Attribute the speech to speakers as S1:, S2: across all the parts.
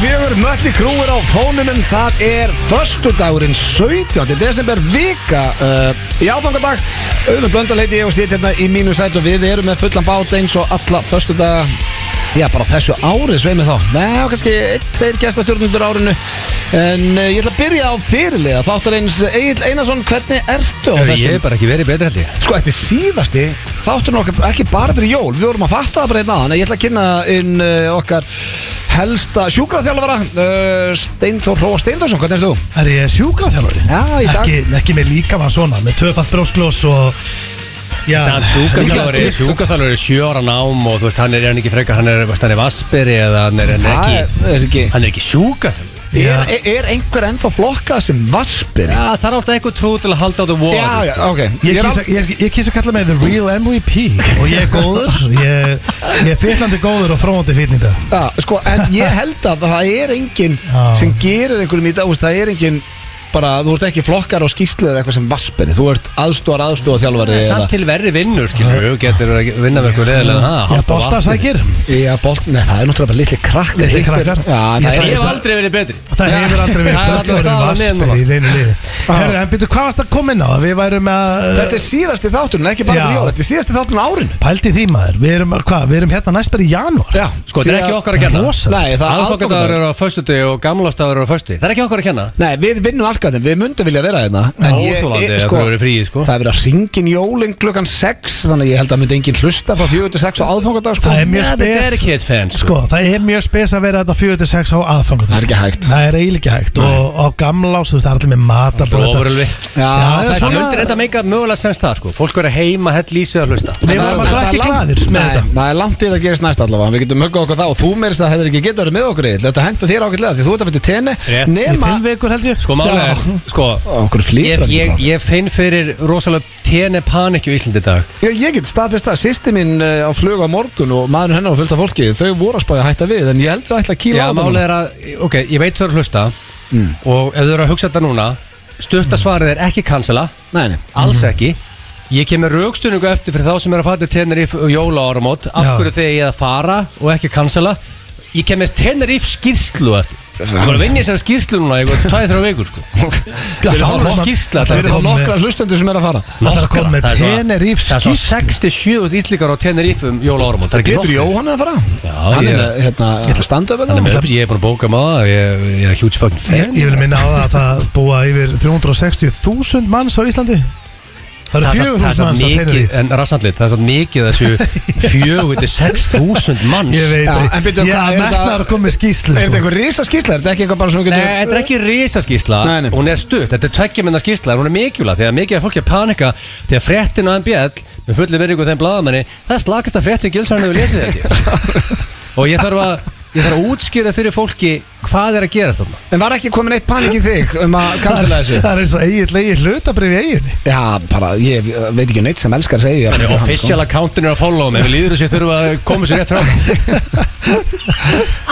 S1: Allir krúir á fónunum, það er Föstudagurinn 17. desember vika uh, í áfangadag Auðvitað blöndal heiti ég og sitt hérna í mínu sæt og við erum með fullan bát eins og alla föstudaga Já, bara þessu ári sveimi þá Nei, og kannski einn, tveir gestastjórnundur árinu En uh, ég ætla að byrja á fyrirlega Þáttar eins Egil Einarsson, hvernig ertu á
S2: Ég
S1: þessum?
S2: hef bara ekki verið betri held ég
S1: Sko, þetta er síðasti þátturinn okkar ekki bara fyrir jól, við vorum að fatta það bara einn aðan ég ætla að kynna inn uh, okkar helsta sjúkraþjálfara uh, Steintor Róa Steindorsson, hvernig erst þú?
S3: Það er ég sjúkraþjálfari
S1: Já, í dag-
S3: ekki, ekki með líkamann svona Með tvöfalt brósklós og Já,
S2: Sann sjúkaþjálfari
S3: líka-
S2: Sjúkaþjálfari er sjö ára nám og þú veist hann er hann er ekki frekar hann er, veist, hann er vasperi eða hann er, hann er
S1: Það er-
S2: ekki
S1: er ekki
S2: hann er ekki sjúkaþjálfari
S1: er, er, er einhver ennþá flokka sem vaspir?
S2: Já það er ofta einhver trú til að halda á the wall
S1: já, já, ok
S3: Ég
S1: er
S3: kýs,
S1: al-
S3: að, ég, ég kýs að kalla mig The Real MVP og ég er góður ég, ég er fyllandi góður og fróðandi fínn í dag
S1: Já, sko, en ég held að það er enginn
S3: Já.
S1: sem gerir einhverjum í dag, þú veist, það er enginn bara, þú ert ekki flokkar og skýrslu eða eitthvað sem vaspinni, þú ert aðstóðar aðstóðar þjálfari
S2: Samt til verri vinnur skilur við getur að vinna með eitthvað reyðilega það
S3: Ég bolta sækir
S1: Já, bolt, nei, það er náttúrulega bara litli krakk
S3: Litlir
S1: þeir hittir-
S3: krakkar.
S1: Já, það
S3: Ég þarf
S1: er
S2: Ég hef
S3: svo-
S2: aldrei verið betri
S3: Það hefur aldrei verið
S2: Það er aldrei staðan neðan
S3: fullorðin vatnsberi
S2: núna.
S3: í neinu liði Herðu, en byrju, hvað varst að koma inn á? Við værum að
S1: Þetta er síðasti þátturinn, ekki bara
S3: Já.
S1: fyrir jól, þetta er síðasti þátturinn á árinu
S3: Pældi því maður Við erum, hvað, við erum hérna næst bara í janúar
S1: Já,
S2: Sko þetta er ekki okkar að kenna
S3: Rosalegt.
S1: Nei, það er
S2: Aðfokkandagur
S1: aðfokkandagur
S2: eru á föstuti og gamlástagur eru á föstuti Það er ekki okkar að kenna
S1: Nei, við vinnum allkvæðin, við myndum vilja vera hérna En ég,
S2: Óþolandi
S1: ég,
S2: að
S1: sko,
S2: þau eru frí, sko.
S1: það er verið að ringin jólinn klukkan 6 Þannig að ég held að myndi enginn hlusta frá 4 til 6 á aðfangadag sko.
S3: Það er mjög
S2: Ja, þetta er
S3: spes
S2: dedicated fans, sko.
S3: Sko, það er mjög spes að vera þetta 46 á aðfangut
S1: Það er ekki hægt.
S3: Það er eiginlega ekki hægt Og á gamla ás, þú veist, það er allir með mat allt og sko, þetta.
S2: Ofurölvi
S1: Já, það
S3: Já,
S1: er
S2: Það
S3: svona-
S2: myndir enda meika mögulega semst það sko Fólk verið heima, hell lýsið að hlusta
S3: Við vorum alltaf
S1: það er
S3: ekki
S1: langt-
S3: glaðir með
S1: Nei,
S3: þetta.
S1: Það er langt til að gerist næst allavega Við getum höggað okkur það og þú meirist að hefur ekki getað verið með okkur Egill. Þetta hendur þér ágætlega því þú ert að fyrir tenni
S2: Rétt.
S3: Í
S1: Nema
S3: fimm vikur held ég
S2: Sko málega er, sko
S1: Okkur
S2: Ég,
S1: flýtur ekki bara.
S2: ég, ég finn fyrir rosalega tene panikju í Íslandi í dag
S1: Ég, ég get staðfest það, sýsti mín eh, á flug á morgun og maðurinn hennar og fullt af fólki þau voru að spája að hætta við en ég held að ætla að kýla
S2: Já,
S1: á það
S2: málega er að, ok, ég veit þau eru að hlusta Og ef þau eru að hugsa þetta núna Stuttasvarið er ekki cancela
S1: Nei, nei,
S2: Alls ekki Ég kem með raukstunningu eftir fyrir þá sem er að fatta Tenerife og jóla áramót Af
S3: Já.
S2: hverju þegar ég að fara og ekki cancela Ég kem með Tenerife skýrslu eftir Ég voru að vinna í þessari skýrslu núna Ég voru tvæði þrjá vikur sko Fyrir
S3: þá
S2: þá
S3: er það-
S2: skýrsla
S1: það
S2: þetta-
S1: eru
S3: kom
S1: þá
S3: með-
S1: nokkra hlustendur sem er að fara
S3: Það þarf að koma með
S2: Það er svona-
S3: Tenerife
S2: Það er svona
S3: skýrslu.
S2: 67 íslíkar á Tenerife um jóla áramót Það er ekki
S1: Getur
S2: nokkuð.
S1: Jóhann að fara?
S2: Já,
S1: Hann
S2: ég-
S1: er með, hérna, standöf
S2: Hann er
S1: eða?
S2: með- Ég er búin að bóka maður Ég ég er að huge fucking
S3: Ég,
S2: fan
S3: ég vil minna á það að það búa yfir 360.000 manns á Íslandi Það
S2: Það er
S3: eru
S2: samt- það er
S3: 4.000
S2: samt
S3: manns á
S2: mikið
S3: Tenerife
S2: En rassandlit, það er samt mikið þessu 4-6.000 manns
S3: Ég veit,
S1: Já, en
S3: ég
S1: byrju, hvað, er
S3: ég að
S1: þetta-
S3: metnaður að koma með skýslu
S1: Er þetta
S3: sko.
S1: einhver rísa skýrsla? Er þetta ekki eitthvað bara sem þú
S2: Nei,
S1: getur
S2: þetta er ekki risaskísla
S1: Nei, nei.
S2: Hún er stutt, þetta er tveggjaminna skísla Hún er mikilvæg, þegar mikið af fólki að panika Þegar fréttin á MBL Með fulli verið ykkur þeim blaðamenni Það er slakast að fréttin gilsarinn hefur lesið þetta Og ég þarf að Ég þarf að útskýra fyrir fólki Hvað er að gerast þarna
S1: En var ekki komin eitt panik í þig um að
S3: Það
S1: kansla
S3: er-
S1: þessu?
S3: það er eins og eiginlegi hlutabrif í eiginni
S1: Já, bara, ég eh, veit ekki um neitt sem elskar að segja
S2: Þannig að official accountin er að follow mig Við líður þessu þurfa að koma sér rétt fram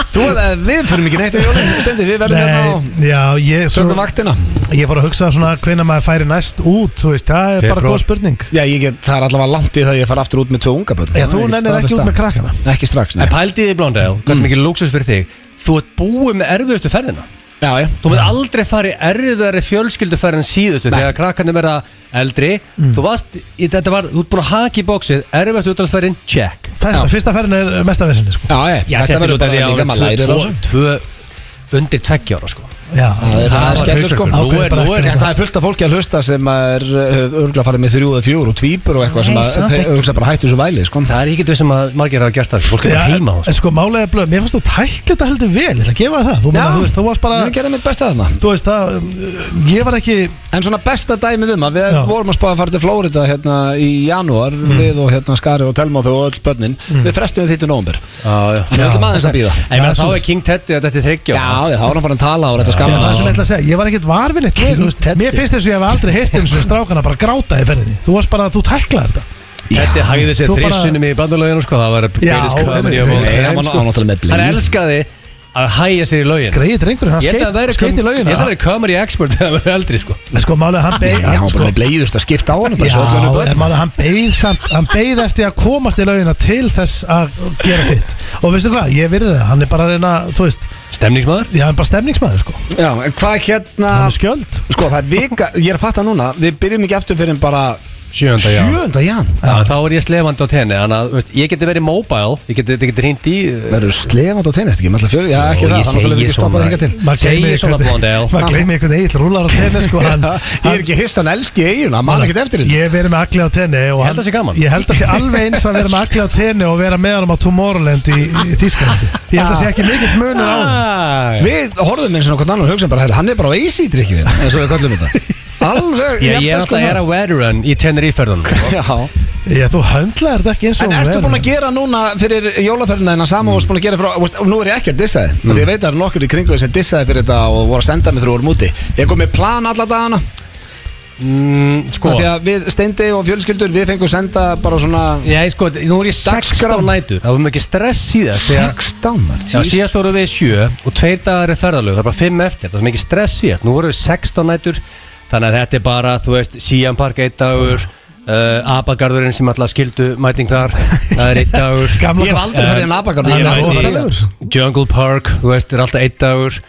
S1: Þú, eh, við förum ekki neitt á jólum Stendi, við verðum hérna og
S3: Nei, já, ég, svo,
S1: tökum vaktina
S3: ég fór að hugsa svona hvenær maður færi næst út þú veist, það er bara
S2: Febrúar.
S3: góð spurning
S1: Já, ég get, það er allavega langt í það að ég fara aftur út með tvö unga börn
S3: Já, þú nennir ekki út með krakkana
S1: Ekki strax, nei
S2: En pældiði Blondale, hvernig mikið lúksus fyrir þig Þú ert búið með erfiðustu ferðina
S1: Já, já
S2: Þú mynd aldrei fara í erfiðari fjölskylduferðin síðustu Þegar krakkarnir verða eldri Þú varst, í- þetta var, þú ert búin að haka í bóksið Erfiðastu útlandsferðin, check
S3: Fæsta, Fyrsta ferðin er mestavesinni sko.
S1: Já, ég, þetta verður bara líka maður lærir á
S2: tvö,
S1: þessu
S2: tvö, undir tveggja ára sko
S3: Já,
S1: Það er- það er
S3: var
S1: skellur sko
S3: hausverkur.
S1: Nú
S3: Ákveðið
S1: er-
S3: bara
S1: nú er-
S3: eftir
S1: en
S3: þetta.
S1: Það er fullt af fólki að hlusta sem er örgulega farið með þrjú eða fjúr og tvípur og eitthvað sem
S2: Nei,
S1: að
S2: samt
S1: þeir
S2: ekki.
S1: hugsa bara hættu þessu væli sko
S2: Það er ekki þau sem að margir hafa gert það Fólk er
S3: Já,
S2: bara heima á
S3: en sko málega er blöð, mér fannst þú tækla þetta heldur vel, ég ætla að gefa þér það Þú, meina, þú veist, þú varst bara,
S1: Ég gerði mitt besta þarna
S3: þú veist það, um, ég var ekki
S1: En svona besta dæmið um að við
S3: Já.
S1: vorum að spáða að fara til Flórida hérna í janúar við og hérna Skari og Telma og þau og öll börnin við frestum við því til nómber
S2: þessu
S1: Við höldum aðeins að býða
S2: En ég meina,
S3: Já,
S2: þá
S3: svoleiðis.
S2: er King Teddy að þetta er
S1: Já,
S2: þryggja
S1: já, þá var hann bara að tala og þetta
S3: Já,
S1: skamma
S3: það er sem ég ætla að segja, ég var ekkert varfinn eitt vel, þú veist,
S1: Teddi.
S3: Mér finnst þess að ég hef aldrei heyrt eins og strákana bara gráta í ferðinni Þú varst bara, þú tæklaði þetta
S2: Teddy hægði sér
S3: Þú bara-
S2: þrissunum í bandalöginu sko Það var
S3: Já,
S2: British Comedy
S3: einmitt.
S2: Award.
S3: Nei,
S1: hann var
S2: Sko.
S1: náttúrulega með
S2: Hann
S1: bleið.
S2: elskaði að hægja sér í lögin
S3: Greið drengurinn, hann
S2: Ég held að
S3: skeit,
S2: vera
S3: skeit í
S2: Ég
S3: laugina
S2: held að vera comedy expert þegar hann verður eldri sko
S3: En Sko málega, hann beið
S1: Já, hann var
S3: sko,
S1: bara með bleiðust að skipta á hann bara svo öllum
S3: Já,
S1: börn.
S3: en maður, hann beið samt, hann beið eftir að komast í laugina til þess að gera sitt og veistu hvað, ég virði það, hann er bara að reyna þú veist,
S2: Stemningsmaður?
S3: Já, hann er bara stemningsmaður sko
S1: Já, en hvað hérna
S3: Hann er skjöld
S1: Sko, það er vika, ég er að fatta núna Við byrjum ekki eftir fyrir en bara
S2: Sjönda,
S1: 7. jan
S2: Já, þá er ég slefandi á tenni Þannig að, veist, ég geti verið mobile Ég geti, geti hringt í
S1: Verður slefand á tenni eftir ekki, með alltaf fjöri Já, ekki
S2: Ó,
S1: það,
S2: ég
S1: þannig að
S2: segi
S1: ekki stoppað
S2: svona.
S1: hingað til
S3: Maður
S2: Segir
S3: gleymir
S2: svona,
S3: einhvern-
S2: Blondell.
S3: Maður gleymi einhvern eill rúlar á tenni sko hann,
S1: Ég er ekki hist, hann elski eigin, hann man ekkert eftir þinn
S3: Ég hef verið með Agli á tenni og
S2: Ég held
S3: hann-
S2: það sé gaman.
S3: Ég held að sé alveg eins að vera með Agli á tenni og vera með hann á Tomorrowland í, í Þískalandi Ég held að sé ekki mikill munur á þeim.
S2: Ah,
S1: Við horfðum eins og hvern annan og hugsaðum bara "Herra, Hann er bara á easy drikkjum eins og við kallum þetta hérna." Alveg
S2: Ég, ég er alltaf er að veteran í tenniríferðun
S1: Já
S3: Já, þú höndlaðir þetta ekki eins og
S1: En
S3: hún
S1: ertu
S3: verður.
S1: búin að gera núna fyrir jólaferðina en að sama mm. búin að gera fyrir, veist, og nú er ég ekki að dissa þið mm. ég veit að það eru nokkur í kringu þið sem dissaði fyrir þetta og voru að senda mig þrjóður múti ég kom með plan alla dagana
S2: mm, Sko
S1: af því að við steindi og fjölskyldur við fengum senda bara svona
S2: Já, sko, nú er ég
S1: Dagskrá.
S2: 16 nætur Það var mikið stress í það Þegar
S1: sex dánar
S2: Já, síðast voru við sjö og tveir dagar er ferðalög, það er bara fimm eftir, það er mikið stress síðast, nú voru við 16 nætur, þannig að þetta er bara, þú veist, Sian Park eitt dagur, uh, Abagarðurinn sem alltaf skildu mæting þar, það er eitt dagur. Eh,
S3: Gamla
S1: ég hef
S3: gott.
S1: aldrei farið en abagarð
S3: Ég
S1: hann er
S3: veit
S1: rosa
S3: ekki.
S1: legur.
S3: ferðalegur.
S2: Jungle Park, þú veist, er alltaf eitt dagur,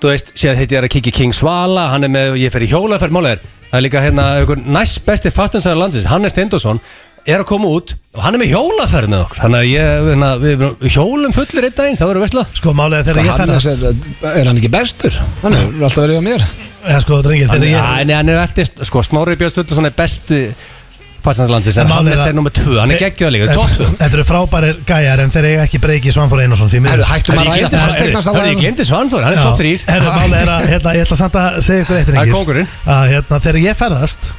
S2: þú veist, síðan þetta er að kikið King Svala, hann er með, ég fer í hjólaferð, málega er, það er líka hérna, einhver næst besti fastinsæðar landsins, Hannes Steindorsson, er að koma út og hann er með hjólaferð með okkur þannig að ég, hérna, við við hjólum fullir einn daginn, það verður veistla
S3: Sko málega þegar ég
S1: Hann er,
S3: ferðast
S1: er hann ekki bestur? hann er alltaf verið á mér
S3: Já sko drengir þegar
S2: Já,
S3: ég
S2: en hann er eftir, sko, Smári Björn Sturluson er bestu fastnarslandsins,
S3: En
S2: en
S3: málið
S2: Hannes
S3: að-
S2: er nummer 2, hann er geggjöð líka,
S3: Þetta-
S2: top 2
S3: Þetta eru frábærir gæjar en þeir eiga ekki breyki Svanfór Einarsson því miður
S1: Herru, hættum að
S2: Ég
S1: ræða
S2: glemdi- Hörru,
S1: fasteignarsala
S2: ég glemdi Svanfór, hann er top 3
S3: Herru, máli er að, hérna, ég ætla samt að segja ykkur
S2: Það
S3: eitt
S2: er
S3: reyngir
S2: kóngurinn.
S3: Að hérna, þegar ég ferðast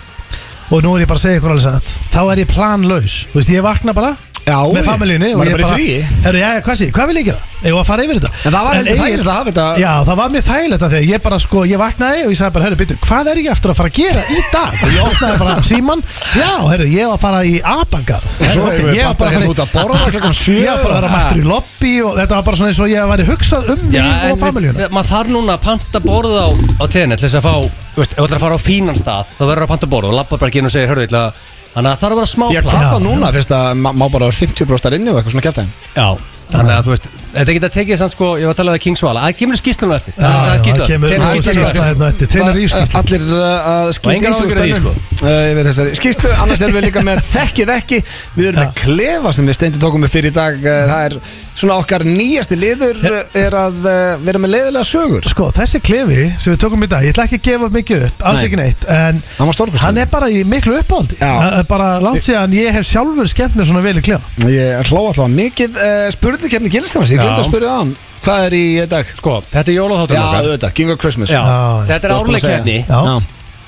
S3: Og nú er ég bara að segja ykkur alveg satt Þá er ég planlaus Þú veist, ég vakna bara
S1: Já,
S3: Með
S1: já.
S3: familíunni og
S1: Maður er
S3: ég
S1: bara í fríi.
S3: Herru, já, hvað sé, hvað vil ég gera? Eða að fara yfir þetta
S1: En það var heldur
S3: Egill-
S1: þægilegt að hafa þetta-
S3: Já, það var mér þægilegt að þegar ég bara sko Ég vaknaði og ég sagði bara, herru, byrju, hvað er ég eftir að fara að gera í dag? Og ég opnaði bara síman Já, herru, ég var að fara í Abagarð
S1: Og svo
S3: Herru,
S1: erum
S3: ok,
S1: við
S3: ég var
S1: bara
S3: bara að
S1: hérna
S3: fara í-
S1: út að borða klokkan sjö
S3: Ég var bara að vera mættur í lobby og þetta var bara svona eins og ég væri hugsað um
S2: Já,
S3: mig
S2: en
S3: og familjuna
S2: við- maður þarf núna að panta borð á, á tenni til þess að fá, þú veist, ef þú ætlar að fara á fínan stað þá verður að panta borð og labba bara ekki inn og segir, hörðu, ég ætla að- þannig að það þarf að vera smá
S1: Ég
S2: plan.
S1: hvað þá núna, finnst að ma- má bara vera 50% inni og eitthvað svona kjartæðin
S2: Já, þannig að þú veist, þetta geta tekið samt sko, ég var að tala við King Svala, að kemur skýslunum eftir
S3: Já, já, það kemur-
S2: tenni
S3: það
S2: skýslunum
S3: kemur-
S2: eftir
S3: hérna eftir, Tenerife skýrslu.
S1: Allir uh, að
S2: Og engar áhyggjur af því, sko.
S1: Uh, skýrta Skýrtu, annars erum við líka með þekkið ekki Við erum með klefa sem við steindi tókum upp fyrir í dag Uh, Það er svona okkar nýjasti liður uh, Er að uh, vera með leiðilega sögur
S3: Sko, þessi klefi sem við tókum í dag, ég ætla ekki að gefa mikið upp, alls
S2: Nei.
S3: ekki neitt En
S1: Hann var stórkostur.
S3: hann er bara í miklu uppáhaldi
S1: Já.
S3: Það er Bara langt síðan ég hef sjálfur skemmt mér svona vel í klefa
S1: Ég hló alltaf mikið Spurðikefni gilstæmis, ég glemt
S2: Já.
S1: að spurði á hann Hvað er í eh, dag?
S2: Sko, þetta er jólóþáttur
S1: Já, auðvitað, King of Christmas
S2: Já,
S3: Já, já.
S2: þetta er
S1: Þú varst búin að
S2: árlega
S1: segja.
S2: kefni
S3: Já.
S1: Já.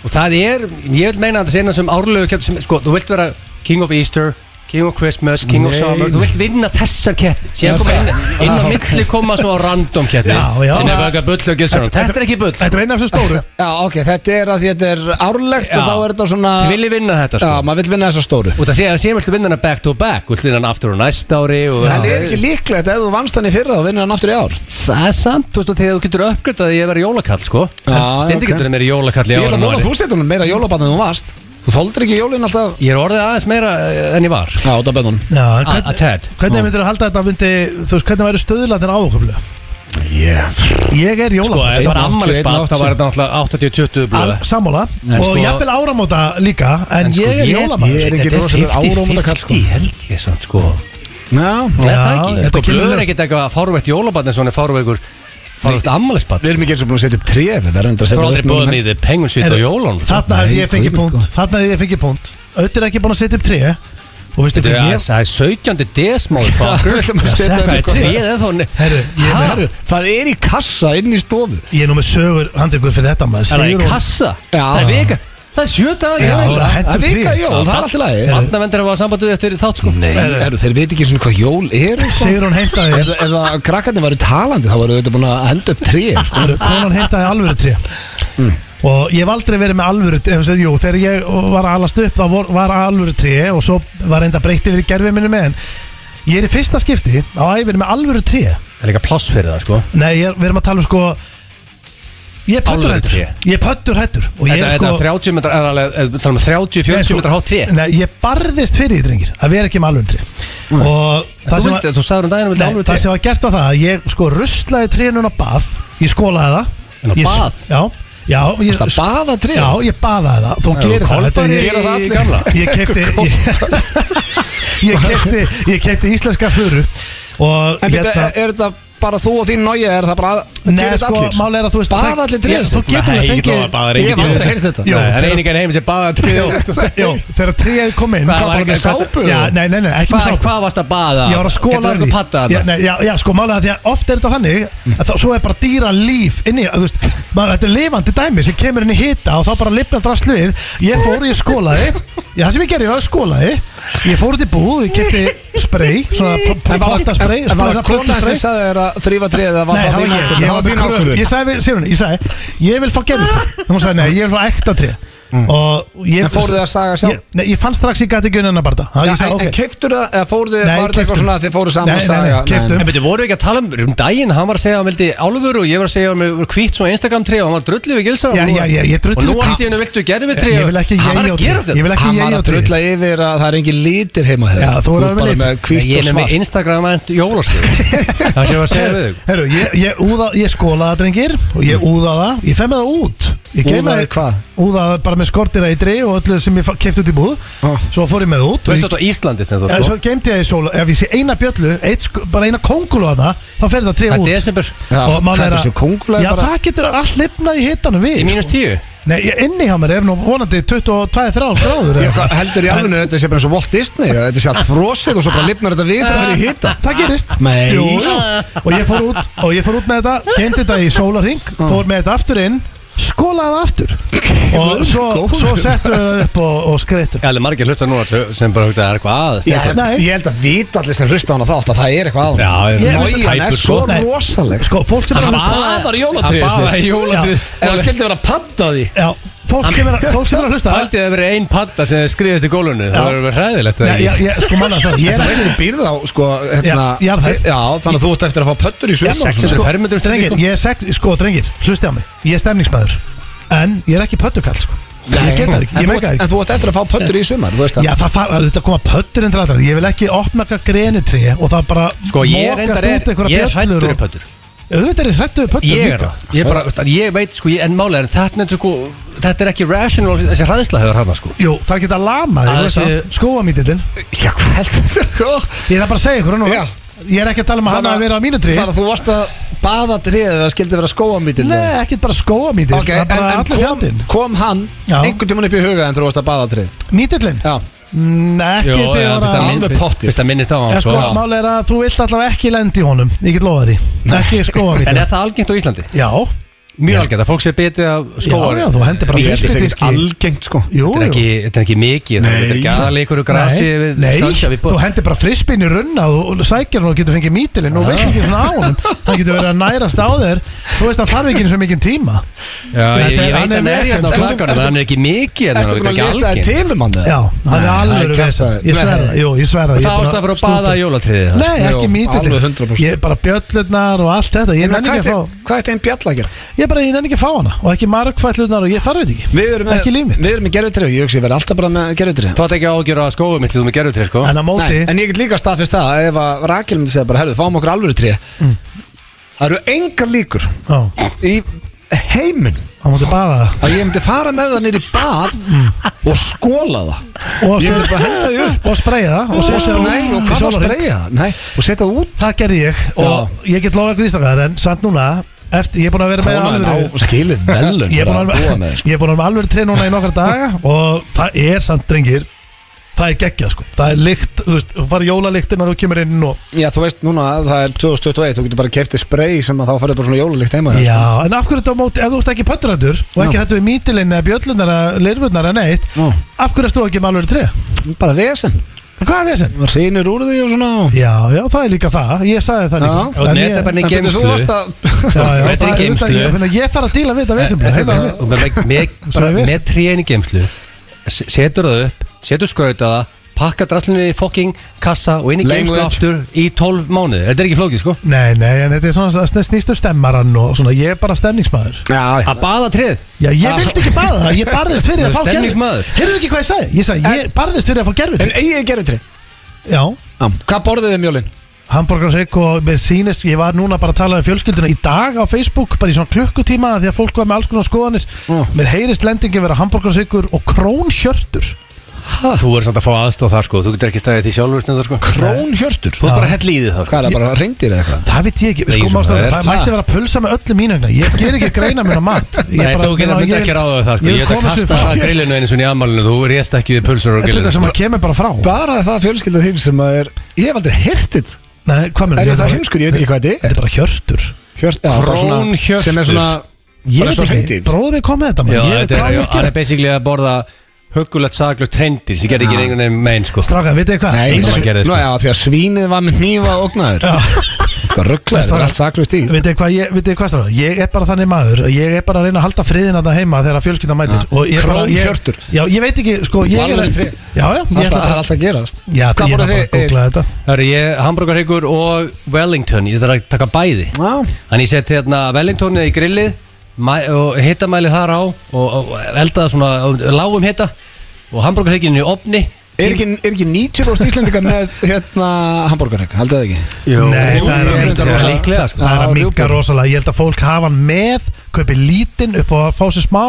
S2: Og það er, ég vil meina að það sé eina sem árlegu keppni sem, sko, þú vilt vera King of Easter, King of Christmas, King of
S1: Nei.
S2: Summer, þú vilt vinna þessar keppni
S1: Já,
S2: Síðan koma
S1: það-
S2: inn, inn á milli koma svo á random keppni
S3: Já, já.
S2: Sinni vöga bull og gilsarón, þetta er ekki bull
S3: Þetta er eina af þessu stóru
S1: Já, ok, þetta er að því þetta er árlegt
S2: Já.
S1: og þá er þetta svona
S2: Þið viljið vinna þetta,
S1: Já,
S2: sko
S1: maður vil vinna þessa stóru
S2: Út af því að síðan viltu vinna hana back to back, viltu vinna hana aftur á næsta ári og
S1: En er ekki líklegt að ef þú vannst hann í fyrra og vinnur hann aftur í ár?
S2: Það er samt, þú veist, og þegar þú getur uppgötað að ég verið jólakall, sko
S1: Já,
S2: Stendi
S1: ok.
S2: getur verið jólakall í
S1: Ég ætla að
S2: árinu
S1: vona að
S2: ári
S1: þú setur hún meira jólabann en þú varst Þú þóldir ekki jólin alltaf
S2: Ég er orðið aðeins meira eh, en ég var
S1: Já, það bennum
S3: Já, en
S2: A- a
S3: hvern-
S2: tad.
S3: Hvernig myndir þú halda að þetta myndi, þú veist, hvernig væri stöðlaðin áhugulega? Ég er
S2: Sko,
S3: jólapart
S2: ef það var
S1: 81,
S2: ammælisbad, þá var þetta náttúrulega 80-20 blöð
S3: Sammála,
S2: En
S3: og
S2: sko-
S3: jafnvel áramóta líka En sko, ég er jólapart
S1: ég er ekki rosalega áramótakall, sko.
S2: Þetta er 50-50 held ég samt sko
S1: Já,
S2: Það
S3: Já,
S2: er það ekki
S3: þetta
S2: Sko
S3: kemur
S2: blöður
S3: ljós.
S2: ekkert eitthvað fáruvert jólabatn en svona fáruveikur fáruvert ammælisbatn
S1: við erum ekki eins og búin að setja upp trefi Það er endur að
S2: Það er
S1: setja
S2: aldrei
S1: núna.
S2: búið með þið pengunsvít
S3: Heyrðu,
S2: og jólón
S3: Þarna hef ég
S1: Nei,
S3: fengið
S1: guð minn
S2: sko.
S3: punkt
S1: góður.
S3: Þarna hef ég fengið punkt Öttir ekki búin að setja upp 3 Og veistu hvað ég
S2: Það er 17. desmóð
S1: Við ætlum að setja
S2: Það er
S1: upp-
S2: tríð eða
S3: Herru, ég er
S2: þá
S1: Herru, Það er í kassa inn í stofu
S3: Ég er nú með sögur handtökur fyrir þetta maður
S2: Það er í
S3: Sigrún-
S2: kassa
S1: Já.
S2: Það er vika Það er sjö dagar
S3: Já,
S2: ég veit
S3: það
S2: það.
S3: hendur
S1: Það er vika
S3: tré.
S1: jól, það er allt í lagi
S2: Barnaverndar hafa samband við eftir þátt sko
S1: Nei, herru, þeir veit ekki svona hvað jól er
S3: Sigrún heimtaði
S1: Ef ef það krakkarnir varu talandi þá varu þetta búin að henda upp tré sko.
S3: herru, Konan heimtaði alvöru 3 Og ég hef aldrei verið með alvöru tré þú veist, Jú, þegar ég var að alast upp þá vor, var alvöru 3 Og svo var reynda breytti yfir í gerfið minni með En ég er í fyrsta skipti á æfinu með alvöru 3
S2: Það er líka pláss fyrir það sko
S3: Nei, ég er, við erum að tala um sko ég er pöttur
S2: Alvöru
S3: hættur
S2: tré.
S3: Ég er pöttur hættur Og ég
S2: Þetta
S3: er
S2: er
S3: sko
S2: 30 metrar, er alveg- er- tala um 30-40
S3: Nei, sko,
S2: metrar hátt tré
S3: Nei, ég barðist fyrir því, drengir Að vera ekki með alvöru tré Og það
S2: Þú
S3: sem,
S2: vildi-
S3: að,
S2: Þú sagður um daginn að þú vildi
S3: nei,
S2: alveg
S3: það
S2: tré
S3: sem var gert var það að Ég sko ruslaði trénun á bað Ég skólaði
S2: En á
S3: það Ég-
S2: bað?
S3: Já, já ég,
S1: Þetta baða tré
S3: Já, ég baðaði það, þú gerir það Þetta er-
S2: Kolbari
S1: gera það allir.
S2: gamla
S3: ég kefti ég, ég kefti ég kefti íslenska furu og hérna-
S1: En byrja, er, er þetta bara þú og þín nája Er það bara
S3: Nei, sko, máli er að þú veist
S1: Baða
S3: það-
S1: allir tré,
S3: Ég-
S1: sko.
S3: Þú getur
S2: Nei, ég lofa
S3: það
S2: að
S3: fengið
S2: baða er
S1: Ég hef
S2: engin-
S1: aldrei heyrt þetta
S3: Jó,
S2: Nei, Það er
S3: þegar-
S2: einigan heim sem baða tré og-
S3: Jó, þegar tríið kom inn
S2: Hvað var
S1: bara
S2: ekki
S1: með sápu?
S3: Já, nei, nei, nei, ekki með
S2: Hvað
S3: sápu
S2: hvað varst að baða?
S3: Ég var að skóla
S2: Getur þú patta
S3: já,
S2: þetta?
S3: nei, já, já, sko, málega því að oft er þetta
S1: Mm.
S3: þannig að þá, Svo er bara dýra líf inni að, þú veist, maður, Þetta er lifandi dæmi sem kemur inn í hita Og þá bara lifna drast við Ég fór, ég skólaði Já, það sem ég gerði, ég var skólaði Ég fór út í búð, ég kefti spray Svona pottaspray
S1: En var það konan sem sagði þér að þrýfa tré Eða var
S3: Nei,
S1: það
S3: það
S1: þín ákvörðun? Það
S3: var ég, ég var
S1: var
S3: með
S1: þín
S3: kröfu
S1: ákvörðun
S3: Ég sagði við Sérun, ég sagði, ég vil fá gerðutré Hún sagði, nei, ég vil fá ekta tré Og ég
S1: Mm. En fóruð þið að saga sjálf?
S3: Ég- Nei, ég fann strax ég gæti ekki unna barða Það
S1: Já,
S3: ég
S1: en-
S3: sagði,
S1: En
S3: ok
S1: keiftur það, eða fóruð þið,
S3: Nei,
S1: var þetta eitthvað
S3: keyptum.
S1: svona að þið fóruð saman
S3: Nei,
S1: að
S3: nei, nei,
S1: saga?
S3: keyptum.
S2: En betur, voru við ekki að tala um, um daginn, hann var að segja að hann vildi álfur og ég var að segja að hann var kvítt svona Instagram tré og hann var drullið við gilsar
S3: Já, já, já, ég
S2: Og
S3: drullið
S2: nú
S3: við-
S2: allt í hennu viltu gerfi tré
S3: Ég vil ekki
S2: Hann var að
S3: ég og
S2: gera
S3: tré Ég
S2: þetta
S3: vil ekki
S1: Hann var
S3: ég
S1: að
S3: og tré
S1: drulla yfir að það er engin lítir heima þér
S3: Já, þú er alveg
S1: bara
S3: litir.
S1: með hvítt
S2: Ég
S1: og
S2: er með
S1: svart
S2: Instagram að jólaskjöf Það sem ég var að segja við þig
S3: Herru, ég, ég, úða, ég skólaði það drengir og ég úðaði það, ég fem með það út ég geymi
S1: Úðaði
S3: það-
S1: hvað?
S3: Úðaði það bara með skortir eitri og öllu sem ég kefti út í búð
S1: Ah.
S3: Svo fór ég með það út
S2: Þú
S3: og
S2: veist
S3: ég-
S2: þetta á Íslandi
S3: Já,
S2: stendur
S3: svo
S2: það, sko.
S3: geymdi ég í sóla Ef ég sé eina bjöllu, eitt, sk- bara eina kóngulu að það Þá fer það tré
S2: Það er
S3: út
S2: desember.
S1: Já,
S3: Og málið
S1: hvað er
S3: að-
S1: þessi kónguló er
S3: Já,
S1: bara-
S3: það getur allt lifnað í hitanum við
S2: Í mínus
S3: sko.
S2: tíu
S3: Nei, ég- inni hjá mér er nú vonandi 22-3 gráður
S1: Ég
S3: eða
S1: hvað,
S3: eitthvað.
S1: heldur í alveg þetta sé bara eins og Walt Disney að þetta sé allt frosið og svo bara lifnar þetta við þegar það er í hita
S3: Það gerist
S1: Nei.
S3: Jú, jú. Og ég fór út Og ég fór út með þetta Geymdi þetta í sólarring Fór með þetta aftur inn Skólaði það aftur Og svo,
S1: Góður.
S3: svo settu við það upp og, og skreittum
S2: Já, það er margir hlusta núna sem- sem bara hugta að það er eitthvað að
S1: Já,
S2: Steindór.
S3: Nei.
S1: Ég held að vita allir sem hlusta á hana þátt að það er eitthvað
S2: Já,
S1: að
S2: ég-
S1: Nójan
S2: tæpur,
S1: er svo
S2: sko.
S3: Nei.
S1: rosaleg
S3: Sko, fólk sem er
S1: Hann
S3: að hlusta
S1: baðar í jólatréð,
S2: Hann baðar í
S1: Steindór.
S2: jólatrið
S3: Já.
S1: En það skildi vera að patta því
S3: Já, fólk sem er að, fólk sem er að hlusta
S2: Haldið að vera ein padda sem skriði til gólunni Það
S3: Já.
S2: verður verið hræðilegt
S3: Já, já, já, sko, manna það Ég
S1: Þú
S3: er
S1: veist þú býrð á sko hérna,
S3: Já, jarðhæð.
S1: já, þannig að þú ert eftir að fá pöttur í sumar og svona.
S2: Þetta er fermetrum stendur,
S3: Drengir,
S2: sko.
S3: ég er sex, sko, drengir, hlusti á mig Ég er stemningsmæður En ég er ekki pöttukall, sko Ég get það ekki,
S1: En
S3: ég
S1: þú
S3: meika
S1: ert- En
S3: það ekki
S1: þú ert eftir að fá pöttur í sumar þú veist það.
S3: Já, það fara, þetta koma pötturinn til allra Ég vil ekki opna eitthvað grenitrí Og það bara
S2: Sko, ég
S3: mokast
S2: reyndar er
S3: út einhverjar
S2: Ég er um
S3: bjöllur
S2: hrættur í
S3: og-
S2: pöttur
S3: Auðvitað er hrættur við pöttur
S2: Ég er
S3: líka
S2: það Ég, bara, veist, ég veit sko, ég, en málega er þetta er sko, Þetta er ekki rational Þessi hræðsla hefur hana sko
S3: Jú, það geta lama
S2: Að
S3: þig
S2: þessi-
S3: Skóamítillin
S1: Já, hvað heldur
S3: Ég er að bara að segja ykkur nú
S1: Já.
S3: Ég er ekki að tala um að Sko, hann hafi verið á mínu trí
S1: Þannig að þú varst að baða tréð eða skildi vera skóamítil
S3: Nei, ekkert bara skóamítill
S1: Ok,
S3: Það er
S1: en,
S3: bara
S1: en
S3: allir
S1: kom,
S3: fjandinn
S1: kom hann
S3: Já.
S1: einhvern tímann upp í huga en þú varst að baða trið
S3: Mítillin?
S1: Já,
S3: Nei, Mm, ekki þegar að
S1: minn- alveg pottið.
S2: Fyrst að minnist á
S3: Já,
S2: hann
S3: sko,
S2: sko
S3: mál er að þú vilt allavega ekki lendi í honum Ég get lofa því Ekki skóa
S2: En er það algengt á Íslandi?
S3: Já,
S2: Mjög algengt að fólk sé betið af
S3: já,
S2: skóar
S3: já, þú hendir bara
S1: ég held þess ekki
S3: fiskidíski
S1: algengt sko
S3: Jú,
S2: Þetta er
S3: jú
S2: ekki, þetta er ekki mikið Þetta er ekki aðalega ykkur grasi
S3: Nei,
S2: við
S3: nei,
S2: stansja við
S3: þú hendir bara frisbinn í runna og og sækir hann og getur fengið mítilinn og veist ekki svona á hann það getur verið að nærast á þér þú veist hann þarf ekki eins og mikið tíma
S2: Já, ég,
S3: Þetta er-
S2: ég veit
S3: hann er
S2: hann er
S3: vesen.
S2: hérna á
S1: Ertu-
S2: klakanum En
S1: ertu-
S2: hann er ekki mikið
S1: Ertu búin að lesa þér til um hann? eða?
S3: Já, hann er
S1: það
S3: alveg
S1: kjaftæði.
S3: reysa Ég
S1: Nei,
S3: sverða, jú, ég sverða
S2: Það ást að fara að baða jólatriðið það.
S3: Nei, ekki
S1: Jú,
S3: mítillinn
S1: alveg 100%.
S3: Ég er bara bjöllurnar og allt þetta Ég
S1: Ég meina, Hvað
S3: nenni ekki að
S1: ætti-
S3: fá
S1: hvað ætti einn bjall að gera?
S3: Ég bara, ég nenni ekki að fá hana Og ekki margfællurnar og ég þarf þetta ekki
S1: Við erum
S3: Það er ekki líf
S1: með,
S3: mitt.
S1: við erum með gerfutrið Ég hugsi, ég verði alltaf bara með gerfutrið
S2: Þú ætti ekki ágjör að skóðu mitt Þú með gerðu til sko
S3: En að móti
S1: En ég get líka staðfist það að Ef að Rakel myndi segja bara, herru, fáum okkur alvöru trið
S3: Mm.
S1: Það eru engar líkur
S3: Já,
S1: í heiminn
S3: hann múti baða það
S1: að ég myndi fara með það nýri bað og skóla það
S3: Mm. Og
S1: Ég
S3: svo-
S1: myndi bara henda því upp
S3: Og spreyja það Og setja það
S1: Nei, og
S3: út í
S1: hvað það
S3: sólarhring.
S1: spreyja Nei, og setja það út
S3: Það gerði ég Og ég get lofa eitthvað ístakar En samt núna Eftir, ég er búin að vera með
S1: Konan á
S3: alveg
S1: skilið velun
S3: Ég er búin að
S1: búa
S3: vera
S1: með sko.
S3: Ég er búin að vera alveg tré núna í nokkar daga Og það er samt drengir Það er geggjað sko Það er lykt Þú veist, þú fara jólalyktin að þú kemur inn og
S1: Já, þú veist núna, það er 2021 Þú getur bara keftið spray sem að þá farið bara svona jólalikt heima þér, sko.
S3: Já, en af hverju þetta á móti, ef þú ert ekki pötturættur og ekki
S1: Já.
S3: hættu við mítilinn eða bjöllundar eða leirvurnar eða neitt
S1: Já.
S3: af hverju ert þú ekki með alveg tré?
S1: Bara vesen
S3: En Hvað er vesen?
S1: Það reynir úr því og svona og-
S3: Já, já, það er líka það, ég sagði það líka
S1: Já.
S2: Og
S3: En ég-
S2: netta bara
S1: En
S2: í
S1: betur, þú varst
S2: geimslu
S1: að-
S3: Já,
S2: Þetta er
S3: já, það er
S2: geymslu.
S3: auðvitað- ég meina, Ég þarf að díla við þetta vesen bara, heila við.
S2: Og með- með-
S3: Bara
S2: bara
S3: vesen.
S2: Með tréin í geimslu s- Setur það upp Setur skrauta það pakka drasslinu í fokking kassa og inn í
S1: Language.
S2: geimstu aftur í 12 mánuði Þetta er ekki flókið sko
S3: Nei, nei, en þetta er svona að snýstu stemmarann og svona, ég er bara stemningsmaður
S1: Já,
S2: Að baða trið
S3: Já, ég vildi ekki bara það, ég barðist fyrir að
S2: Þú
S3: fá
S2: ert
S3: gerfi
S2: stemningsmaður.
S3: Heyrðu ekki hvað ég sagði? Ég sagði, ég barðist fyrir að fá gerfi
S1: en eigið gerutri
S3: Já,
S1: Já, hvað borðið þið mjólin?
S3: hambúrgarsrygg og með sínist Ég var núna bara að tala um fjölskylduna í dag á Facebook bara í svona klukkutíma því að fólk var með alls konar skoðanir Mér heyrist lendingin vera hambúrgarsryggur og krónhjörtur
S2: Þú er samt að fá aðstóð þar sko Þú getur ekki stæðið því sjálfur snöður sko
S1: Krónhjörtur?
S2: Þú er
S1: Hvað
S2: bara hell í þið það sko
S1: er það, bara reyndir eða eitthvað?
S3: Það veit ég ekki,
S2: Nei,
S3: sko
S2: sem
S3: mást
S2: það
S3: það,
S2: er.
S3: það mætti vera að pulsa með öllu mínu vegna Ég ger ekki greina mér á mat Ég
S2: Nei,
S3: bara-
S2: þú getur
S3: meina,
S2: myndi
S3: ég-
S2: ekki ráða við það sko
S3: ég
S2: Ég
S3: vil
S2: ætla að
S3: komast
S2: kasta
S3: við-
S2: það grillinu einu sinni í amalinu Þú rést ekki við pulsunur og
S3: Þetta er
S2: grillinu
S3: eitthvað sem að kemur bara frá
S1: Bara það fjölskylda þín sem að er Ég hef aldrei hirtið
S3: Nei, hvað meina
S1: Er þetta heimskur? Ég veit ekki hvað þetta
S3: Þetta
S1: er
S3: er bara hjörtur
S1: Hjört, já, bara svona-
S2: Krónhjörtur.
S1: Sem er svona
S3: Ég
S1: Bara svo
S3: veit ekki,
S1: hreindýr.
S3: bróðum við komið þetta
S2: Já,
S3: maður. Ég veit
S2: þetta
S3: hvað
S2: er-
S3: ég
S2: hann er
S3: gera
S2: basically að borða Huggulegt saglust trendir sem getur ekki
S1: Já.
S2: einhvern veginn megin sko
S3: Stráka, veit þið hvað?
S1: Nei,
S2: Engum
S3: Eins-
S2: að
S1: þessi-
S2: gera
S1: nú
S2: þið, sko.
S1: já, því að svínið var með hnífa og ógnaður Hvað rugglaður, þetta er allt saklust í
S3: Vitið þið hvað, ég- vitið þið hvað stráka? Ég er bara þannig maður Ég er bara að reyna að halda friðin að það heima þegar fjölskyldan mætir
S1: Já.
S3: Og ég bara- ég-
S1: Krónhjörtur.
S3: Já, ég veit ekki, sko ég er
S1: Valur í
S3: að-
S1: tré.
S3: Já, já, ég
S1: Alltaf- Það
S3: ætla
S1: er
S3: bara
S1: alltaf að gerast
S3: Já, því
S1: Hvað
S3: ég er
S1: voru
S3: bara að
S1: þið?
S3: googla þetta
S2: Það eru ég, hambúrgarhyggur og Wellington, ég þarf að taka bæði
S1: Já.
S2: Þannig ég seti hérna Wellingtoni í grillið mæ- og hitamæli þar á og, og eldaða svona á lágum hita og hambúrgarhygginu í opni
S1: Er ekki, er ekki 90 úr Íslendinga með hérna hambúrgarhegg, haldið það ekki?
S2: Jó,
S3: Nei,
S1: Jú,
S3: það er
S1: jú,
S3: að
S1: jú,
S3: minka
S1: jú,
S3: rosalega.
S2: líklega, sko.
S3: Það er að
S1: Já,
S3: minka
S1: rjúpur.
S3: rosalega Ég held að fólk hafa hann með Kaupi lítinn upp á að fá sér smá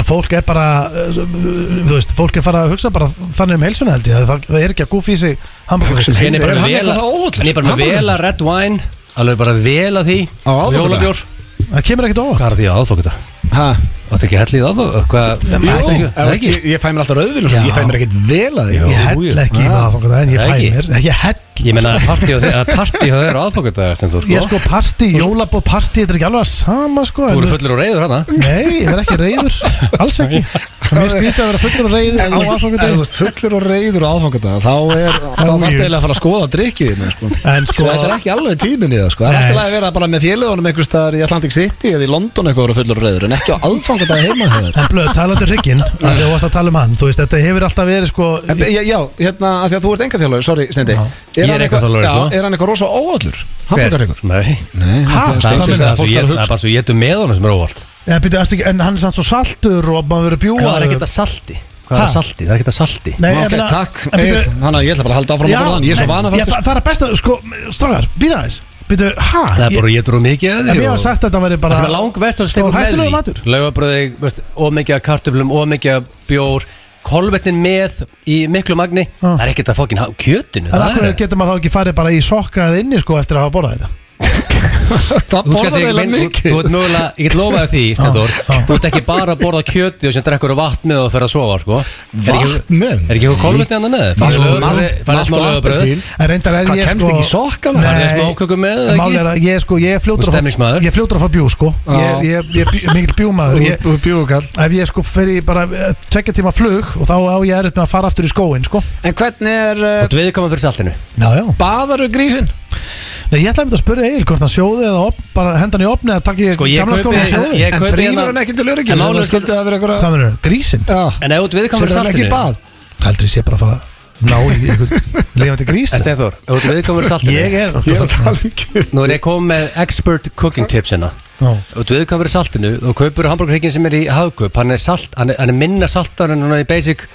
S3: En fólk er bara uh, Þú veist, fólk er farið að hugsa bara þannig um heilsuna held ég Það, það er ekki að gúfi í sig hambúrgur
S1: Hugsa um
S2: Henni er bara
S1: Er hann
S2: vel
S1: eitthvað það
S2: að-
S1: óhollur?
S2: hann er bara með vel að red wine alveg bara vel að því
S1: Á
S2: og
S1: aðfangadag?
S2: jólabjór
S3: Það kemur ekkert
S2: Hvað
S3: óvart
S2: er því að aðfokkuta?
S1: Hæ?
S2: Þetta ekki hellið aðfokkuta?
S1: Jú,
S3: Jú,
S1: ekki,
S2: það ekki
S1: Ég, ég fæ mér alltaf rauðvin og svona,
S3: Já.
S1: ég fæ mér ekkert vel að því
S2: Jú.
S3: Ég hell ekki
S1: Ah.
S3: í maður En
S2: Það
S3: ég fæ
S2: ekki.
S3: mér Ég hell
S2: Ég meina að partí á þeir- að partí á þeirra aðfokkuta Þú
S3: Ég sko partí, jólabóð partí Þetta er ekki alveg að sama sko en
S2: eru
S3: þú veist-
S2: fullur og reyður hana
S3: Nei, ég er ekki reyður Alls ekki Mér skrítið að vera fullur og reyður
S1: Ef
S3: á
S1: þú ert- ef
S3: aðfangadegi
S1: þú ert fullur og reyður á aðfangadag þá er þá
S3: er
S1: þarf
S3: weird.
S1: eiginlega að fara að skoða drikkiðinu sko.
S3: En sko-
S1: þetta er ekki alveg tíminn í það sko. það er
S3: Nei.
S1: alltaf að vera bara með félagunum einhvers staðar í Atlantic City eða í London eitthvað að vera fullur og reyður en ekki á aðfangadag heima hjá þér.
S3: En blöð, talandur hrygginn, að því að þú varst að tala um hann Þú veist, þetta hefur alltaf verið sko
S1: En be- Já, já, hérna, að því að þú ert enga þjálfur, sorry, Stendi
S3: Já.
S2: Ég er
S1: hann
S2: einkaþjálfari,
S1: já,
S2: sko.
S1: Er hann eitthvað rosa óallur? Hamburgar ykkur?
S2: Nei
S1: Nei,
S3: Ha?
S1: það er
S2: Það er
S1: Steindi
S2: bara
S1: sem að
S2: svo
S1: fólk
S2: ég-
S1: er að
S2: það er
S1: hugsa
S2: bara svo ég getur með honum sem er óvald
S3: ja, byrju, ertu ekki, En hann er sann svo saltur og maður verið
S2: En
S3: bjúa
S2: það er ekkert að salti Hvað
S3: Ha?
S2: er að salti? Það er ekkert að salti
S3: Nei,
S1: Ok, takk, Egil, þannig að ég ætla bara að halda áfram okkur þannig, ég er svo vana
S3: fættur
S1: fættur
S3: Það er best að, sko, strágar, býða aðeins Byrju, hæ?
S2: Það er bara að getur og mikið að
S3: En
S2: því
S3: mér hafa sagt að þetta væri bara
S2: Það sem er langvest og stegur
S3: stórhættulegur
S2: með
S3: matur.
S2: því Laugabröði, veist, ómikið af kartöflum, ómikið af bjór Kolvetnin með í miklu magni
S3: Ah.
S2: Það er ekkert að fokkin hafa kjötinu
S3: En
S2: Það
S3: akkur
S2: er
S3: getur maður þá ekki farið bara í sokka eða inni sko eftir að hafa borðað þetta
S1: Það
S2: Þú
S1: borðar
S2: kannski-
S1: eiginlega
S2: minn- þú-
S1: mikið
S2: þú ert mögulega, ég get lofaði því, Stendur Þú ert ekki bara að borða kjöti og sem drekkur og vatn með og fer að sofa sko. Er ekki-
S1: Vatn með?
S2: Er ekki eitthvað kolvetni annað með?
S1: Það er
S2: Farið í
S1: svo-
S2: Laugabrauðið, farið í
S1: malt
S2: smá
S1: og
S2: laugabröð
S1: appelsín.
S3: En reyndar er
S1: Hvað,
S3: ég
S1: kemst
S3: sko
S1: ekki í sokkana?
S3: Nei.
S2: Farið í smáköku með, eða
S3: En
S2: ekki?
S3: mál er að ég sko, ég er
S2: Þú
S3: fljótur
S2: ert
S3: að fá-
S2: stemningsmaður.
S3: Ég er fljótur að fá bjú sko Ég
S1: Já.
S3: ég- ég er mikill bjúmaður Ég-
S1: Þú bjúkall
S3: Ef ég sko fer í bara eh, tvekja tíma flug og þá á ég erut með að fara aftur í skóin sko
S1: En hvernig er, uh,
S2: Þú ert viðkvæmur fyrir saltinu
S3: Já, já
S1: baðaru grísin?
S3: Nei, ég ætlaði einmitt að spyrja Egil hvort hann sjóði eða op, bara henda hann í opni eða takk ég
S2: Sko, ég
S3: gamla
S2: kaupi-
S3: skóin og sjóði
S2: ég-
S1: En
S2: kaupi
S1: þrýfur
S2: hérna-
S1: hann ekki til
S2: En
S1: öryggis
S2: málið
S1: Það
S2: er sko-
S1: skildi það vera
S3: Hvað
S1: eitthvað
S3: mennur, grísin?
S1: Já,
S2: En ef þú ert viðkvæmur
S1: sem
S2: fyrir
S1: er hann
S2: saltinu
S1: ekki í bað
S3: Heldur ég sé bara að fara að ná í einhvern lifandi grís
S2: En Steinþór, Eh, ef þú ert viðkomur saltinu
S3: Ég er
S1: Ég er að tala um kjöt
S2: Nú er ég komið með expert cooking tips hérna
S3: Já.
S2: Ef þú viðkomur saltinu Þú kaupur hambúrgarhyggin sem er í hafgöp Hann er, salt, hann er, hann er minna saltar en hann er í basic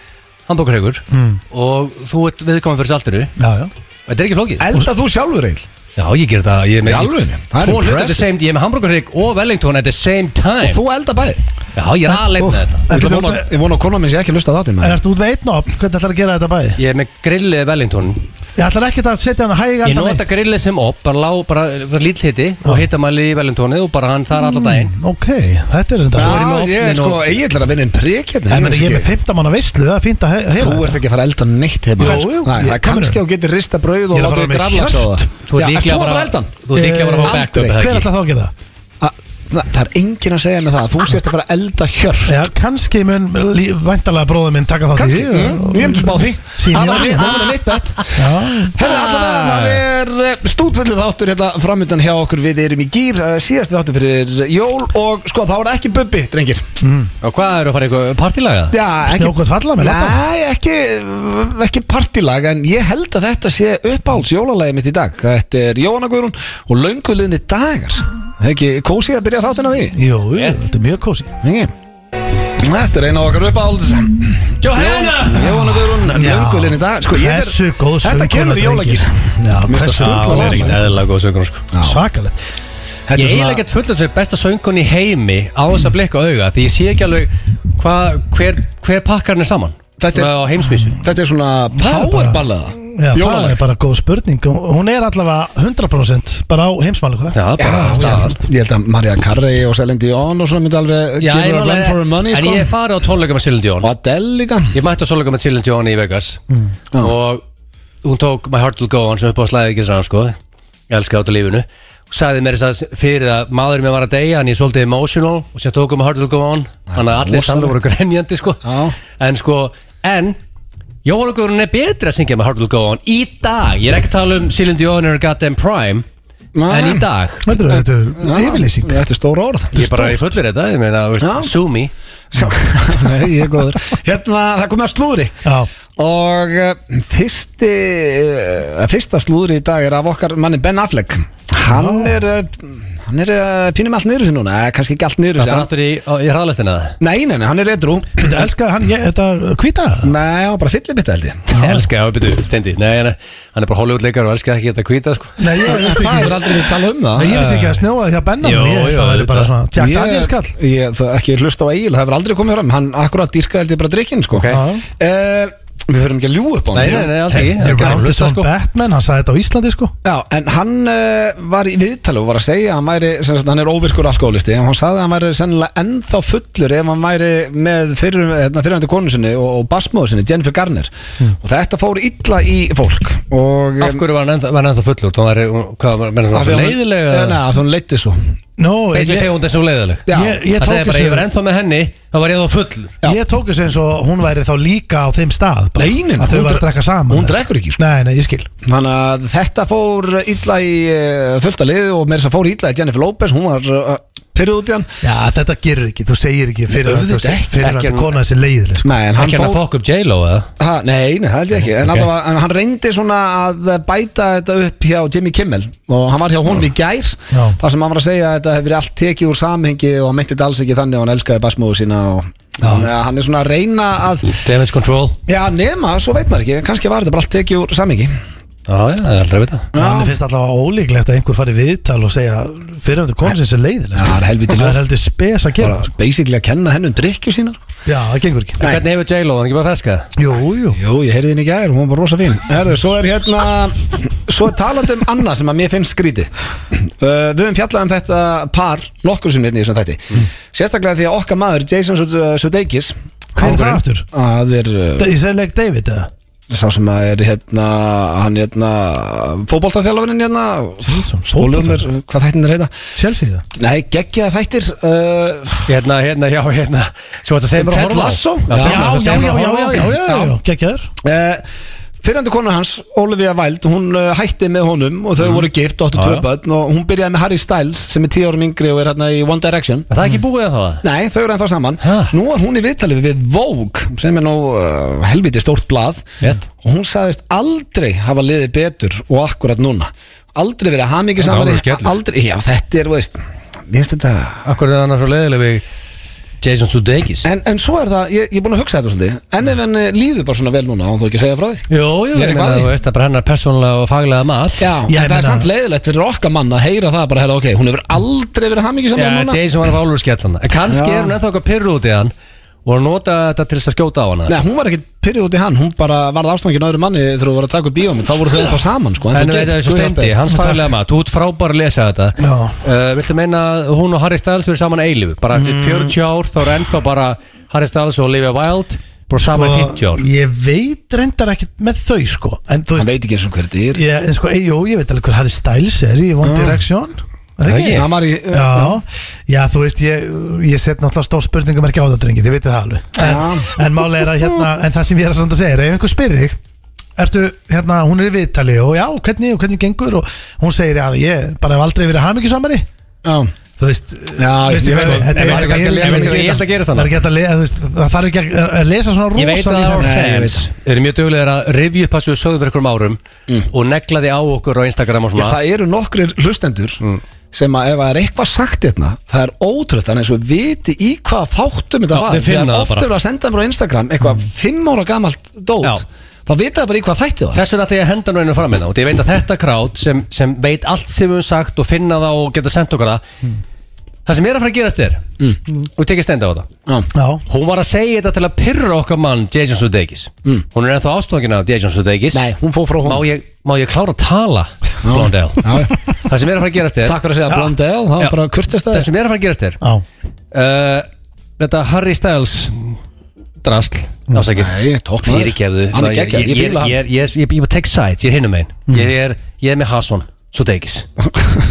S2: hambúrgarhyggur
S1: Mm.
S2: Og þú ert viðkomur fyrir saltinu
S3: Já, já
S2: Þetta er ekki flókið
S1: Elda þú sjálfur eil?
S2: Já, ég ger það Ég er
S1: Í
S2: með
S1: alvörunni? Það er
S2: tvo hluti at the
S1: impressive.
S2: same- Ég er með hambúrgarhygg og Wellington at the same time
S1: Og þú elda bæði?
S2: Já, ég er aðleita
S1: Úff,
S2: með þetta
S1: Ég ætla að vona- ég vona að konan minn sé ekki að lusta á þáttinn
S3: En
S1: maður.
S3: ertu út með einn opn, hvernig ætlar að gera þetta bæði?
S2: Ég er með grillið Wellington
S3: Ég ætlar ekkert að setja hann að hæga
S2: Ég nota grillið sem op Bara, lá- bara, bara lítill hiti Og hitamæli í Wellingtoni Og bara hann þar allan
S1: Mm.
S2: daginn
S3: Ok, þetta er þetta
S2: er ég
S1: Já,
S2: með
S1: ég er
S2: ofninn
S1: sko,
S2: og-
S1: ég ætla að vinna einn prik hérna ég
S3: En meni, ég er
S1: veist
S3: með
S1: ekki.
S3: 15 manna veistlu, það er fínt að he- heyra
S1: Þú ert ekki að fara að elda neitt heima
S3: Jú, jú,
S1: Nei, það er
S3: ég- hvað
S1: kannski
S3: meinarðu?
S1: að geta rista brauð
S3: Ég
S1: og
S3: er að
S1: láta
S3: fara
S1: þig
S3: með
S1: graflags á
S3: kjört.
S1: það
S2: Þú ert
S1: Já, ert
S2: líklega
S1: þú að
S2: bara
S1: fara að elda hann?
S2: Þú ert líklega bara að
S1: Eh,
S2: fá backup
S1: aldrei.
S2: eða
S3: Hver
S2: ekki?
S3: ætlar þá að gera það?
S1: Að- Það það er enginn að segja mig það að Þú sért að fara að elda kjört
S3: Já, kannski mun lí- væntanlega bróður minn taka þátt í
S1: Kannski,
S3: því og-
S1: mm, ég myndi spá því
S3: Sýn
S1: Það var
S3: í
S1: neitt-
S3: hann.
S1: það var neitt bett
S3: Já.
S1: Herðu allavega, það er eh, stútvöldu þáttur hérna framöndan hjá okkur Við erum í gýr, eh, síðasti þáttur fyrir jól Og sko, þá er ekki bubbi, drengir
S2: Og hvað eru að fara í eitthvað partílaga?
S1: Já, ekki
S3: Snjókvæmt Mm. falla með lappa
S1: Nei, ekki, ekki partilag En ég held að þetta sé uppáhalds jólalagi mitt í dag Þetta er Jóhanna Guðrún og lönguliðni dagar Það er Ekki kósi að byrja þáttina á því
S3: Jú, jú, þetta er mjög kósi
S1: Ekki Þetta er eina af okkar uppáhalds
S2: Johanna!
S1: Jóhanna Guðrún, lönguliðni dagar sko, ég fer-
S3: Hversu góð
S1: Þetta kemur í jólagir
S3: Já,
S1: Mér finnst það
S3: hversu
S1: sturlað
S2: Hún
S1: lag.
S2: er ekkert eðlilega góð söngur sko.
S3: Svakalegt
S1: Þetta
S2: Ég
S1: er
S2: er eiginlega
S1: svona-
S2: ekkert fullur sem besta söngun í heimi á þess að blikka auga því ég sé ekki alveg hva, hver, hver pakkar hann er saman
S1: Þetta er-
S2: Svona á heimsvísu
S1: Þetta er svona
S3: er bara- Já,
S1: powerballaða
S3: það er bara góð spurning Hún er allavega 100% bara á heimsmáli
S2: Já,
S1: Já,
S2: bara
S1: staðast Ég held að Marja Carrey og Celine Dion og svona myndi alveg
S2: Já,
S1: give
S2: ég
S1: her a
S2: er
S1: run for her money
S2: alveg- En
S1: sko.
S2: ég er farið á tónleika með Celine Dion
S1: Og Adele líka
S2: Ég mætti á tónleika með Celine Dion í Vegas
S1: Já.
S2: og
S1: Ah.
S2: hún tók My Heart Will Go On sem upp á slæði ekki sann sko ég elska átt á lífinu og sagði mér þess að fyrir að maðurinn mér var að deyja en ég er svolítið emotional og sér tókum My Heart Will Go On þannig að allir
S1: rosalegt.
S2: sannlega voru grenjandi sko
S1: Já.
S2: en sko, en Jóhann Guðrún er betri að syngja My Heart Will Go On í dag, ég er ekki að tala um Celine Dion er Goddamn Prime
S1: Nei.
S2: en í dag
S3: Þetta er- þetta er yfirlýsing
S1: Þetta er stóra orð
S2: Ég er bara í fullir þetta, ég meina, veist,
S1: Já.
S2: sue me
S1: Sjá, Nei, ég er góður Hérna, það komið að slúðri
S3: Já.
S1: Og uh, fyrsti, uh, fyrsta slúðri í dag er af okkar manni Ben Affleck Hann er, uh, hann er uh, pínum allt niður sér núna eh, Kannski ekki allt niður
S2: Þetta
S1: sér
S2: er
S1: hann-
S2: aftur í, á- í hraðlistina það
S1: Nei, nei, nei, hann er edrú
S3: Þetta elskar hann, ég, þetta hvita
S1: Nei, hann var bara fyllibitta held ég
S2: Ég elska, já, betur, stendi Nei, hann er, hann er bara Hollywoodleikar og elska ekki þetta hvíta sko.
S3: Nei, ég
S1: Það
S3: vissi ekki
S1: hefur aldrei við tala um það
S3: Nei, ég vissi ekki að snjóa hjá Benna
S2: Jó,
S3: Ég
S2: jó,
S3: það væri bara
S2: auðvitað.
S3: svona Jack Daniels kall
S1: ég, ég, það ekki hlusta á Egil, það hefur aldrei komið fram hann akkurat dýrka held ég bara drikkin sko.
S2: Ok.
S1: okay. við förum ekki að ljú upp á hann
S2: Nei, nei, nei, alls ekki
S3: Þeir
S2: Ekki að
S3: gæmdi
S2: hlusta,
S3: svona
S2: sko.
S3: Batman, hann sagði þetta á Íslandi sko
S1: Já, en hann uh, var í viðtali og var að segja að hann, væri, sem sagt, hann er óvirkur alkoholisti en hann sagði að hann væri sennilega ennþá fullur ef hann væri með fyrir, hérna, fyrirhandi konu sinni og, og basmóðu sinni, Jennifer Garner
S3: Hmm.
S1: og þetta fór illa í fólk og
S2: Af hverju var hann ennþá, var hann ennþá fullur? Það var, hvað, var- menn, var
S1: Af því
S2: það
S1: að-
S2: leiðilega?
S1: Nei, að hún leitti svo
S3: Nó,
S2: Beisið
S3: ég,
S2: segja hún þessu leiðileg
S1: Já.
S3: ég, ég
S2: Það
S3: tók
S2: segja bara, ég var
S3: þessu
S2: ennþá með henni þá var ég þá full
S1: Já.
S3: Ég tók þessu eins og hún væri þá líka á þeim stað bara,
S1: Leinin,
S3: Að þau
S1: hún
S3: var
S1: dre-
S3: að drekka saman
S1: hún drekkur ekki, sko.
S3: Nei, nei, ég skil
S1: Þannig að þetta fór illa í eh, fullt að liði og með þess að fór illa í Jennifer Lopez, hún var uh, pyrrð út í hann
S3: Já, þetta gerur ekki, þú segir ekki fyrir
S1: Auðvitað
S3: að
S1: ekki.
S3: fyrir
S2: Ekki
S3: að
S2: en-
S3: kona þessi leiðileg sko.
S1: Nei, en hann
S2: Ekki hann að
S1: fór
S2: fokk upp J-Lo eða?
S1: ha, Nei, nei, það held ég ekki en,
S2: Ok.
S1: okay. en hann reyndi svona að bæta þetta upp hjá Jimmy Kimmel og hann var hjá hún í gær
S3: Já.
S1: þar sem hann var að segja að þetta hefur verið allt tekið úr samhengi og hann meinti þetta alls ekki þannig og hann elskaði basmóðu sína og þannig að hann er svona að reyna að
S2: Damage control
S1: Já, nema, svo veit maður ekki, kannski var þetta bara allt tekið úr samhengi
S2: Já, já, það er aldrei að vita
S3: Hann finnst allavega ólíklegt að einhver fari í viðtal og segja fyrir að kona þessi leiðileg
S1: Já, það er helviti
S3: Það
S1: ljótt.
S3: er heldur spes að gera sko.
S1: bara basically að kenna hennu um drikkju sína sko.
S3: Já, það gengur ekki
S2: En Hvernig hefur J-Lo, hann ekki bara feska?
S3: Jú, jú
S1: Jú, ég heyrði henni í gær, hún var bara rosa fín Herðu, svo er hérna Svo er talandi um annað sem að mér finnst skrítið uh, Við höfum fjallað um þetta par Nokkur sem hérna í þessum þætti Sérstaklega því að okkar maður, Jason Sude- uh, Sudeikis
S3: Hver er það
S1: kóngurinn,
S3: aftur?
S1: að Það er uh,
S3: Ég segi leik David eða
S1: sá sem að er hérna Hann hérna, fótboltaþjálfarinn hérna Stóljóð mér, hvað þættin er heita
S3: Chelsea það
S1: Nei, geggja þættir uh,
S2: Hérna, hérna, já, hérna Svo þetta segir mér
S1: Ted
S2: að horfa á.
S1: Lasso?
S2: Já, Ted
S1: Já,
S2: Lasso,
S1: já,
S2: segir mér að
S1: já,
S2: horfa á.
S1: já, já, já.
S3: Gekkjaður
S1: Uh, Fyrrandi konu hans, Olivia Wilde, hún uh, hætti með honum og þau voru gift og áttu
S2: Já,
S1: tvö
S2: Mhm. já.
S1: börn og hún byrjaði með Harry Styles sem er tíu árum yngri og er hérna í One Direction
S2: Er Það er ekki búið að það
S1: Nei, þau eru ennþá saman
S2: Ha?
S1: Nú er hún í viðtalið við Vogue sem er nú uh, helviti stórt blað
S2: Rétt.
S1: og hún sagðist aldrei hafa liðið betur og akkurat núna aldrei verið hamingi samari
S2: alveg skellur.
S1: aldrei, Já, þetta er, þú veist Mér finnst þetta
S2: Akkur er hann svo leiðileg við Jason Sudeikis
S1: en, en svo er það, ég, ég er búin að hugsa þetta svolítið En
S2: Mm.
S1: ef henni líður bara svona vel núna og þú ekki að segja frá því
S2: Jú, jú,
S1: Ég er
S2: ég
S1: eitthvað að
S2: meina,
S1: því.
S2: þú veist, það er bara hennar persónulega og faglega mat
S1: Já, en
S3: Ég
S1: það
S3: meina-
S1: er samt leiðilegt fyrir okkar mann að heyra það bara, herra, ok, hún hefur aldrei verið hamingi
S2: Já,
S1: saman núna
S2: Jason var að válur skellana En kannski
S1: Já.
S2: er hún ennþá eitthvað pyrru út í hann Og að nota þetta til þess að skjóta á hana
S1: Nei, hún var ekki pyrrið út í hann, hún bara varð ástangin öðru manni þegar þú voru að taka upp bíómið, þá voru þau ennþá saman, sko
S2: En
S1: ennþá
S2: veit
S1: gift,
S2: það er svo
S1: guð
S2: stendi,
S1: hjálpi.
S2: hans faglega maður, þú ert frábær að lesa þetta
S3: Já.
S2: uh, Viltu meina að hún og Harry Styles verið saman eilifu Bara eftir 40 ár þá er ennþá bara Harry Styles og Olivia Wilde Bara saman í 50 ár
S3: Sko, Ég veit reyndar ekkert með þau sko En þú
S1: Hann
S3: veist
S1: veit ekki eins og hver þetta er
S3: ég, en, sko, Jó, ég veit alveg hver Harry Styles er í One Direction Er Það
S1: Hann var í,
S3: Já, já, þú veist, ég, ég set náttúrulega stór spurningum ekki á það, drengi, þið vitið það alveg En, en málega er að hérna, en það sem ég er að samt að segja er, ef einhver spyrir þig ertu, hérna, hún er í viðtali og já, hvernig, og hvernig gengur og hún segir, já, ég bara hef aldrei verið hamingjusamari
S1: Já,
S3: þú veist,
S1: Já,
S3: veist,
S1: ég veit
S3: veit-
S1: það.
S3: þetta
S1: En
S3: er-
S1: veistu kannski að lesa
S3: ég veit
S1: þetta
S3: ekki-
S1: í
S2: þetta gerist
S3: það
S2: þarna?
S3: er ekki hægt að lesa, þú veist, það þarf ekki að- að lesa svona rosa
S2: Ég veit að our
S1: Nei, ég
S2: fans eru mjög duglegir að rivja upp það sem við sögðum fyrir einhverjum árum og negla því á okkur á Instagram
S1: Já,
S2: og svona
S1: það eru nokkrir hlustendur
S2: Mm.
S1: sem að ef það er eitthvað sagt hérna það er ótrútt, þannig að svo viti í hvað þáttum þetta
S2: Já,
S1: var
S2: þeir finna það
S1: oft
S2: bara. Mm.
S1: eru að senda mér á Instagram eitthvað fimm ára gamalt dót
S2: Já.
S1: þá vita það bara í hvað þætti það
S2: Þess vegna ætla ég að henda nú einu fram hérna og ég veit að þetta krát sem, sem veit allt sem við höfum sagt og finna það og geta sendt okkur það
S1: Hmm.
S2: Það sem er að fara að gerast þér og tekið stenda á þetta
S1: Já,
S3: já,
S2: Hún var að segja þetta til að pyrra okkar mann Jason Sudeikis Hún er ennþá ástofangin af Jason Sudeikis
S1: Hmm. nei, hún fór frá hún
S2: má, ég- má ég klára að tala Blondell
S1: Já, já.
S2: Það sem er að fara að gerast þér
S1: Takk fyrir að segja Blondell, það
S2: Já.
S1: var bara kurtist
S2: Það
S1: það
S2: sem er að fara að gerast þér
S3: já,
S2: uh, Þetta Harry Styles Drasl Ásækið
S1: Mm. Nei, topp maður.
S2: Fyrirgefðu
S1: Hann er geggjaður, ég
S2: Ég ég-
S1: fíla hann. Mm.
S2: ég er- ég er- ég- ég tek sides, ég er hinum megin Ég er ég er með Hasson, svo degis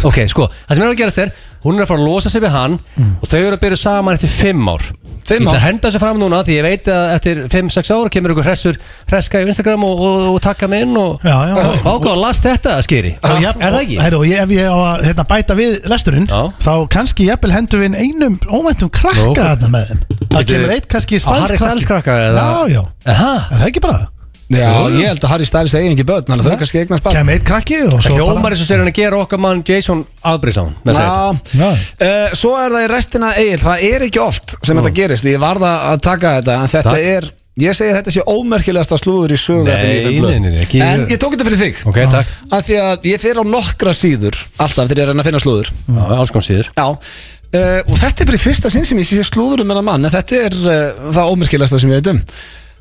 S2: Ok, sko, það sem er að gerast er Hún er að fara að losa sig við hann Og þau eru að byrja saman eftir fimm ár
S1: Mm. Fimm
S2: Ég
S1: ár?
S2: ætla að henda þessu fram núna Því ég veit að eftir 5-6 ár Kemur ykkur hressur hresska í Instagram Og, og, og takka mig inn og
S3: já, já.
S2: Ákvað, las þetta, skýri
S3: Og
S2: Ah, Er
S3: jafn-
S2: það ekki?
S3: og- Heyrðu, og ég, ef ég á að hérna, bæta við lesturinn
S2: Já.
S3: þá kannski jafnvel hendur við inn einum óvæntum krakka
S2: Nú, ok.
S3: þarna með þeim það
S2: Bíddu,
S3: kemur eitt kannski
S2: á Harry Styles krakka eða?
S3: já, já,
S2: Aha.
S3: er það ekki bara
S1: Já, ég held að Harry Styles eigi ekki börn þannig að þau kannski eignast bara
S3: kemur eitt krakki og
S2: Það
S3: svo
S2: hljómar eins og sér hann að gera okkar mann Jason Albrisson með sig
S1: Já,
S3: Já.
S1: Eh, svo er það í restina eigin Það er ekki oft sem þetta gerist Ég varða að taka þetta En þetta
S2: Takk.
S1: er, ég segi að þetta sé ómerkilegasta slúður í sögur
S2: Nei, nei, nei, nei, ekki-
S1: En ég tók þetta fyrir þig
S2: Ok, takk
S1: að því að ég fer á nokkra síður alltaf þegar ég er að reyna að finna slúður
S2: Já, alls kom síður
S1: já uh, og þetta er bara í fyrsta sinn sem ég sé slúður um hennar mann en þetta er uh, það ómyrkilegasta sem ég veit um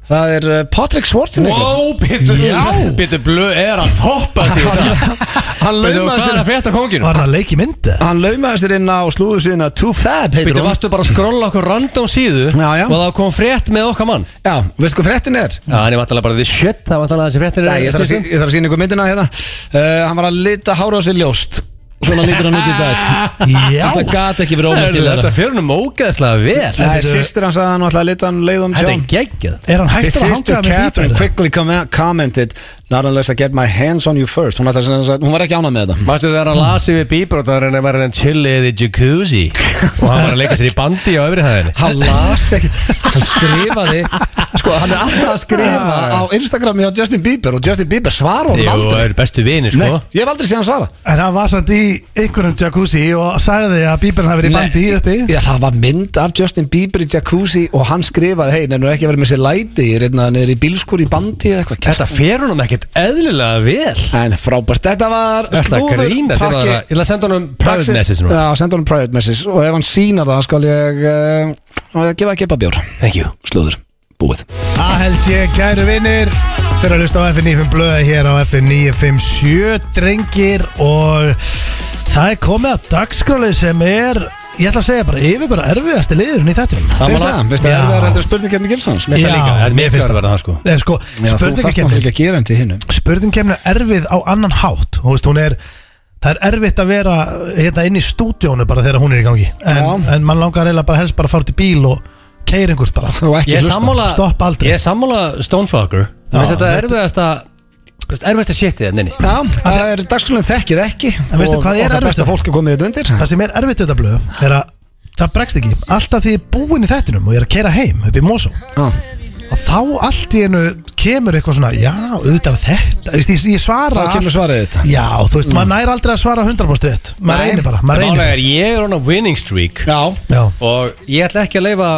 S1: það er uh, Patrick Schwarzenegger
S2: bitur Bitur blöð er að toppa sig
S1: hann laumaðist
S2: Hvað er að
S1: þér
S2: frétta konginu?
S3: var hann að leiki myndi
S1: hann laumaðist þér inn á slúður síðan að 2Fab heitir
S2: Bitur
S1: hún
S2: varstu bara að skrolla okkur random síðu
S1: Já, já.
S2: Og það kom frétt með okkar mann
S1: já, veistu hvað frettin er?
S2: Já, hann er vantalega bara því shit Það er vantalega þessi fréttir
S1: Nei, ég þarf að sýn- ég þarf að sína ykkur myndina hérna uh, hann var að lita hára á sér ljóst svona lítur hann út í dag
S3: já,
S1: þetta gat ekki verið
S2: Þetta
S1: ómyrkilegra
S2: fyrir hennum ógeðslega vel
S1: Nei, sýstir hans að hann ætlaði að lita hann leið um
S2: Þetta er
S1: tjón
S2: geggjað
S3: er hann
S1: His
S3: hægt að
S1: sister
S3: hanga með
S1: Catherine
S3: bítur
S1: quickly com commented Not unless I get my hands on you first Hún, ætlar sem sagt- hún var ekki ánað með þetta
S2: Mastu þegar hann lasi við bíbrót Það var hann að vera hann chillið í jacuzzi Og hann var að leika sér í bandi á öfri hæðinni
S1: Hann las ekkert Hann skrifaði Sko, hann er alltaf að skrifa á Instagrami á Justin Bieber Og Justin Bieber svara honum
S2: Jú,
S1: aldrei
S2: það eru bestu vinir
S1: Nei,
S2: sko
S1: ég hef aldrei séð hann svara
S3: en hann var samt í einhverjum jacuzzi og sagði að bíturinn hafi verið í bandi í uppi
S1: Já, það var mynd af Justin Bieber í jacuzzi Og hann skrifaði, hei, nefnir ekki að vera með sér læti Ég er einna niður í bílskur í bandi eða eitthvað kjafta.
S2: Þetta fer húnum ekkert eðlilega vel
S1: En frábært, þetta var
S3: Sko,
S2: Þetta grína til það
S1: pakki
S2: Ég ætla að senda húnum private
S1: dagsins.
S2: message núna
S1: Já, senda hann private message Og ef hann sínar það, skal ég uh, Gefa ekki bjór
S2: Thank you
S1: slúður búið
S3: Það held ég, kæru vinnir Þeir að hlusta á FN95 blöða hér á FN957 drengir og það er komið að dagskráli sem er, ég ætla að segja bara yfir bara erfiðasti liðurinn í þetta
S1: Finnst það? Finnst það
S3: Já.
S1: er það heldur spurning hérna Gilsons?
S2: Mér finnst það
S3: Já,
S2: líka En mér
S3: mér finnst
S2: finnst það verða það sko
S3: Eða sko,
S1: Já, þú þarf maður
S3: spurningakefni
S1: ekki að gera hann til hinnu
S3: spurningakefni er erfið á annan hátt Þú veist, hún er Það er erfitt að vera hérna inn í stúdíónu bara þegar hún er í gangi En,
S1: Já.
S3: en mann langar eiginlega bara helst bara að fara út í bíl og keir einhvers bara
S1: Þú ekki
S2: Ég er
S1: hlusta
S2: sammála
S3: Stopp aldrei.
S2: Ég er sammála Stonefucker
S3: Já,
S2: Mér finnst þetta
S3: þetta-
S2: erfiðast að Erfiðast að shitið en inni
S1: Já, það er dagskrálinn þekkið ekki
S3: En veistu hvað er erfitt?
S1: erfitt? Besta fólk er komið þetta undir
S3: það sem er erfitt við þetta blöðu er að það bregst ekki alltaf því ég er búinn í þettinum og ég er að keira heim upp í Mosó
S1: Já.
S3: og þá allt í einu kemur eitthvað svona já, auðvitað er þetta Þú veist, ég, ég
S1: Þá
S3: svara
S1: kemur svarið þetta
S3: já, þú veist, maður nær aldrei að svara 100% rétt maður
S1: Nei.
S3: reynir bara, maður
S2: Málega
S3: reynir
S2: er ég er on a winning streak
S1: Já,
S3: já,
S2: Og ég ætla ekki að leifa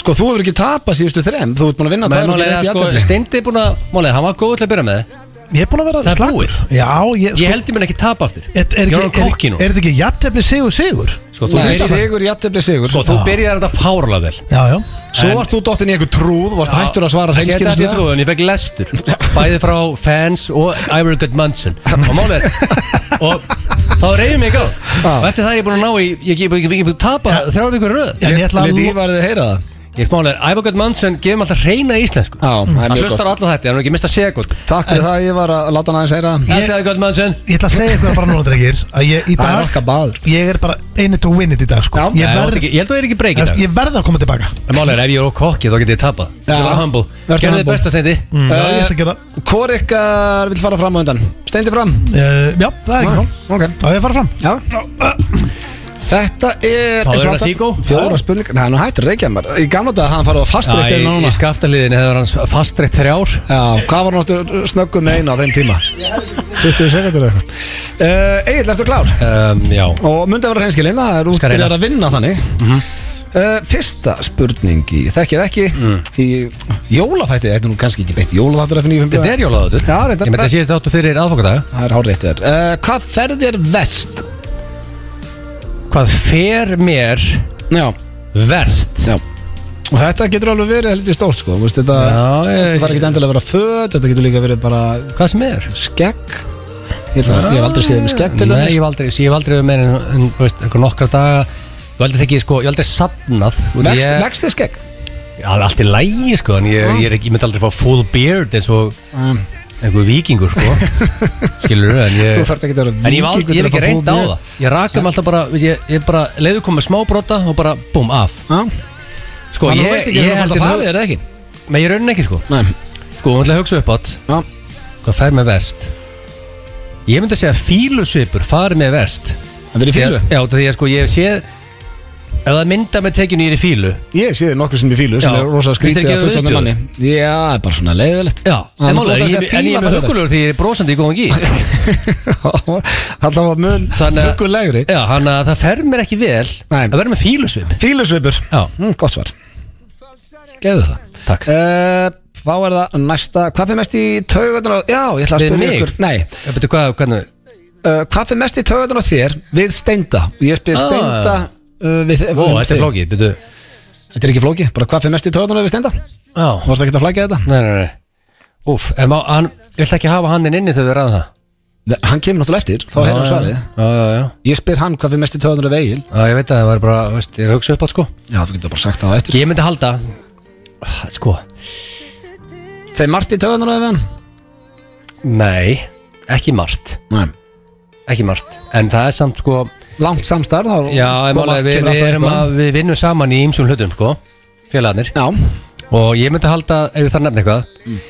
S1: sko þú hefur ekki tapað síðustu þrem Þú ert búin að vinna tvær og
S2: Málega
S1: ekki
S2: er
S1: rétt
S2: að
S1: í
S2: sko
S1: aðtöfni
S2: Steindi er búin að Málega, hann var góð til að byrja með
S3: ég er búinn að vera
S2: Það er
S3: slakur.
S2: búið.
S3: já, ég,
S2: Ég
S3: sko,
S2: held ég mun ekki tapa aftur
S3: er, er,
S2: Ég
S3: ekki,
S2: er on
S3: er,
S2: kokki
S3: er,
S2: nú
S3: þetta ekki jafntefni sigur sigur
S2: Sko, þú
S1: Nei,
S2: byrjar-
S1: sigur, jættefli sigur
S2: sko, þú byrjar þetta fárlega vel
S3: já, já,
S1: Svo
S2: En-
S1: varst þú dottin í einhver trúð Varst hættur að svara
S2: Ég seti þetta í
S1: hreinskilnislega
S2: trúðun, ég fekk lestur Bæði frá fans og Ivor Goodmanson Og málið er Og þá reyðum ég á
S1: Já.
S2: Og eftir það er ég búin að ná í Ég er búin að tapa þrjá vikur í röð
S3: Já, en ég ætla að
S1: Lítið
S3: lo-
S1: ívarðið heyra það
S2: Ég er málega, Ævagöld Mansson gefum alltaf reyna íslensku
S1: Já, það er
S2: Hann
S1: mjög
S2: hlustar
S1: gott.
S2: alltaf þetta, hann er ekki mista sekund
S1: Takk fyrir það, ég var að láta hann aðeins heyra það.
S2: Þessi Ævagöld Mansson
S3: Ég ætla að segja eitthvað bara núna, drengir Að ég í
S1: Það er
S3: dag
S1: okkar baður
S3: Ég er bara in it to win it í dag, sko
S1: Já.
S3: Ég
S2: Nei, þú ert
S3: verð
S2: ekki- Ég held að það er ekki breykið
S3: Ég verð að koma tilbaka
S2: En málega er ef ég er á kokki þá get ég tapað
S1: Já.
S2: Ég var humble
S1: Vertu
S2: Gerðu þið
S1: humble. Mm.
S2: besta stendi
S3: Já, ég ætla að gera
S1: Eh, Hvor ykkar vil fara fram á undan? Steindi fram
S3: Eh, Já, það er ekki mál
S1: Ok
S3: Það er að fara fram
S1: Já Þetta er eins
S2: Fáðu
S1: og
S2: þér að
S1: alltaf
S2: síkó?
S1: Fjóra spurningar Nei, nú hættir reykja maður Í gamla dag hafði hann farið á fastreitt en
S2: Í
S1: núna
S2: skaftaliðin hefur hans fastreitt þrjár
S1: Já, hvað var náttúrulega snöggum með einu á þeim tíma? 20 sekundur eða eitthvað uh, Egil, ertu klár?
S2: um, Já
S1: Og myndi að vera reynskilinn Það er
S2: Skal
S1: útbyrjar
S2: reyna. Mhm.
S1: að vinna þannig uh, Fyrsta spurning í Þekkið ekki
S2: Mm.
S1: Í jólafætti Þetta er nú kannski ekki beitt jólafættur
S2: Þetta er jólaðatur
S1: Já, reyndar.
S2: Ég með þetta síðast áttu fyrir aðfokkadaga
S1: Það er hárið eftir uh, Hvað ferðir vest?
S2: Hvað fer mér
S1: Já,
S2: verst
S1: já Og þetta getur alveg verið heldur stórt sko Vist, þetta,
S2: Já,
S1: þetta
S2: ég-
S1: þarf ekki endilega að vera föt Þetta getur líka verið bara
S2: Hvað sem er
S1: skegg Ég, ætla, ég hef aldrei séð þig með skegg til
S2: Nei,
S1: þess
S2: ég hef aldrei, ég hef aldrei verið meira en, en þú veist, einhver nokkra daga Ég hef aldrei þekki, sko, ég hef aldrei sapnað og
S1: Vext-
S2: ég-
S1: Vext þig skegg?
S2: Já, það er allt í lægi, sko, en
S1: Ah.
S2: ég, ég, er ekki, ég myndi aldrei fá full beard eins og
S1: Mm.
S2: einhver vikingur, sko Skilur en ég
S1: Þú þarft ekki að vera
S2: En ég, hef aldrei, ég
S1: til að
S2: hef ekki
S1: fá
S2: reynd á
S1: fóbíu.
S2: það Ég raka mig alltaf bara, ég, ég bara leiðu komið smábrota og bara, búm, af
S1: Já.
S2: Sko,
S1: Þannig að þú
S2: ég,
S1: veist ekki
S2: ég
S1: að
S2: held
S1: það
S2: ég
S1: farið
S2: nú-
S1: er það ekki
S2: Nei, ég raunin ekki, sko
S1: Nei,
S2: Sko, hún ætla að hugsa upp átt
S1: já,
S2: Hvað fær með vest? Ég myndi að segja fílusvipur fari með vest
S1: það verið fílu
S2: Já, það því að sko ég hef séð Ef það mynda með tekinu ég er í fílu
S1: Ég sé þið nokkur sem er fílu sem
S2: Já.
S1: er rosa
S2: Finnst þér
S1: skrítið
S2: ekki
S1: að fullandi
S2: viðbjóður?
S1: manni Já, það er bara svona leiðilegt
S2: Já, en
S1: þú ætlar
S2: málega,
S1: að
S2: en
S1: segja
S2: ég en ég
S1: fíla
S2: er með
S1: farið
S2: hugulur því ég er brosandi í góðan gí
S1: Það var mun
S2: Þannig að-
S1: huggulegri
S2: Já, hann að það fer mér ekki vel
S1: Nei.
S2: að vera með fílusvip
S1: Fílusvipur
S2: Já,
S1: mm, Gott svar Geðu það
S2: takk
S1: uh, Þá er það næsta Hvað fyrir mest í taugunar á Já, ég ætla að
S2: Við
S1: spyrja
S2: mig?
S1: ykkur Nei,
S2: Ég betur hvað, hvernig
S1: uh, hvað fyrir mest í taugunar á þér Við steinda Ég spyr
S2: Ah.
S1: steinda uh, við,
S2: Ó, þetta er flókið, betur
S1: Þetta er ekki flóki Bara hvað fyrir mest í taugunar á við steinda Þú
S2: Já,
S1: varst ekki að flækja þetta
S2: nei, nei, nei Úf, en má, hann, ég ætla ekki að hafa hann inn inni þegar þið ræða það
S1: Nei, Hann kemur náttúrulega eftir Þá heyrðum
S2: Já,
S1: svarið
S2: já, já, já, já.
S1: Ég spyr hann hvað fyrir mest í taugunar á vegil
S2: Já, ég veit að það var bara, veist, ég er að hugsa upp átt sko
S1: Já, þú getur bara sagt það á eftir
S2: Ég myndi halda Ah, Sko,
S1: Þeir margt í taugunar á við hann
S2: nei, ekki margt
S1: Nei
S2: Ekki margt, en það er samt sko
S1: Langt samstarf þá
S2: Já, en
S1: koma-
S2: málega, við,
S1: kemur
S2: við,
S1: alltaf
S2: erum
S1: eitthvað.
S2: að, við vinnum saman í ýmsum hlutum sko, félagarnir
S1: Já,
S2: og ég myndi halda, ef ég þarf að nefna eitthvað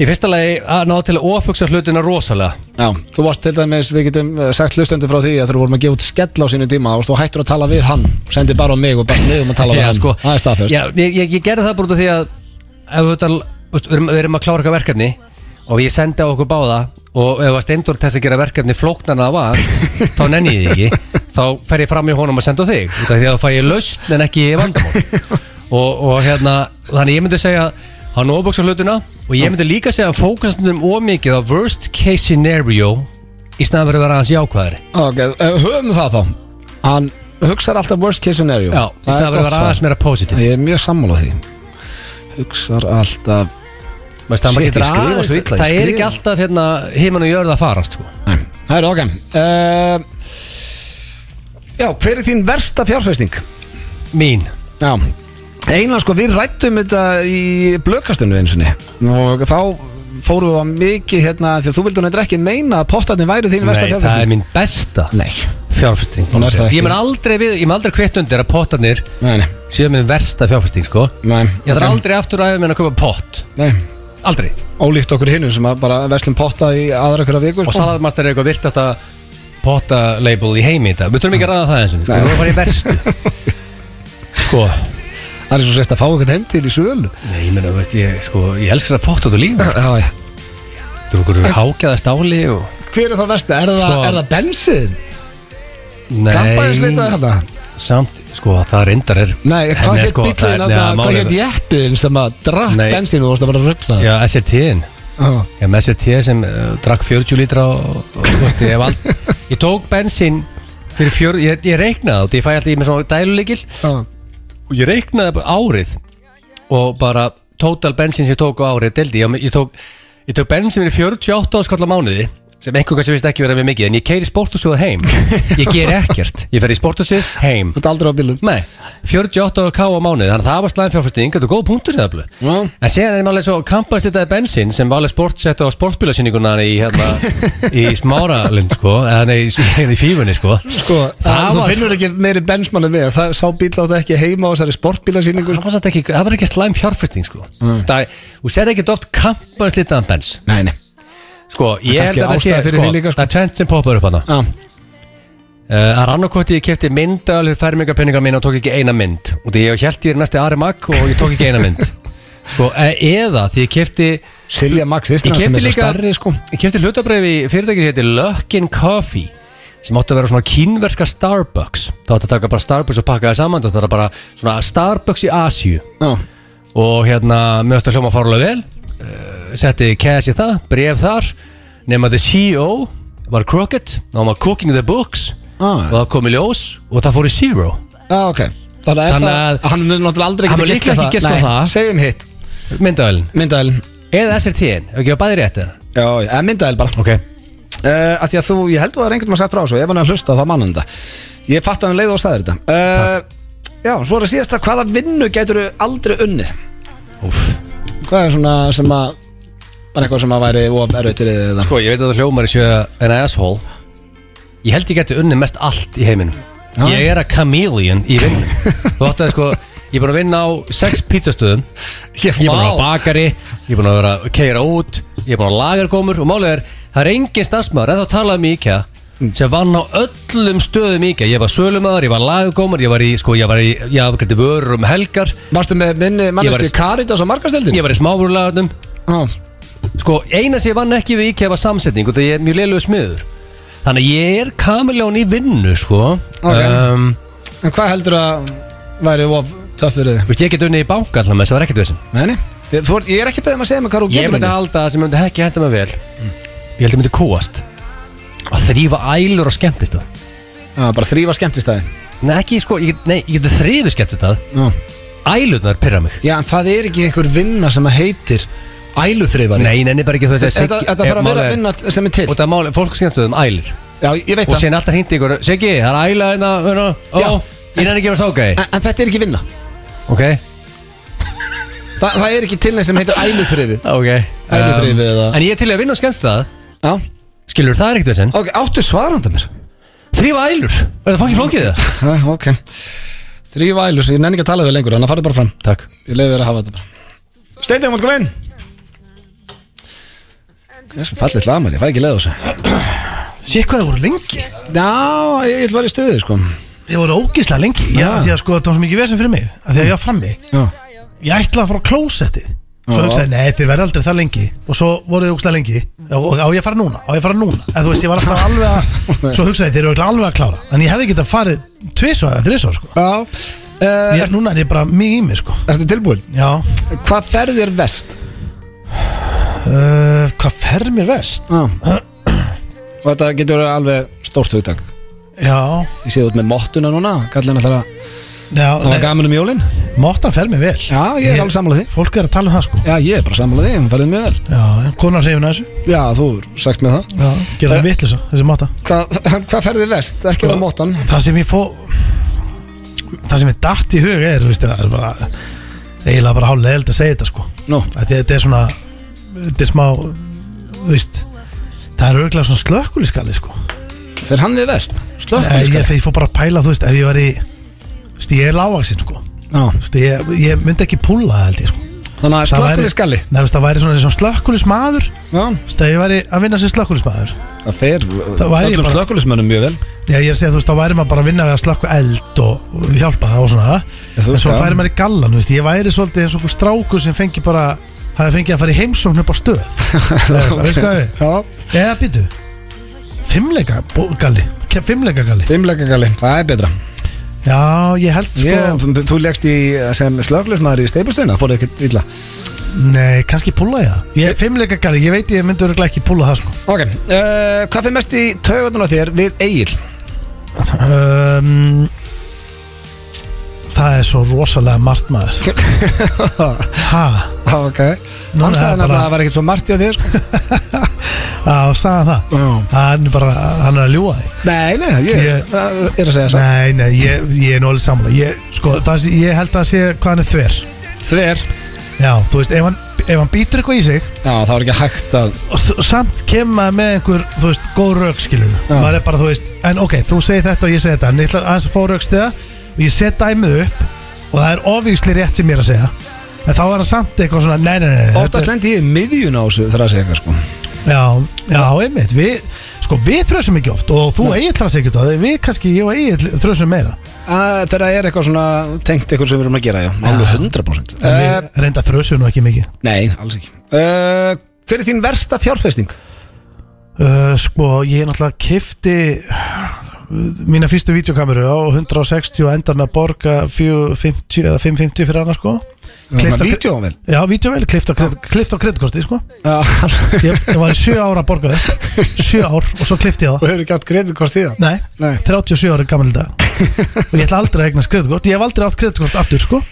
S2: í fyrsta lagi að ná til að ofugsa hlutina rosalega
S1: Já, þú varst til dæmis, við getum eh, sagt hlustendur frá því að þegar við vorum að gefa út skell á sínu tíma þá varst þú hættur að tala við hann, sendi bara á mig og bara mig um að tala við
S2: Já,
S1: hann,
S2: sko.
S1: það er staðfest
S2: Já, ég, ég, ég gerði það bara út af því að ef við, tal, veist, við, erum, við erum að klára eitthvað verkefni og ég sendi á okkur báða og ef að steindur þess að gera verkefni flóknarna að var þá nenni ég því ekki þá fer ég fram í honum að senda á þig út af því að þá fæ ég lausn en ekki vandamál og, og hérna, þannig ég myndi segja hann ofbóksa hlutina og ég myndi líka segja að fókusast um ómikið á worst case scenario í snæðan verið að vera hans jákvæðari
S1: Ok, eh, höfum það þá Hann hugsar alltaf worst case scenario
S2: Já, í
S1: Það
S2: snæðan
S1: er
S2: verið að
S1: gott
S2: vera aðeins
S1: svar.
S2: meira positive
S1: Ég er mjög sammála því Hugsar alltaf
S2: Veist, það,
S1: Shit,
S2: maður getur
S1: ég skrifa
S2: aðeins-
S1: svo illa, ég
S2: það er
S1: skrifa.
S2: ekki alltaf hérna, heimann og jörð að farast sko.
S1: Nei, það er ok uh, Já, hver er þín versta fjárfesting?
S2: Mín
S1: Já Einar sko, við rættum þetta í blökastinu einsinni og þá fórum við á mikið hérna því að þú vildur neitt ekki meina að pottarnir væri þín versta
S2: Nei, það er
S1: fjárfesting
S2: mín besta
S1: Nei,
S2: fjárfesting
S1: Hún er það ekki.
S2: Ég mun aldrei, við, ég mun aldrei kvitt undir að pottarnir
S1: nei, nei,
S2: séu minn versta fjárfesting sko.
S1: nei
S2: Ég þarf aldrei aftur að minn að kaupa pott
S1: Nei,
S2: Aldrei
S1: ólíkt okkur hinnum sem að bara verslum potta í aðra hverja viku
S2: Og
S1: sko.
S2: salatmastar er eitthvað virtasta pottalabel í heimi í dag Við þurfum ekki að ræða það eins og
S1: Nei.
S2: Við þurfum að fara í verstu Sko,
S1: Það er svo sérst að fá eitthvað heim til í sölu
S2: nei, ég meina, veist, ég, sko, ég elska þess að pott út úr lífum
S1: Já, já
S2: Þú eru okkur hákjaða stáli og
S1: Hver er það versta? Er það,
S2: Sko-
S1: er það bensið? Kampaðinsleitað
S2: Nei,
S1: þetta?
S2: samt, sko, það reyndar er
S1: Nei, hvað
S2: Nei,
S1: hétt
S2: sko, það-
S1: bíllinn
S2: nei,
S1: að
S2: það
S1: hvað
S2: málið-
S1: hétt jeppiðin sem að drakk
S2: Nei.
S1: bensinu og þú varst að bara ruggla
S2: Já, SRT-in
S1: Já,
S2: Ég með sér tíð sem uh, drakk 40 lítra og, og þú veist, ég, hef all, ég tók bensín fyrir fjör, ég, ég reiknaði át, ég fæ alltaf í mig svona dæluleikil
S1: já
S2: og ég reiknaði bara árið og bara total bensín sem ég tók á árið deldi, ég, ég tók ég tók bensín fyrir 48 skallar mánuði sem einhver kannski vist ekki vera með mikið en ég keiri sportusjóð heim ég ger ekkert, ég fer í sportusjóð heim
S1: Þú ert aldrei á bílum
S2: Nei, 48 k á mánuði þannig að það var slæðin fjárfæsting þetta er góð punktur í það blöð
S1: Já.
S2: en séðan er maður alveg svo kampaðist þetta er bensin sem var alveg sportsettu á sportbílasýninguna í, hérna, í smáralind sko, eða nei, í, í fífunni sko.
S1: Sko, það
S2: það
S1: þú
S2: var
S1: finnur ekki meiri bensmann en við það, Sá bíl átt ekki heima á þessari sportbílasýningu
S2: Það var, samt ekki, það var ekki slæm fjárfæsting sko. það er, þú sér ekki oft kampaðist litaðan bens
S1: Nei, nei
S2: sko, ég
S1: kannski
S2: held að það sé
S1: ástæða fyrir
S2: sko, Mm.
S1: því líka, sko.
S2: það er tvent sem poppar upp hana
S1: Já,
S2: Uh, að rannokvöti ég kefti myndaðalur færmingarpenningar mín og tók ekki eina mynd og því ég held ég er næsti Ari Mag og ég tók ekki eina mynd sko, e- eða því ég kefti ég
S1: Silja Max Ísland sem er
S2: kefti
S1: svo
S2: líka
S1: starri sko
S2: ég kefti hlutabræfi fyrirtæki sem heitir Luckin Coffee sem átti að vera svona kínverska Starbucks þá átti að taka bara Starbucks og pakka það saman þá átti að bara svona Starbucks í Asju
S1: Já,
S2: og hérna mjögst að hljóma fárlega vel uh, setti cash í það, bref þar nema the CEO var Crockett, þá var maður cooking the books
S1: Ah.
S2: og það kom í ljós og það fór í zero
S1: Já, ok Þannig að,
S2: Þannig
S1: það,
S2: að-
S1: hann mun náttúrulega aldrei geta
S2: Hann mun líklega
S1: giskað
S2: ekki giskað
S1: Nei,
S2: það.
S1: Segjum hitt
S2: myndavelin,
S1: Myndaðilin
S2: eða SRT-in ekki að bæði rétt eða
S1: Já, eða myndaðil bara
S2: ok,
S1: uh, að því að þú, ég held að það er einhvern veginn að sagt frá þessu ef hann er að hlusta þá mannum þetta ég fatt að hann um leið og staðir þetta uh, já, svo er að síðast að hvaða vinnu getur aldrei unnið
S2: Úf.
S1: hvað er svona sem að bara eitthvað sem að væri of erfitt fyrir þig eða?
S2: sko ég veit að það hljómar í sjöða en asshole ég held ég geti unni mest allt í heiminum ég er að chameleon í vinnum þú átti að sko, ég er búin að vinna á sex pizzastöðum Ég er búin að vera bakari, ég er búin að vera að keira út, ég er búin að laga gómur og málið er, það er engin starfsmæður, eða þá talaðum í um IKEA sem vann á öllum stöðum í IKEA ég var sölumæður, ég var lagargómur, ég var í sko, ég var í, ég afgætti vörur um helgar
S1: varstu með minni
S2: Ég
S1: manneski
S2: var-
S1: Karitas og markasteldin
S2: ég var í smáfurlagarnum
S1: ah.
S2: sko, eina sem ég vann ekki við IKEA var samsetning og það ég er mjög leilugur smiður þannig að ég er kamiljón í vinnu sko
S1: Ok.
S2: um,
S1: en hvað heldur að væri of töff fyrir þig
S2: veist, ég get unni í banka allan með þess að það er ekkert vissum
S1: Nei, nei. Ég- þú, er- ég er ekki beðið um að segja mig hvað þú
S2: Ég
S1: getur
S2: myndi
S1: unnið.
S2: halda að það sem myndi ekki henda mig vel Ég held ég myndi kúast Að þrýfa ælur á skemmtist það
S1: Já, bara þrýfa skemmtistæði
S2: Nei, ekki sko, ég, get- nei, ég geti þrýfi skemmtist það
S1: Já.
S2: Ælurnar pyrra mig
S1: já, en það er ekki einhver vinna sem að heitir æluþrýfari
S2: Nei, nei, nei, bara ekki þú veist að
S1: þetta,
S2: Siggi- Eh,
S1: þetta þarf að
S2: málið
S1: vera
S2: er-
S1: vinna sem er til
S2: Og það er máli, fólk skemmstu um ælur
S1: já, ég veit
S2: Og
S1: það
S2: síðan alltaf hindi ykkur Siggi, það er æla hérna hérna, Ó,
S1: Já.
S2: ég nefnir ekki að vera sákaði
S1: en, en þetta er ekki vinna
S2: Ok,
S1: Þa, Það er ekki tilnæð sem heitir æluþrifi
S2: ok Um,
S1: Æluþrifi eða
S2: En ég er til í að vinna á skemmtist
S1: Já
S2: Skilur, það er ekkert þessin
S1: Ok, áttu svaranda mér
S2: Þrýfa ælur, er það fangir flókið það?
S1: ha, Ok Þrýfa ælus, ég nenni ekki að tala við lengur Þannig að farðu bara fram
S2: Takk
S1: Ég leiði þér að hafa þetta bara Steindið, mátt koma inn Það er svo fallið hlaðmann, ég fæ ekki leið á þessu
S3: Sér hvað það voru lengi
S1: Já, ég vil vera í stöðu, sko
S3: Þið voru ógislega lengi Já,
S1: Já.
S3: því að sko þetta var svo mikið vesen fyrir mig að Því að ég var frammi
S1: Já
S3: Ég ætlaði að fara á klósetti Svo
S1: Já.
S3: hugsaði, nei þið verði aldrei það lengi Og svo voru þið ógislega lengi Og og á ég að fara núna, á ég að fara núna En þú veist, ég var alltaf alveg að Svo hugsaði, þið eru örugglega alveg að klára En ég hefði getað farið tvisvar eða þrisvar sko
S1: Já
S3: Ég
S1: uh,
S3: er núna, er ég bara mig í mig sko
S1: Erstu tilbúin?
S3: Já,
S1: Hvað ferð er vest?
S3: uh, hvað fer mér vest?
S1: Já Og þetta getur verið alveg stórt hugtak
S3: Já,
S1: Ég séð út með mottuna núna Kallin ætlar að
S3: já,
S1: Það var
S3: nei,
S1: gaman um jólin
S3: mottan fer mér vel
S1: Já, ég er alveg sammála því
S3: Fólk er að tala um það sko
S1: Já, ég er bara sammála því, hún ferðið mjög vel
S3: Já, konar hrifin að þessu
S1: Já, þú er sagt með það
S3: Já, gera það vitlisa, þessi máta
S1: Hvað hva ferðið vest? Ekki
S3: Sko-
S1: sko, mótan
S3: Það sem ég fó Það sem ég datt í hug er, þú veist, það er bara eiginlega bara hálf leðild að segja þetta sko
S1: Nú,
S3: Af því að þetta er svona þetta er smá, þú veist það er auðvitað svona slökkuliskali sko
S1: fer hann við vest?
S3: Nei, ég,
S1: Slökkuliskali
S3: ég fór bara að pæla, þú veist, ef ég var í þú veist, ég er lágvaksinn sko þú
S1: Já,
S3: veist, ég, ég myndi ekki púla það held ég sko
S1: þannig að
S3: Það væri-
S1: slökkuliskali
S3: Nei, þú veist, það væri svona sem slökkulismadur þú
S1: Já,
S3: veist, ef ég væri að vinna sem slökkulismadur
S1: það fer
S3: Það væri
S1: öllum
S3: bara-
S1: slökkulismönnum mjög vel
S3: Já, ég er að segja, þú veist, þá væri maður bara að vinna við að slökku eld og hjálpa það og svona
S1: þú
S3: En svo
S1: veist, já.
S3: færi maður í gallan, þú veist, ég væri svolítið eins og einhver strákur sem fengi bara hafði fengið að fara í heimsókn upp á stöð Það veist hvað við
S1: Já,
S3: Eða býtu, fimmleika bó- galli, Ke- fimmleika galli
S1: fimmleikagali, það er betra
S3: Já, ég held sko,
S1: ég, Þú leggst í sem slökkulismæður í steipustöðina, fór ekkert illa
S3: nei, kannski púla ég það ég, Fimmleika galli, ég veit ég myndi örugglega ekki púla það sko
S1: Ok, uh, hvað fyrir mest í taugunum á þér við Egil?
S3: um, Það er svo rosalega margt maður Hæ?
S1: ok, hann
S3: Núna
S1: sagði
S3: er bara-
S1: nefnilega að það var ekkert svo margt í á þér sko.
S3: Já, sagði hann það
S1: Já.
S3: Hann er bara, hann er að ljúa þig
S1: Nei, nei, ég,
S3: Ég-
S1: er að segja satt
S3: Nei, nei, ég, ég er nólið sammála ég, sko, það, sé- ég held að sé hvað hann er þver
S1: Þver,
S3: Já, þú veist, ef hann, ef hann býtur eitthvað í sig
S1: já það var ekki hægt að
S3: og s- samt kemma með einhver, þú veist, góð rauk skilur
S1: Já.
S3: maður er bara, þú veist, en ok, þú segir þetta og ég segi þetta en ég ætla aðeins að fá raukstiða og ég set dæmið upp og það er ofvísli rétt sem ég er að segja en þá er hann samt eitthvað svona, nei, nei, nei, nei þetta-
S1: Oftast lendi ég í miðjun á þessu þar að segja eitthvað sko
S3: Já, já, einmitt Við, sko, við þrösum ekki oft og þú eigið þrösum ekki oft Við kannski, ég og eigið þrösum meira
S1: Að Þegar það er eitthvað svona tengt eitthvað sem við erum að gera, já Alveg 100%
S3: En
S1: uh,
S3: við reynda þrösum nú ekki mikið
S1: Nei, alls ekki uh, Hver er þín versta fjárfesting?
S3: uh, Sko, ég náttúrulega kifti mína fyrstu vídeokameru á 160 og endar með að borga 450 eða 550 fyrir hana sko Klippt á kre-
S1: Vídeó um vel
S3: Já, vídeovel, klift á, kred, klift á kreditkorti sko
S1: Já,
S3: ég, ég var í 7 ára að borga þau 7 ár og svo klifti ég það
S1: Þú hefur ekki átt kreditkort síðan
S3: Nei,
S1: Nei.
S3: 37 ára gammal dag og ég ætla aldrei að eignast kreditkort ég hef aldrei átt kreditkort aftur sko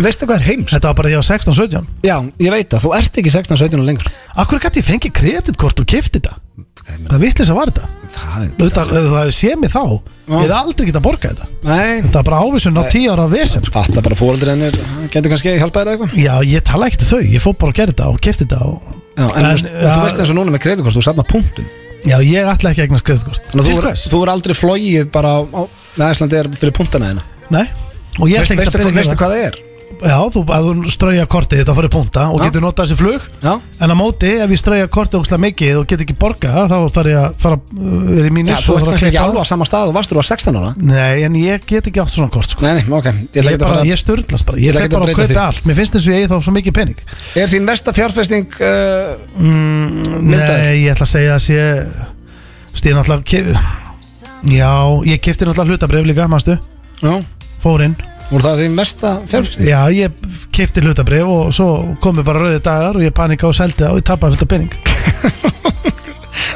S1: Veistu hvað er heims?
S3: Þetta var bara því að ég var 16, 17
S1: Já, ég veit það, þú ert ekki 16, 17 og lengur
S3: Akkur gæti ég fengið kreditkort og kifti þetta? Það vittlis að var þetta
S1: Það
S3: Þetta, ef þú hefði séð mig þá Ég hefði aldrei getað borgað þetta
S1: Nei,
S3: Það er bara ávísun á tíu ára vesen sko.
S1: fatta bara fóreldri hennir Getur kannski hjálpað þér eða eitthvað
S3: Já, ég tala ekkert við þau, ég fór bara að gera þetta og kifti þetta og...
S1: Já, en, en þú veist eins og núna með kreditkort, þú safna punktum
S3: Já, ég ætla ekki að eignast kreditkort
S1: Þannig að þú
S3: Til
S1: er,
S3: hvers?
S1: þú er aldrei flogið bara á, á með Æslandi er fyrir punktana þeina
S3: Nei, og ég
S1: Veist, veistu,
S3: ætla ekkert að
S1: hvað,
S3: byrja að
S1: veistu
S3: gera það
S1: hvað það er?
S3: Já, þú, að þú strauja kortið þetta fyrir punta og
S1: Já.
S3: getur notað þessi flug
S1: Já,
S3: En á móti, ef ég strauja kortið ógstlega mikið og get ekki borgað, þá þarf ég að fara uh, vera í
S1: Já
S3: mínus
S1: þú
S3: og
S1: ert
S3: fara að
S1: kannski ekki
S3: klippa
S1: alveg á sama stað og varstur á 16 ára
S3: Nei, en ég get ekki átt svona kort sko.
S1: Nei, nei, ok, ég ætla
S3: Ég,
S1: ekki að
S3: bara,
S1: fara
S3: ég störtlast bara, ég
S1: ætla
S3: fekk
S1: ekkert að
S3: bara að
S1: breyta því.
S3: kaupa allt Mér finnst eins og ég eigi þá svo mikið pening
S1: Er þín versta fjárfesting uh, myndaðist?
S3: Mm, Nei, ég ætla að segja að sé Stíð náttúrulega kef- Já, ég kefti náttúrulega hlutabrif líka, mástu
S1: Já,
S3: Fórinn
S1: voru það þín versta fjárfesting?
S3: Já, ég kefti hlutabrif og svo komi bara rauði dagar og ég panika og seldi það og ég tapaði fullt af pening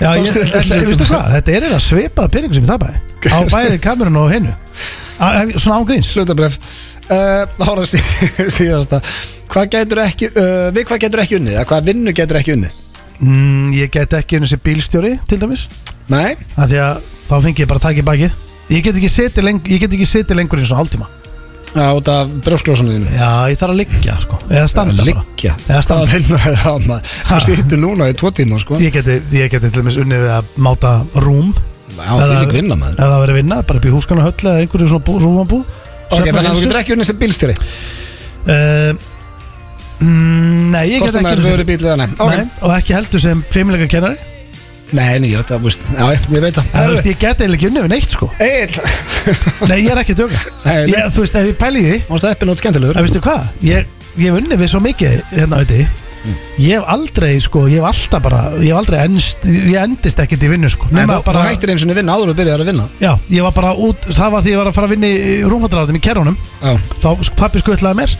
S3: Já, ég,
S1: seldi
S3: þetta,
S1: hlutabréf.
S3: veistu hvað, þetta er eða svipaða peningu sem ég tapaði Á bæði kamerun og hennu Svona ángríns
S1: Slutabref uh, Ára sí, síðasta Hvað getur ekki, uh, við hvað getur ekki unnið? Eða hvað vinnu getur ekki unnið?
S3: mm, Ég get ekki einu sér bílstjóri, til dæmis
S1: Nei,
S3: að því að þá fengi ég bara takk í bakið ég get ekki setið leng, ég get ekki setið lengur eins og hálftíma
S1: á út af brjósklósunum þínu
S3: já ég þarf að liggja sko eða standa bara
S1: Liggja
S3: Eða standa.
S1: Það vinnu er það maður Þú sýttu núna í tvo tíma sko
S3: ég geti, ég geti til dæmis unnið við að máta rúm
S1: Já, því líka vinna maður
S3: eða það verið vinna bara upp í húskan og höll eða einhverju svona bú, rúmabú
S1: Ok, þannig að þú getur ekki unnið sem bílstjóri
S3: uh, mm, nei ég get
S1: Kostum að
S3: ekki unnið
S1: vera
S3: sem-
S1: bíl eða nei Ok,
S3: nei, og ekki heldur sem fimmleika kennari
S1: nei, nei, ég er þetta, veist Já, ég ég veit það
S3: það, þú veist, ég get eiginlega ekki unnið við neitt sko
S1: Egil
S3: nei ég er ekki að djóka
S1: Nei,
S3: ég, þú veist ef ég pæli í því
S1: Mástu eppin út skemmtilegur
S3: En veistu hvað, ég, ég hef unnið við svo mikið hérna auðviti
S1: Mm.
S3: Ég hef aldrei, sko, ég hef alltaf bara Ég hef aldrei ennst, ég endist ekkert í vinnu, sko
S1: Nei,
S3: Nema
S1: þú, þú hættir eins og vinna áður og byrjar að vinna
S3: Já, ég var bara út, það var því ég var að fara að vinna í rúmfattararðum í kerfunum
S1: Já.
S3: Þá sk- pabbi skuttlaði mér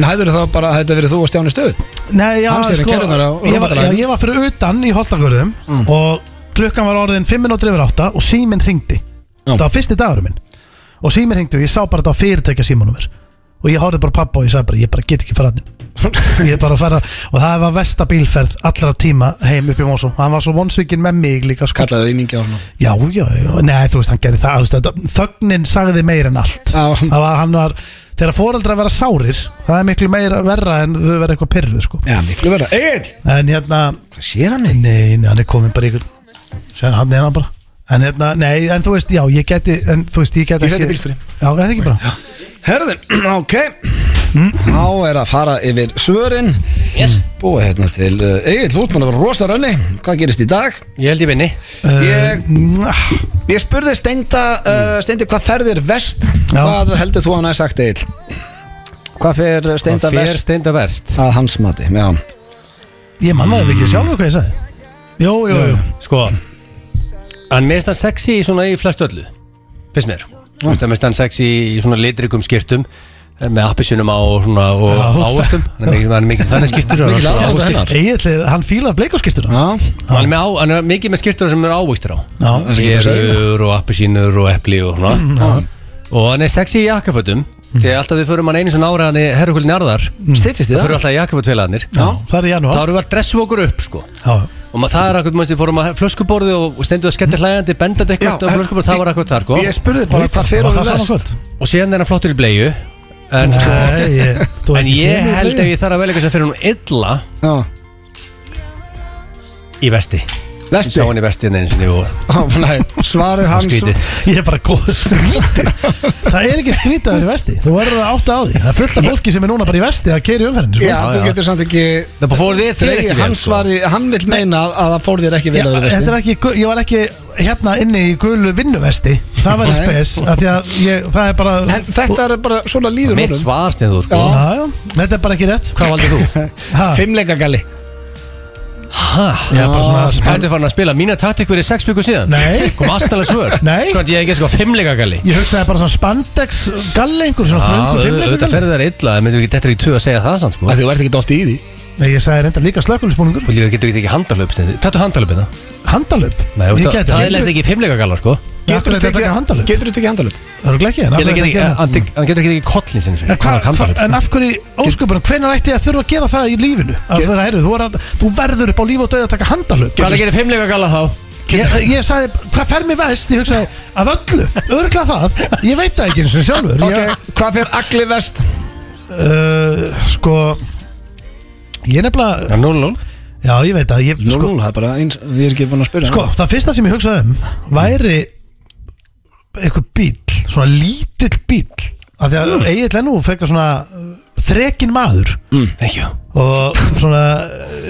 S1: En hættur þá bara að þetta verið þú og Stjáni stöð
S3: Nei, já,
S1: Hann sér í
S3: sko
S1: kerrunar á
S3: ég var, já,
S1: Rúmfattalarðinum.
S3: ég var fyrir utan í Holtagörðum
S1: Mm.
S3: Og klukkan var orðin 5 minútur yfir 8 Og síminn hringdi
S1: Já.
S3: Það var fyrsti dagurum minn Og síminn hringdi og ég sá bara þetta á fyrirtækja símanumir Og ég horfði bara á pabba og ég sagði bara Ég bara get ekki farað ég er bara að fara og það var versta bílferð allra tíma heim upp í Mósó hann var svo vonsvikinn með mig líka sko.
S1: Kallaði þau ímingi á hann
S3: já, já, já, nei þú veist hann gerði það þú veist, þetta- þögnin sagði meir en allt
S1: Já.
S3: það var, hann var, þegar foreldrar vera sárir það er miklu meira verra en þau vera eitthvað pyrruð sko.
S1: Já, miklu verða Egil
S3: en hérna,
S1: Hvað sér hann
S3: nei, nei, hann er komin bara í ykkur, sér hann er hann bara en hérna, nei, en þú veist, já, ég geti en þú veist, ég geti
S1: Ég seti bílstjóri.
S3: já, er það ekki bara,
S1: Herðin, ok Þá er að fara yfir svörin yes. Búið hérna til uh, Egil, þú ert mann að vera rosa rönni Hvað gerist í dag?
S2: Ég held ég vinni
S1: Ég,
S3: Mwah.
S1: ég spurði Steinda uh, Steindi, hvað ferðir vest?
S3: Já.
S1: Hvað heldur þú hann að sagt Egil? Hvað fer Steinda
S2: Það fer
S1: vest?
S2: steinda verst
S1: Að hans mati, já
S3: ég manna það ekki sjálfur hvað ég sagði jú, jú, jú,
S2: Sko Hann meðist hann sexy í svona í flest öllu Fyrst mér Þú veist, Hann meðist hann sexy í svona litrikum skirtum eh, Með appisunum á og svona og
S3: Já, þú-
S2: ávöxtum Hann er mikið- hann er mikið þannig skirtur
S1: Mikið
S2: og-
S1: aðdáandi
S2: og-
S3: hérna.
S1: hennar.
S3: Egil, hann fílaði bleikaskiptuna
S1: Já,
S2: Hann er með á- hann er mikið með skirtur sem eru ávöxtur á
S3: Já,
S1: ekki bara að segja Mm,
S2: Gerur og appisínur og epli og svona Og hann er sexy í jakkafötum Þegar alltaf við förum hann einu svona ára Þannig herrukvöldin arðar Það
S1: Stýttist þið
S2: förum
S1: Mm. það?
S2: alltaf jakafutfélagarnir
S3: Það er í
S2: Þá
S3: janúar
S2: erum við að dressum okkur upp sko
S3: Já,
S2: Og maður, það er akkur, maður, við fórum að flöskuborði og stenduð að skellja hlægandi, bendandi
S1: Já,
S2: eitthvað á
S1: en-
S2: flöskuborði, það var akkur þar, sko.
S1: Ég spurði bara hvað fer
S3: Var
S1: honum
S3: það saman sko.
S1: verst
S3: kvöld?
S2: Og síðan er hann flottur í bleiu, en, sko,
S3: Nei, ég, þú
S2: en ég held ef ég þarf að velja eitthvað sem fyrir hún illa
S1: Já.
S2: í vesti. Ég
S1: Vesti
S2: sá hann í vesti en einu sinni og
S1: Ó, nei, Svarið
S2: og
S1: hans
S2: skrítið.
S3: Ég er bara góð skrítið Það er ekki skrítið að vera í vesti Þú verður að átta á því Það er fullt af fólki sem er núna bara í vesti að keira í umferðin
S1: Já,
S2: Já,
S1: þú
S2: já.
S1: getur samt ekki
S2: Það bara fór þið, þið er ekki
S1: Nei,
S2: vel,
S1: hann
S2: sko.
S1: svari, hann vil meina að- að það fór þér ekki vel
S3: Já,
S1: að þú
S3: þetta er ekki, gu- ég var ekki hérna inni í gulu vinnuvesti Það var í
S1: Nei.
S3: spes af því að ég, Það er bara
S1: En þetta er bara svona líður
S2: Mitt
S1: honum.
S2: svar, Steindur, sko.
S1: Já.
S3: Já, já, Þetta er bara ekki rétt
S2: Hvað valdur þú?
S3: ha,
S1: Ah. Fimmleikagalli
S2: Hæ?
S3: Já, bara svona
S2: Hættu farin að spila mína taktik fyrir sex byggur síðan?
S3: Nei.
S2: Kom aðstæðlega svör?
S3: Nei.
S2: Hvort ég ekki sko fimmleika gali?
S3: Ég hugsaði bara svona spandex galli einhver Svona
S2: Já,
S3: fröngu
S2: auðvitað
S3: fimmleikur
S2: ferði þær illa, en myndum við ekki þetta er í tvö að segja það sann, sko.
S1: Þú ert ekki oft í því
S3: Nei, ég sagði reynda líka slökulisbúningur
S2: Og líka getur við ekki handalöp Tattu handalöp hérna
S3: Handalöp
S2: Nei,
S3: Ég
S2: veist það-
S3: gæti-
S2: það er leitt ekki fimmleika galla sko
S3: Getur þetta ekki handalöp?
S1: Getur þetta ekki handalöp?
S3: Það eru ekki en
S2: Ég
S3: af
S2: leik
S3: hverju
S2: ekki-
S3: þetta
S2: Hann
S3: gerir-
S2: tek- hann getur ekki ekki kollin sinni
S3: En, hva, hva,
S2: Handalöp
S3: en af hverju ósköpunum, hvenær ætti ég að þurfa að gera það í lífinu? Að
S1: Get-
S3: það eru, þú, er að, þú verður upp á líf og döð að taka handalöp
S2: Hvað er að gera fimmleika galla þá?
S3: ég, ég sagði, hvað fer mér vest? Ég hugsaði, af öllu, örgla það Ég veit það ekki eins og sjálfur
S1: Ok,
S3: ég,
S1: hvað fer agli vest?
S3: uh, Sko Ég nefnilega,
S2: Já, 0-0
S3: já ég veit það ég, sko,
S1: það er bara eins Ég er ekki búin að spyrja
S3: sko, það fyrsta sem ég hugsaði um Væri Eitthvað bíll, svona lítill bíll Af því
S1: Mm.
S3: að Egil er nú frekar svona uh, Þrekin maður
S2: Mm. Thank you
S3: og svona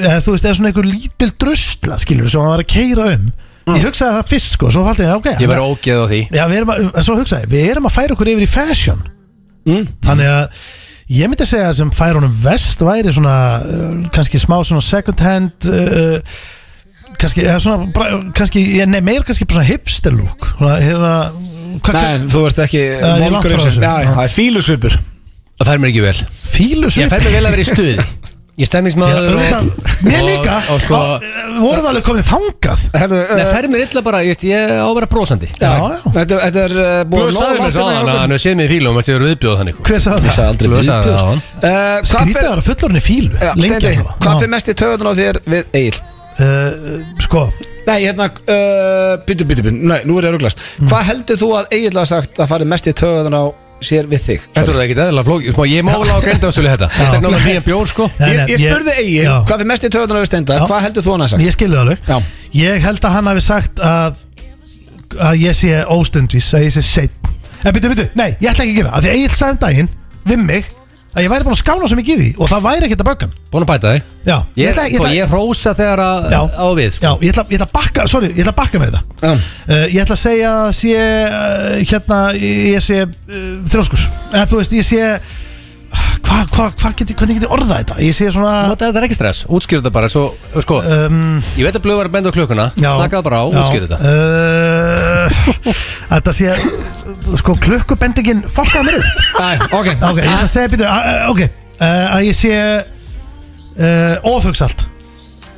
S3: eða, þú veist, eða svona einhver lítil drusla skilur sem hann var að keira um ég hugsaði það fyrst sko, svo faldi ég ok
S2: Mm. Ég verði ógeð á því
S3: já, við erum að, uh, svo hugsaði, ég, við erum að færa okkur yfir í fashion
S1: Hm?
S3: þannig að ég myndi segja að sem færa honum vest væri svona, uh, kannski smá svona second hand uh, kannski, eða svona, bra- kannski ég- nei, meir kannski bara svona hipster look svona, hérna, hvað, hvað,
S1: Nei, þú veist ekki
S3: er langt
S1: volgur
S3: Eh, frá
S1: eins og-
S3: þessu.
S1: Já, já, það er fílusvipur
S2: Það fær mér ekki vel Ég
S3: fílusvip
S2: fær mér vel að vera í stuði Ég er
S3: Já,
S2: stemmingsmaður
S3: auðvitað,
S2: og-
S3: mér
S2: og-
S3: líka,
S2: Og sko
S3: á- vorum við alveg komið þangað
S1: Herðu,
S2: Nei,
S1: eh,
S2: fær mér illa bara, ég veist, ég á að vera brósandi
S1: já,
S3: Já, já.
S1: Þetta þetta er eh, búið
S2: Blöð sagði
S1: hérna
S2: mér svo aðan
S1: hjá
S2: að
S1: okkur.
S2: hann hefur séð mig í fílum Þú eru viðbjóð þannig
S3: hver sagði
S2: Ég
S3: það?
S2: sagði aldrei
S3: Blöð sagði
S2: viðbjóð
S3: það.
S2: aðan
S1: Eh, Hvað
S3: Skrítið
S1: fer
S3: að vera fullorinn í fílu
S1: Já,
S3: Lengi
S1: Steindi,
S3: alltaf
S1: Hvað fer mest í töðun á þér við Egil?
S3: uh, Sko,
S1: Nei, hérna, uh, byttu, byttu, byttu, nei, nú er ég rúglast
S3: Mm.
S1: Hvað heldur þú að Egil hafa sagt að fari mest í töðun á sér við þig?
S2: Þetta er ekki eðla flók sko, Ég má alveg á greindaðstölu þetta Þetta er náttúrulega nýjan bjór sko
S3: Nei,
S1: Ég,
S3: nei,
S1: ég spurði Egil,
S3: Já.
S1: hvað fyrir mest í töðunar við stenda,
S3: Já.
S1: hvað heldur þú hann að sagt?
S3: Ég skilði það alveg
S1: Já.
S3: Ég held að hann hafi sagt að að ég sé óstundvís að ég sé seitt En byrju, byrju, nei, ég ætla ekki að gera það, af Því að Egil sagði um daginn við mig að ég væri búin að skána svo mikið í því og það væri ekkert að böggan
S2: Búin að bæta þig
S3: Já,
S2: Ég,
S3: ætla,
S2: ég,
S3: ætla,
S2: ég rósa þegar að
S3: Já.
S2: á við
S3: já,
S2: sko.
S3: ég, ætla, ég ætla að bakka, sorry, ég ætla að bakka með þetta
S1: Já.
S3: Uh, ég ætla að segja að sé uh, hérna, ég sé uh, þrjóskur, eða þú veist, ég sé hvað, hvað, hvað geti, hvernig geti orðað þetta ég sé svona
S2: Nota, þetta er ekki stress, útskýrðu þetta bara svo, sko,
S3: um,
S2: Ég veit að blöð var að benda á klukkuna Slakaðu bara á,
S3: já,
S2: útskýrðu þetta
S3: uh, Þetta sé Sko klukkubendingin Fokkaði mér upp
S1: Æ, ok,
S3: Ok, ég ætla að segja býtu Ok, uh, að ég sé uh, Ofhugsalt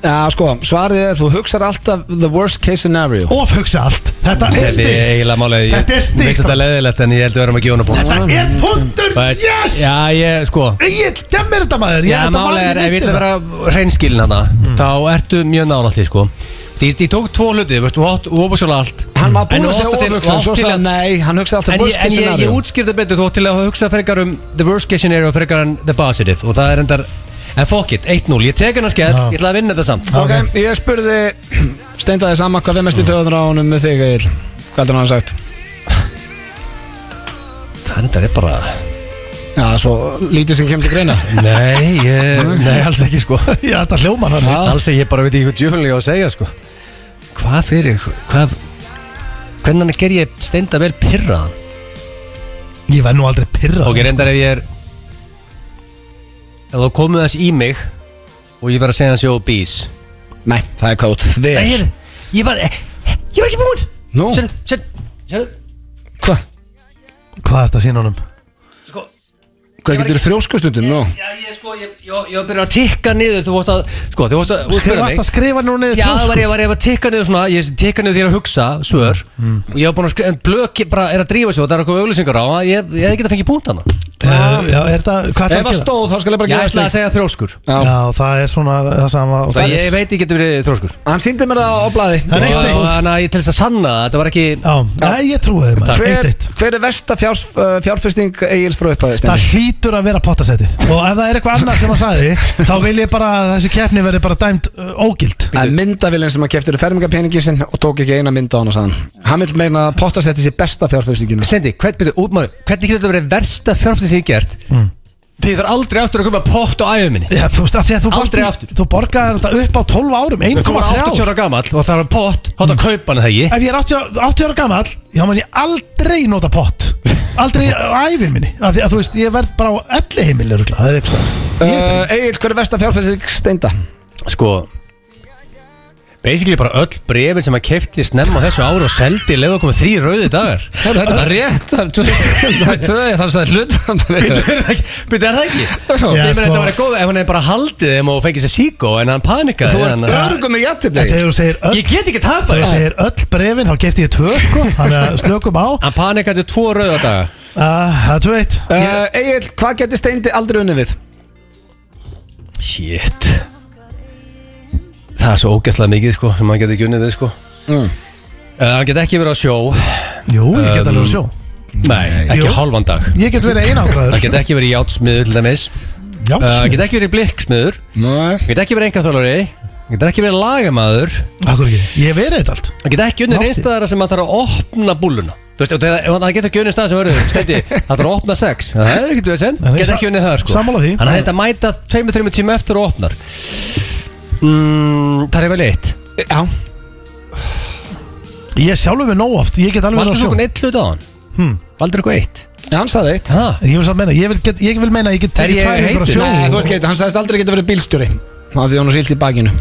S1: já, sko, svarið er þú hugsar alltaf the worst case scenario
S3: Ofhugsalt Þetta er
S2: Þetta er
S3: stig
S2: eiginlega málega
S3: Þetta er stig,
S2: Þetta
S3: strákar.
S2: er leðilegt en ég held að við erum að gefa hana búin
S3: Þetta er punktur Yes
S2: Já, ég, sko
S3: Egil, gemmir þetta maður
S2: Já, málega er, ef ég ætla að vera reynskilin hana
S1: Mm.
S2: Þá ertu mjög nálægt því, sko Ég, ég tók tvo hluti, veist, og átt, og óbúsjóla allt
S1: Hann var búin
S2: En
S1: að segja
S2: átti til-
S1: ofugsan, svo
S2: átti til
S1: sagði hann, nei, hann hugsar alltaf
S2: En ég,
S1: worst
S2: en
S1: case
S2: ég, ég
S1: scenario
S2: útskýrði betur þú átt til að hugsa frekar um the worst case scenario frekar en the positive og það er endar en fuck it, 1-0, ég tek hennar skell
S3: Já.
S2: ég ætla að vinna þetta samt
S1: Ok, ég spurði steindaði saman hvað fyrir mest í töðunar á honum með þig Egil Hvað heldur hann að hafa sagt?
S2: Það er endar er bara
S1: Já, svo lítið sem kemur til greina
S2: Nei, ég, nei, alls ekki sko
S3: Já, þetta hljómar hann
S1: Já.
S2: Alls ekki, ég bara veit ekki hvað djöfunlega ég á að segja sko Hvað fyrir, hvað Hvernig ger ég steinda vel pyrraðan?
S3: Ég væri nú aldrei pyrra
S2: Ok, reyndar ef ég er Ef þú komið þess í mig og ég var að segja hans jó bís
S1: Nei, það er kátt
S2: Nei,
S1: þér
S2: heyrðu, ég var, ég var ekki búinn
S1: Nú,
S2: Sérðu, sérðu, sérðu
S1: hvað?
S3: Hvað er þetta sín honum?
S2: Sko,
S1: Hvað getur þrjóskustundum? Nú,
S2: Já, ég sko, ég, ég, ég var byrjað að tikka niður Þú vorst að, sko, þú vorst að þú spurðir
S3: Skrifast að skrifa nú niður
S2: Já, það var
S3: þrjóskur
S2: ég, var ég að tikka niður svona Ég tikka niður þegar að hugsa,
S3: Mm,
S2: svör Og ég var búin að skrifa, en blöki bara er að drífa sig Og það er að koma auðlýsingar á að Ég, ég hefði getað fengið punkt hana
S3: uh, Já, er það, hvað
S1: Ef
S3: það
S1: að stóð þá skal ég bara
S2: Ég
S1: gera
S2: ætla að
S1: slik
S2: segja þróskur
S1: Já.
S3: Já, það er svona það sama og
S2: Það ég veit ég getur verið þróskur
S1: Hann síndi mér það á blaði
S3: Það er eitt
S2: Og-
S3: eitt.
S2: og Þannig að ég til þess að sanna það, þetta var ekki
S3: Já, nei, ég trúi þið maður
S1: Hver,
S3: Eitt eitt
S1: hver er versta fjár, fjárfesting Egil's frá upphæði
S3: Það
S1: Steini?
S3: hlýtur að vera pottasettið Og ef það er eitthvað annað sem hann sagði Þá vil ég bara að þessi keppni verði bara dæmt uh, ógild
S1: Það er myndavillin sem að keftir fermingapeningin sinn og tók ekki eina mynda á hana sann Hann vil meina að pottasetti sér besta fjárfestingina
S2: Stendi, hvern, byrju, útmáru, hvernig getur þetta verið versta fjárfæstis ég hef gert mm. Því þarf aldrei aftur að koma pott á æfum minni
S3: Já, þú veist að því að þú
S2: Aldrei
S3: borst-
S2: aftur.
S3: Þú borgaði þetta upp á 12 árum
S2: Þú var 80
S3: 1,3
S2: ára gamall og það var pott Hátt
S3: Mm.
S2: að kaupa hana það ekki
S3: Ef ég er 80, 80 ára gamall Já, menn ég aldrei nota pott Aldrei á æfin minni að, að, Þú veist, ég verð bara á elli heimil Það er eitthvað
S1: uh, Egil, hver er versta fjárfesting Steinda?
S2: Sko Basically bara öll brefin sem að kefti snemma á þessu ára og seldi leið að koma þrý rauði dagar
S1: Þetta þetta er rétt, það er tvö Það er tvö, það er það
S2: Býttu,
S1: hlut
S2: er það ekki- býttu, er það ekki?
S3: Já,
S2: Ég meina
S3: sko.
S2: þetta var góð ef hann hefði bara haldið þeim og fengið sér síkó en hann panikaði hann,
S1: Örgum í jættibli
S3: Þegar þú segir öll
S2: Ég get ekki tapað
S3: Þegar þú
S2: þessu
S3: segir öll brefin, þá kefti ég tvö sko Þannig að slökum á
S2: Hann panikaði tvo rauða daga
S3: Ah, Það er tvö eitt
S1: Uh, Egil, hvað getur Steindi aldrei unni við?
S2: Shit Það er svo ógæstlega mikið sko sem maður getur ekki unnið við sko
S1: Mm.
S2: Uh, Hann get ekki verið á sjó
S3: Jú, ég get
S2: Um,
S3: alveg að sjó
S2: Nei, ekki
S3: Jú.
S2: hálfan dag
S3: Ég get verið
S2: Hann
S3: einangraður
S2: get ekki verið í játsmiður til dæmis
S3: Já,
S2: Uh, Hann get ekki verið í blikksmiður Hann
S1: Nei
S2: get ekki verið engaþjólari Hann get ekki verið lagamaður
S3: akkur ekki Ég hef verið þetta allt
S2: Hann get ekki unnið
S3: Nátti.
S2: einstæðara sem hann þarf að opna búluna Þú veist, og þegar- ef hann getur ekki unnið stað sem verður Stendi, hann þarf að opna sex Það er ekkert við sem,
S3: Nei, nei,
S2: get
S3: sa-
S2: ekki unnið það sko
S3: sammála því.
S2: Hann hefði að mæta 2-3 tíma eftir og opnar mm, Það er vel eitt
S1: Já,
S3: Ég sjálfur mig nóg oft Ég get alveg
S2: Valdur þú
S3: verið að sjó
S2: einhvern eitt hlut á hann? Hmm. Valdur þú eitt?
S1: Já, hann sagði eitt
S2: Ha?
S3: Ég vil samt meina Ég vil, get, ég vil meina að Ég get
S2: Er ég
S3: tekið tvær ykkur að
S2: heitur?
S3: sjó
S1: Nei, þú ert geit, hann sagðist aldrei geta verið bílstjóri Það því hann er sýlt í bakinu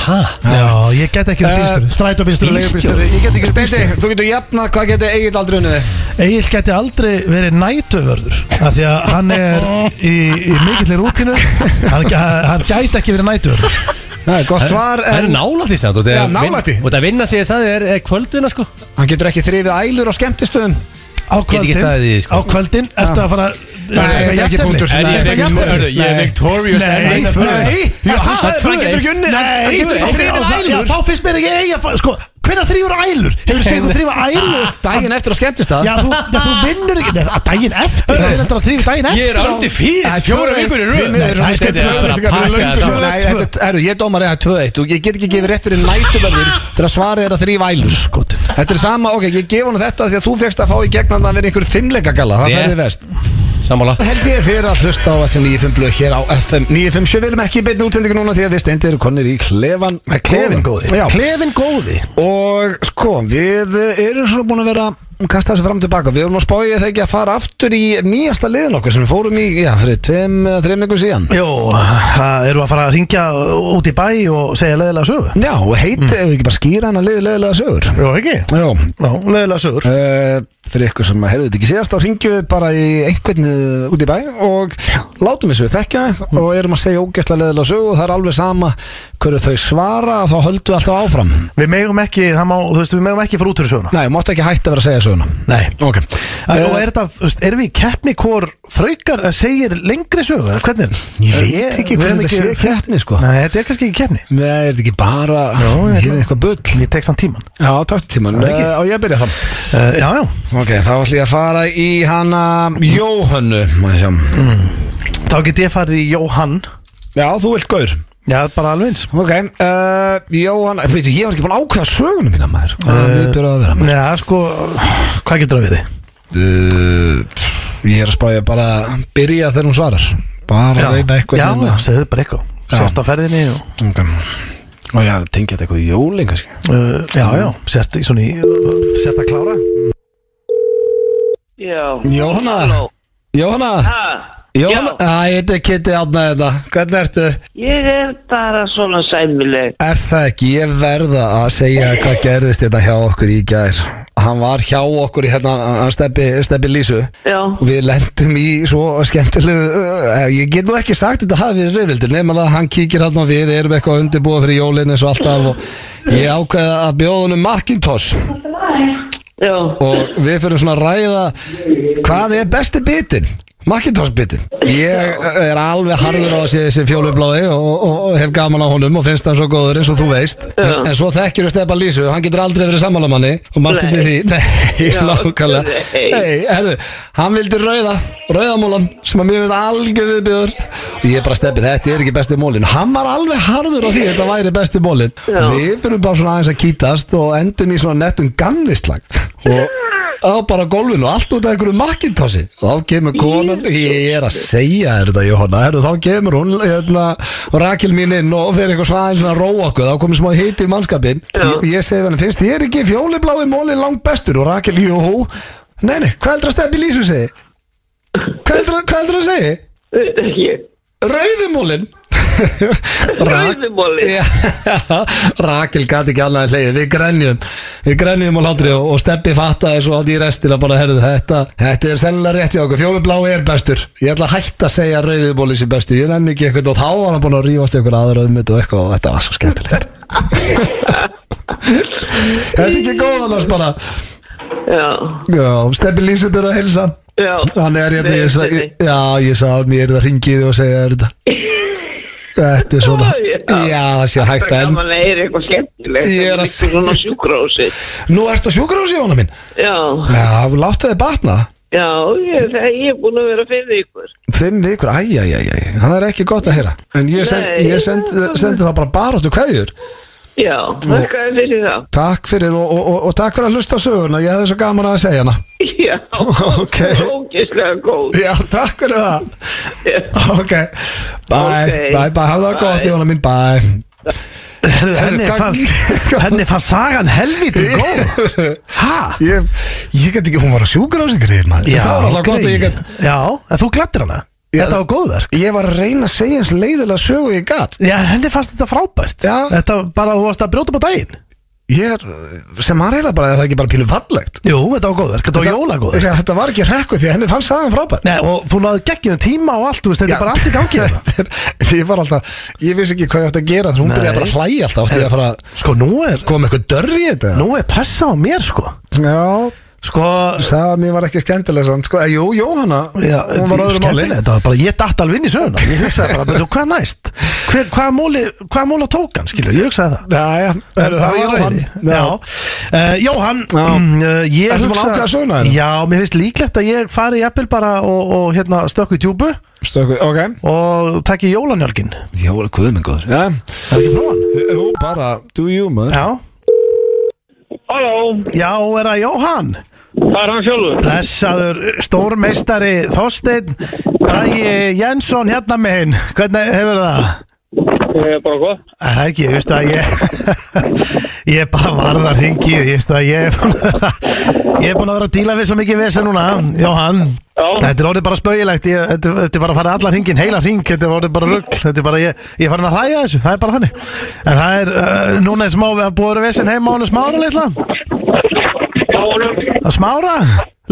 S2: Ha?
S3: Já, ég get ekki verið
S1: Eh,
S3: bílstjóri Strætóbílstjóri, leigubílstjóri Ég get ekki
S1: Steindi,
S3: verið bílstjóri
S1: þú getur jafnað hvað getur Egil aldrei unni við
S3: Egil geti aldrei verið nætuvörður af Því að hann er í, í mikill rútinu hann, hann gæti ekki verið nætuvörður
S1: Það er gott svar,
S2: Það er
S1: en
S2: nála því samt og það
S1: Já,
S2: er vin-
S1: nálægt því.
S2: Og það vinna sig ég sagði er, er kvölduna sko
S1: hann getur ekki þrifið ælur á skemmtistöðum
S3: Á
S2: Get ekki
S3: kvöldin,
S2: staðið í því, sko.
S3: á kvöldin Ertu að fara
S1: þetta er ekki punktur sem-
S2: Er
S1: Nei, það
S2: ég
S1: er
S2: vict-
S1: jafntefli.
S2: hörðu, ég er
S1: Nei.
S2: victorious
S3: Nei,
S2: en
S3: nei,
S2: þetta fyrir.
S3: nei.
S2: Já,
S3: Ha,
S2: þú
S3: ha,
S2: sagði
S1: Hann
S2: tvö
S1: getur
S2: eitt.
S1: ekki unni
S3: Nei,
S1: Hann getur
S3: á-
S1: ekki þrifið
S3: já,
S1: ælur
S3: þá finnst mér ekki eiga Sko, hvernig þrýfur ælur? Hefur þú segið hvað þrýfa ælur?
S1: Dægin eftir á skemmtistað
S3: Já, þú, já, þú vinnur ekki Nei, að daginn eftir Þú vinnur að þrýfa daginn eftir
S2: Ég er
S3: á-
S2: ándi fyrir
S1: Það er
S2: Fjóra vikur í röð
S1: Þið miður, þú
S3: Nei, þetta
S1: skemmt tvö
S3: er bara
S1: upplýsingar fyrir
S2: pakkað
S1: löngu
S2: saman.
S1: síðan. Nei,
S3: Tvö.
S1: þetta er- herru, Ég dómar eða 2-1 og Ég get ekki gefið rétt fyrir nætuverðir Þegar svarið er að þrýfa ælur
S3: Skotin.
S1: sko. Þetta er sama, ok, ég gef hann þetta Því að þú fegst að fá í gegn að það verið einhver fimmleikagalla Það
S2: Rétt.
S1: færði vest
S2: Sammála
S1: Held ég þér að hlusta á FM 95 blöð hér á FM 95 Við viljum ekki beinu útendingu núna því að við steindir konir í klefan
S3: Klefin góði
S1: Já,
S3: Klefin góði
S1: og sko, við erum svona búin að vera kasta þessu fram og tilbaka Við erum að spája það ekki að fara aftur í nýjasta liðin okkur sem við fórum í, já, fyrir tveim, eða þreim ykkur síðan
S3: Jó, það eru að fara að ringja út í bæ og segja leðilega sögur
S1: Já, og heit, ef við ekki bara skýra hana liði leðilega sögur
S3: Jó, ekki?
S1: Mm. Já,
S3: Já, leðilega sögur
S1: Uh, fyrir ykkur sem heyrðu þetta ekki síðast þá ringjum við bara í einhvern uh, út í bæ og látum þessu þekkja og erum að segja ógæslega leðilega sögu og það er alveg sama hverju þau svara þá höldum við alltaf áfram
S3: Við megum ekki, það má, þú veist, við megum ekki fara út úr söguna
S1: Nei, mátt ekki hætta að vera að segja söguna Eh,
S3: Nei Eh.
S1: Ok
S3: Og er þetta, þú veist, erum við í keppni hvor þraukar að segir lengri sögu? eða Hvernig er þetta?
S1: Ég veit ekki
S3: við
S1: hvað
S3: erum
S1: þetta sé keppni sko
S3: Nei, þetta er kannski ekki keppni
S1: Nei, er þetta ekki bara
S3: Jó, ég
S1: Ég
S3: ætla-
S1: er eitthvað bull
S3: Ég tekst hann tíman
S1: Já, takk tíman
S3: ekki.
S1: Og ég að byrja það
S3: uh, Já, já,
S1: Ok, þá ætlum ég að fara í hana Jóhönnu má ég sjá.
S3: þá get ég farið í Jóhann
S1: Já, þú vilt gaur
S3: Já, bara alveg eins
S1: Ok, uh, Jóhann, veitu, ég var ekki búin að ákveða söguna mína maður Það er mjög byrjað að vera maður
S3: Já, sko, hvað getur það við þið?
S1: uh, Ég er að spája bara að byrja þegar hún svarar Bara að reyna eitthvað
S3: já,
S1: hérna.
S3: já, segðu bara eitthvað
S1: Já.
S3: Sérst á ferðinni og,
S1: Ok, og ég tengi þetta eitthvað í jólin kannski
S3: uh, Já, já, sérst í svona í Sérst að klára
S4: Já
S1: Jóhanna,
S4: Halló.
S1: Jóhanna,
S4: Ha,
S1: Jóhanna
S4: já.
S1: Æ, þetta er Kitty Átna þetta, hvernig ertu?
S4: Ég er bara svona sæmileg
S1: Er það ekki, ég verða að segja hvað gerðist þetta hjá okkur í gær Hann var hjá okkur í hérna, hann steppi, steppi Lísu
S4: Já
S1: og við lendum í svo skemmtilegu uh, ég get nú ekki sagt þetta hafi verið reyfildir nema það að hann kíkir hann og við erum eitthvað undirbúið fyrir jólinn eins og alltaf og ég ákveða að bjóða honum Macintosh
S4: Já
S1: og við fyrir svona að ræða hvað er besti bitin Macintosh bitin Ég eh, er alveg harður á þessi, þessi fjólubláði og, og, og hef gaman á honum og finnst hann svo góður eins og þú veist en,
S4: Já.
S1: en svo þekkir þú Stefán Lísu hann getur aldrei verið sammálamanni og mannst
S4: Nei.
S1: þetta því Nei,
S4: Já,
S1: nákvæmlega
S4: nei.
S1: Nei, herðu, hann vildi rauða rauðamólan sem að mér finnst algjör viðbjöður og ég bara Stefán, þetta er ekki besti mólin hann var alveg harður á því að þetta væri besti mólin
S4: Já.
S1: Við fyrir bara svona aðeins að kýtast og endum í svona nettum gamnislag og á bara gólfinu allt út af einhverju makkintossi þá kemur konan, ég er að segja þér þetta Jóhanna, Heru, þá kemur hún hérna, rakil mín inn og fyrir eitthvað svona aðeins svona að róa okkur, þá komið smá hiti í mannskapin
S4: Já.
S1: og ég segi henni, finnst þér ekki fjóliblái móli langt bestur og rakil, jú nei, nei, hvað heldur að steppi lísu segi hvað heldur, hvað heldur að segi
S4: Veit ekki.
S1: Rauðumólin
S4: Rauðumólin?
S1: Já, Rakel gæti ekki annað en hlegið Við grenjum Við grenjum á hlátri og, og steppi fattaði svo að í restina bara herðu þetta Þetta er sennilega rétt hjá okkur Fjólublá er bestur Ég ætla að hætta að segja rauðumólin sem bestur Ég nenni ekki eitthvað og þá var hann búin að rífast eitthvað aðra um þetta og eitthvað og þetta var svo skemmtilegt Þetta er ekki góð annars bara
S4: Já,
S1: Já, steppi lýsum byrja að heilsa
S4: já.
S1: Hann er hérna,
S4: Nei,
S1: ég, sa-
S4: nei, nei.
S1: ég, já, ég sagði mér það ringið og segja þér þetta Þetta er svona
S4: Já, já.
S1: Já, það sé hægt að
S4: Það er
S1: en
S4: gaman að heyra eitthvað skemmtilegt.
S1: Ég er að-
S4: að... Svona sjúkrósi.
S1: Nú ertu á sjúkrahúsi, Jóna mín
S4: Já,
S1: Já, láttu þið batna
S4: já, ég, það, ég er búin að vera að finna ykkur.
S1: Fimm vikur, æjæjæjæj Það er ekki gott að heyra En ég, send,
S4: Nei.
S1: ég send, sendi það bara baráttu kveðjur
S4: Já, þakka þér fyrir það.
S1: Takk fyrir og, og, og, og takk fyrir að hlusta á söguna Ég hefði svo gaman að segja hana
S4: Já,
S1: Ok.
S4: ógislega góð.
S1: Já, takk fyrir það
S4: Já.
S1: Ok, bye,
S4: Ok.
S1: bye, bye Hafðu það
S4: Bye.
S1: gott, Jóna mín, bye
S3: Herðu, henni,
S1: hvað-
S3: fannst, henni fannst sagan helviti góð Hæ?
S1: Ég, ég get ekki, hún var á sjúkurásingriðir maður Það var alltaf gott að ég get
S3: Já, en þú glattir hana
S1: Já,
S3: Þetta var góðverk
S1: Ég var að reyna að segja eins leiðilega sögu ég gat
S3: Já, henni fannst þetta frábært
S1: Já.
S3: Þetta var bara að þú varst að brjóta upp á daginn
S1: Ég er- sem að reyla bara að það er ekki bara pílu fallegt
S3: Jú, þetta var góðverk, þetta var jólagóðverk
S1: Já, Þetta var ekki rekku því að henni fannst sagan frábær
S3: Nei, og þú náðu geggjum tíma og allt, þú veist, þetta er bara allt í gangi hérna.
S1: Þetta er- Ég var alltaf, ég vissi ekki hvað ég átti að gera þegar hún
S3: Nei.
S1: byrjaði bara að hlæja alltaf átti ég að fara að
S3: Sko, nú er,
S1: koma með eitthvað dörri í þetta
S3: nú er pressa á mér, sko
S1: Já,
S3: Sko,
S1: það mér var ekki skemmtilega samt sko, eh, Jú, Jóhanna,
S3: já,
S1: hún var á öðru máli
S3: skemmtilega, þetta var bara, ég datt alveg inn í söguna Ég hugsaði bara, betur, hvað næst? Hver, hvaða móli, hvaða móla tók hann, skilur, ég hugsaði það
S1: Jæja, er það var Jóhann
S3: reiði. Já, uh, Jóhann
S1: Já.
S3: mm, uh, ég
S1: Ertu búin að
S3: hugsa-
S1: ákveða söguna þína?
S3: Já, mér finnst líklegt að ég fari í Apple bara og, og hérna stökku í djúbu
S1: Stöku, ok
S3: og taki jólanjálgin
S1: Jóla, guð minn góður Já,
S3: Það er ekki prófan?
S1: Jú, bara, do you maður
S3: Já,
S4: Halló,
S3: já, er það Jóhann?
S4: það er hann sjálfur.
S3: Blessaður stórmeistari Þorstein Bragi Jensson hérna megin Hvernig hefur það?
S4: Ég er bara gott.
S3: Æ, Það er ekki, ég veist að ég Ég er bara varðar hengi Ég veist að ég er búin að vera Ég er búin að vera að díla við svo mikið vesen núna Jóhann
S4: Já.
S3: Þetta er orðið bara spauilegt ég, þetta, þetta er bara að fara allan hringin, heila hring Þetta er orðið bara rugg Þetta er bara, ég, ég er farin að hlæja þessu Það er bara þannig En það er, uh, núna er smá Við að búið að vera vesen heima á hennu smára litla
S4: Já, honum.
S3: Að Smára,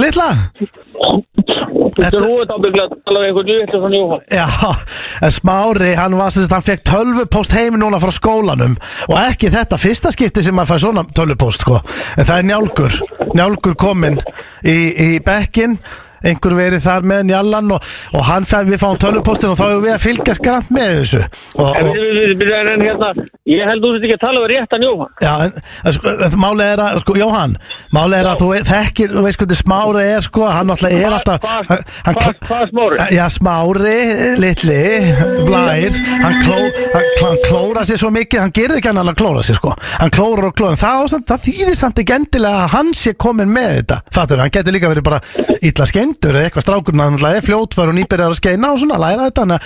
S3: litla
S4: Þetta er húið ábygglega að tala við einhvern veitur frá Jóhann.
S3: Já, en Smári, hann var sem sagt, hann fekk tölvupóst heim núna frá skólanum og ekki þetta fyrsta skipti sem maður fær svona tölvupóst, sko. En það er njálgur, njálgur kominn í, í bekkin, einhver verið þar með njallan og, og hann fær, við fáum tölvupóstin og þá hefur við að fylgjast grann með þessu. Og,
S4: En
S3: og,
S4: við- við- við- við- en hérna, ég held þú sért ekki að tala við réttan Jóhann.
S3: já, en, en sko, málið er að, sko, Jóhann, málið er að þú þekkir, þú veist hvernig Smári er, sko, hann náttúrulega er alltaf...
S4: Hvað-
S3: hann- hann-
S4: hvað- hvað Smári?
S3: Já, Eh, smári, litli, blær Hann, kló, hann, hann klóra sér svo mikið Hann gerir ekki annað en að klóra sér sko Hann klórar og klórar Það, ásand, það þýðir samt ekki endilega að hann sé komin með þetta Fattur, hann getur líka verið bara illa skeindur eða eitthvað strákurinn hann náttúrulega er fljótvar og nýbyrjar að skeina og svona læra þetta Þannig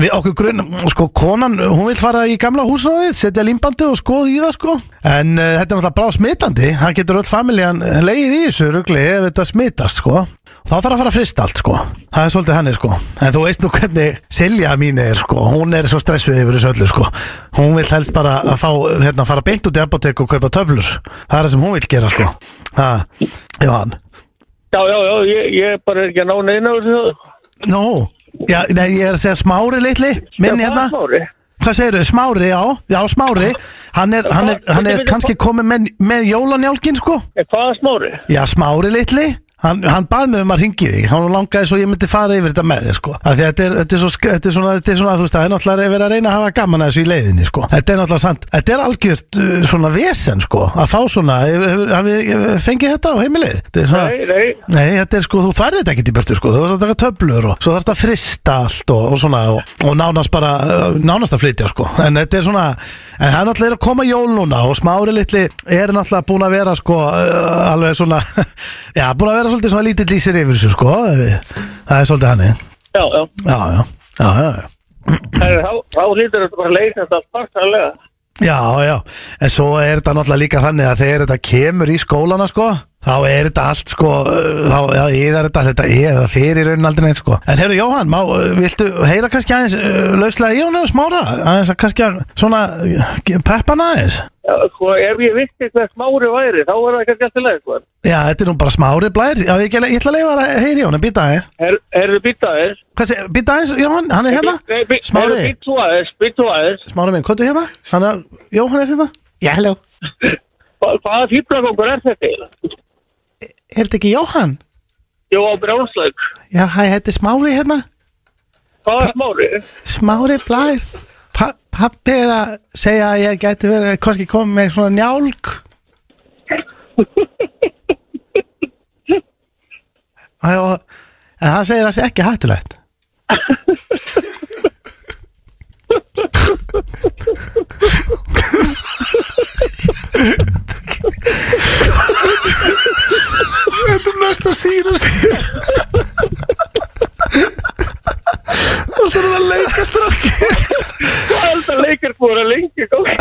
S3: að við okkur grunn, sko, konan hún vil fara í gamla húsráðið, setja límbandi og skoði í það sko En uh, þetta er náttúrulega brá smitandi Hann getur öll familjan leið í þessu rugli ef þetta smitast sko Þá þarf að fara að frista allt sko Það er svolítið hann er sko En þú veist nú hvernig Silja mín er sko Hún er svo stressuð yfir þessu öllu sko Hún vil helst bara að fá hérna, fara beint út í apotek og kaupa töflur Það er það sem hún vil gera sko ha, Jóhann
S4: Já, já, já, ég, ég bara er ekki að ná neina úr þessu.
S3: Nó, já, nei, ég er að segja smári litli Minn
S4: Já,
S3: hérna
S4: hvað, Smári?
S3: Hvað segirðu, Smári, já, já, Smári Hann er, hann er, hann er kannski komið með, með jólanjálgin sko
S4: En Hvað Eh, smári?
S3: Já, Smári litli Hann, hann bað mig um að ringi þig Hann langaði svo ég myndi fara yfir þetta með þig sko. Af því að þetta er, þetta, er svo, sk- þetta er svona Þetta er svona, þú veist, það er náttúrulega verið að reyna að hafa gaman að þessu í leiðinni sko. Þetta er náttúrulega sant Þetta er algjört uh, svona vesen sko, Að fá svona, hefur- hefur- hafið hefur- fengið þetta á heimilið Þetta er svona,
S4: Nei, nei,
S3: Nei, þetta er sko, þú færði þetta ekkert í börtu sko, þú þarfst að taka töflur og svo þarfst að frista allt og, og svona og, og nánast bara, uh, nánast að flytja sko, en þetta er svona, en það er náttúrulega að koma jól núna og smári litli er náttúrulega búin að vera sko, uh, alveg svona, já, búin að vera svolítið svona lítill í sér yfir þessu sko, það er svolítið hann, já,
S4: já, já.
S3: já, já, já, já.
S4: Herri, þá- Þá hlýtur þetta bara að leysa þetta spartalega.
S3: Já, já, en svo er þetta náttúrulega líka þannig að þegar þetta kemur í skólana sko, þá er þetta allt sko, uh, þá já, yðar þetta allt, þetta eða fyrir raunin aldrei neitt sko. En heyrðu Jóhann, má, uh, viltu heyra kannski aðeins uh, lauslega í honum smára, aðeins að kannski að svona uh, ge- peppa hann aðeins?
S4: Já, sko, ef ég vissi hver smári væri, þá var það kannski alltaf leið, sko.
S3: Já, þetta er nú bara smári blær, já, ég, ég ætla að leifa þér að heyra í honum, býta aðeins.
S4: Er, erðu býta þess?
S3: Hvað segir, býta aðeins, Jóhann, hann er hérna?
S4: Eh,
S3: Smári.
S4: Býtu aðeins, býtu aðeins.
S3: Smári minn, hvað er hérna? Hann er, Jóhann er hérna? Já, halló.
S4: Hva- Hvaða fýblagangur er þetta? eiginlega?
S3: Er þetta ekki Jóhann?
S4: Ég var á brjónslaug.
S3: Já, hæ, þetta er smári hérna?
S4: Hvaða smári?
S3: Smári Blær pa Pappi er að segja að ég gæti verið Hvorki komið með svona njálg Æ, og, En hann segir að það sé ekki hættulegt
S1: Þetta er mest að síðast Það er að leika strafki
S4: Hvað er þetta leikir búin að lengi gangi?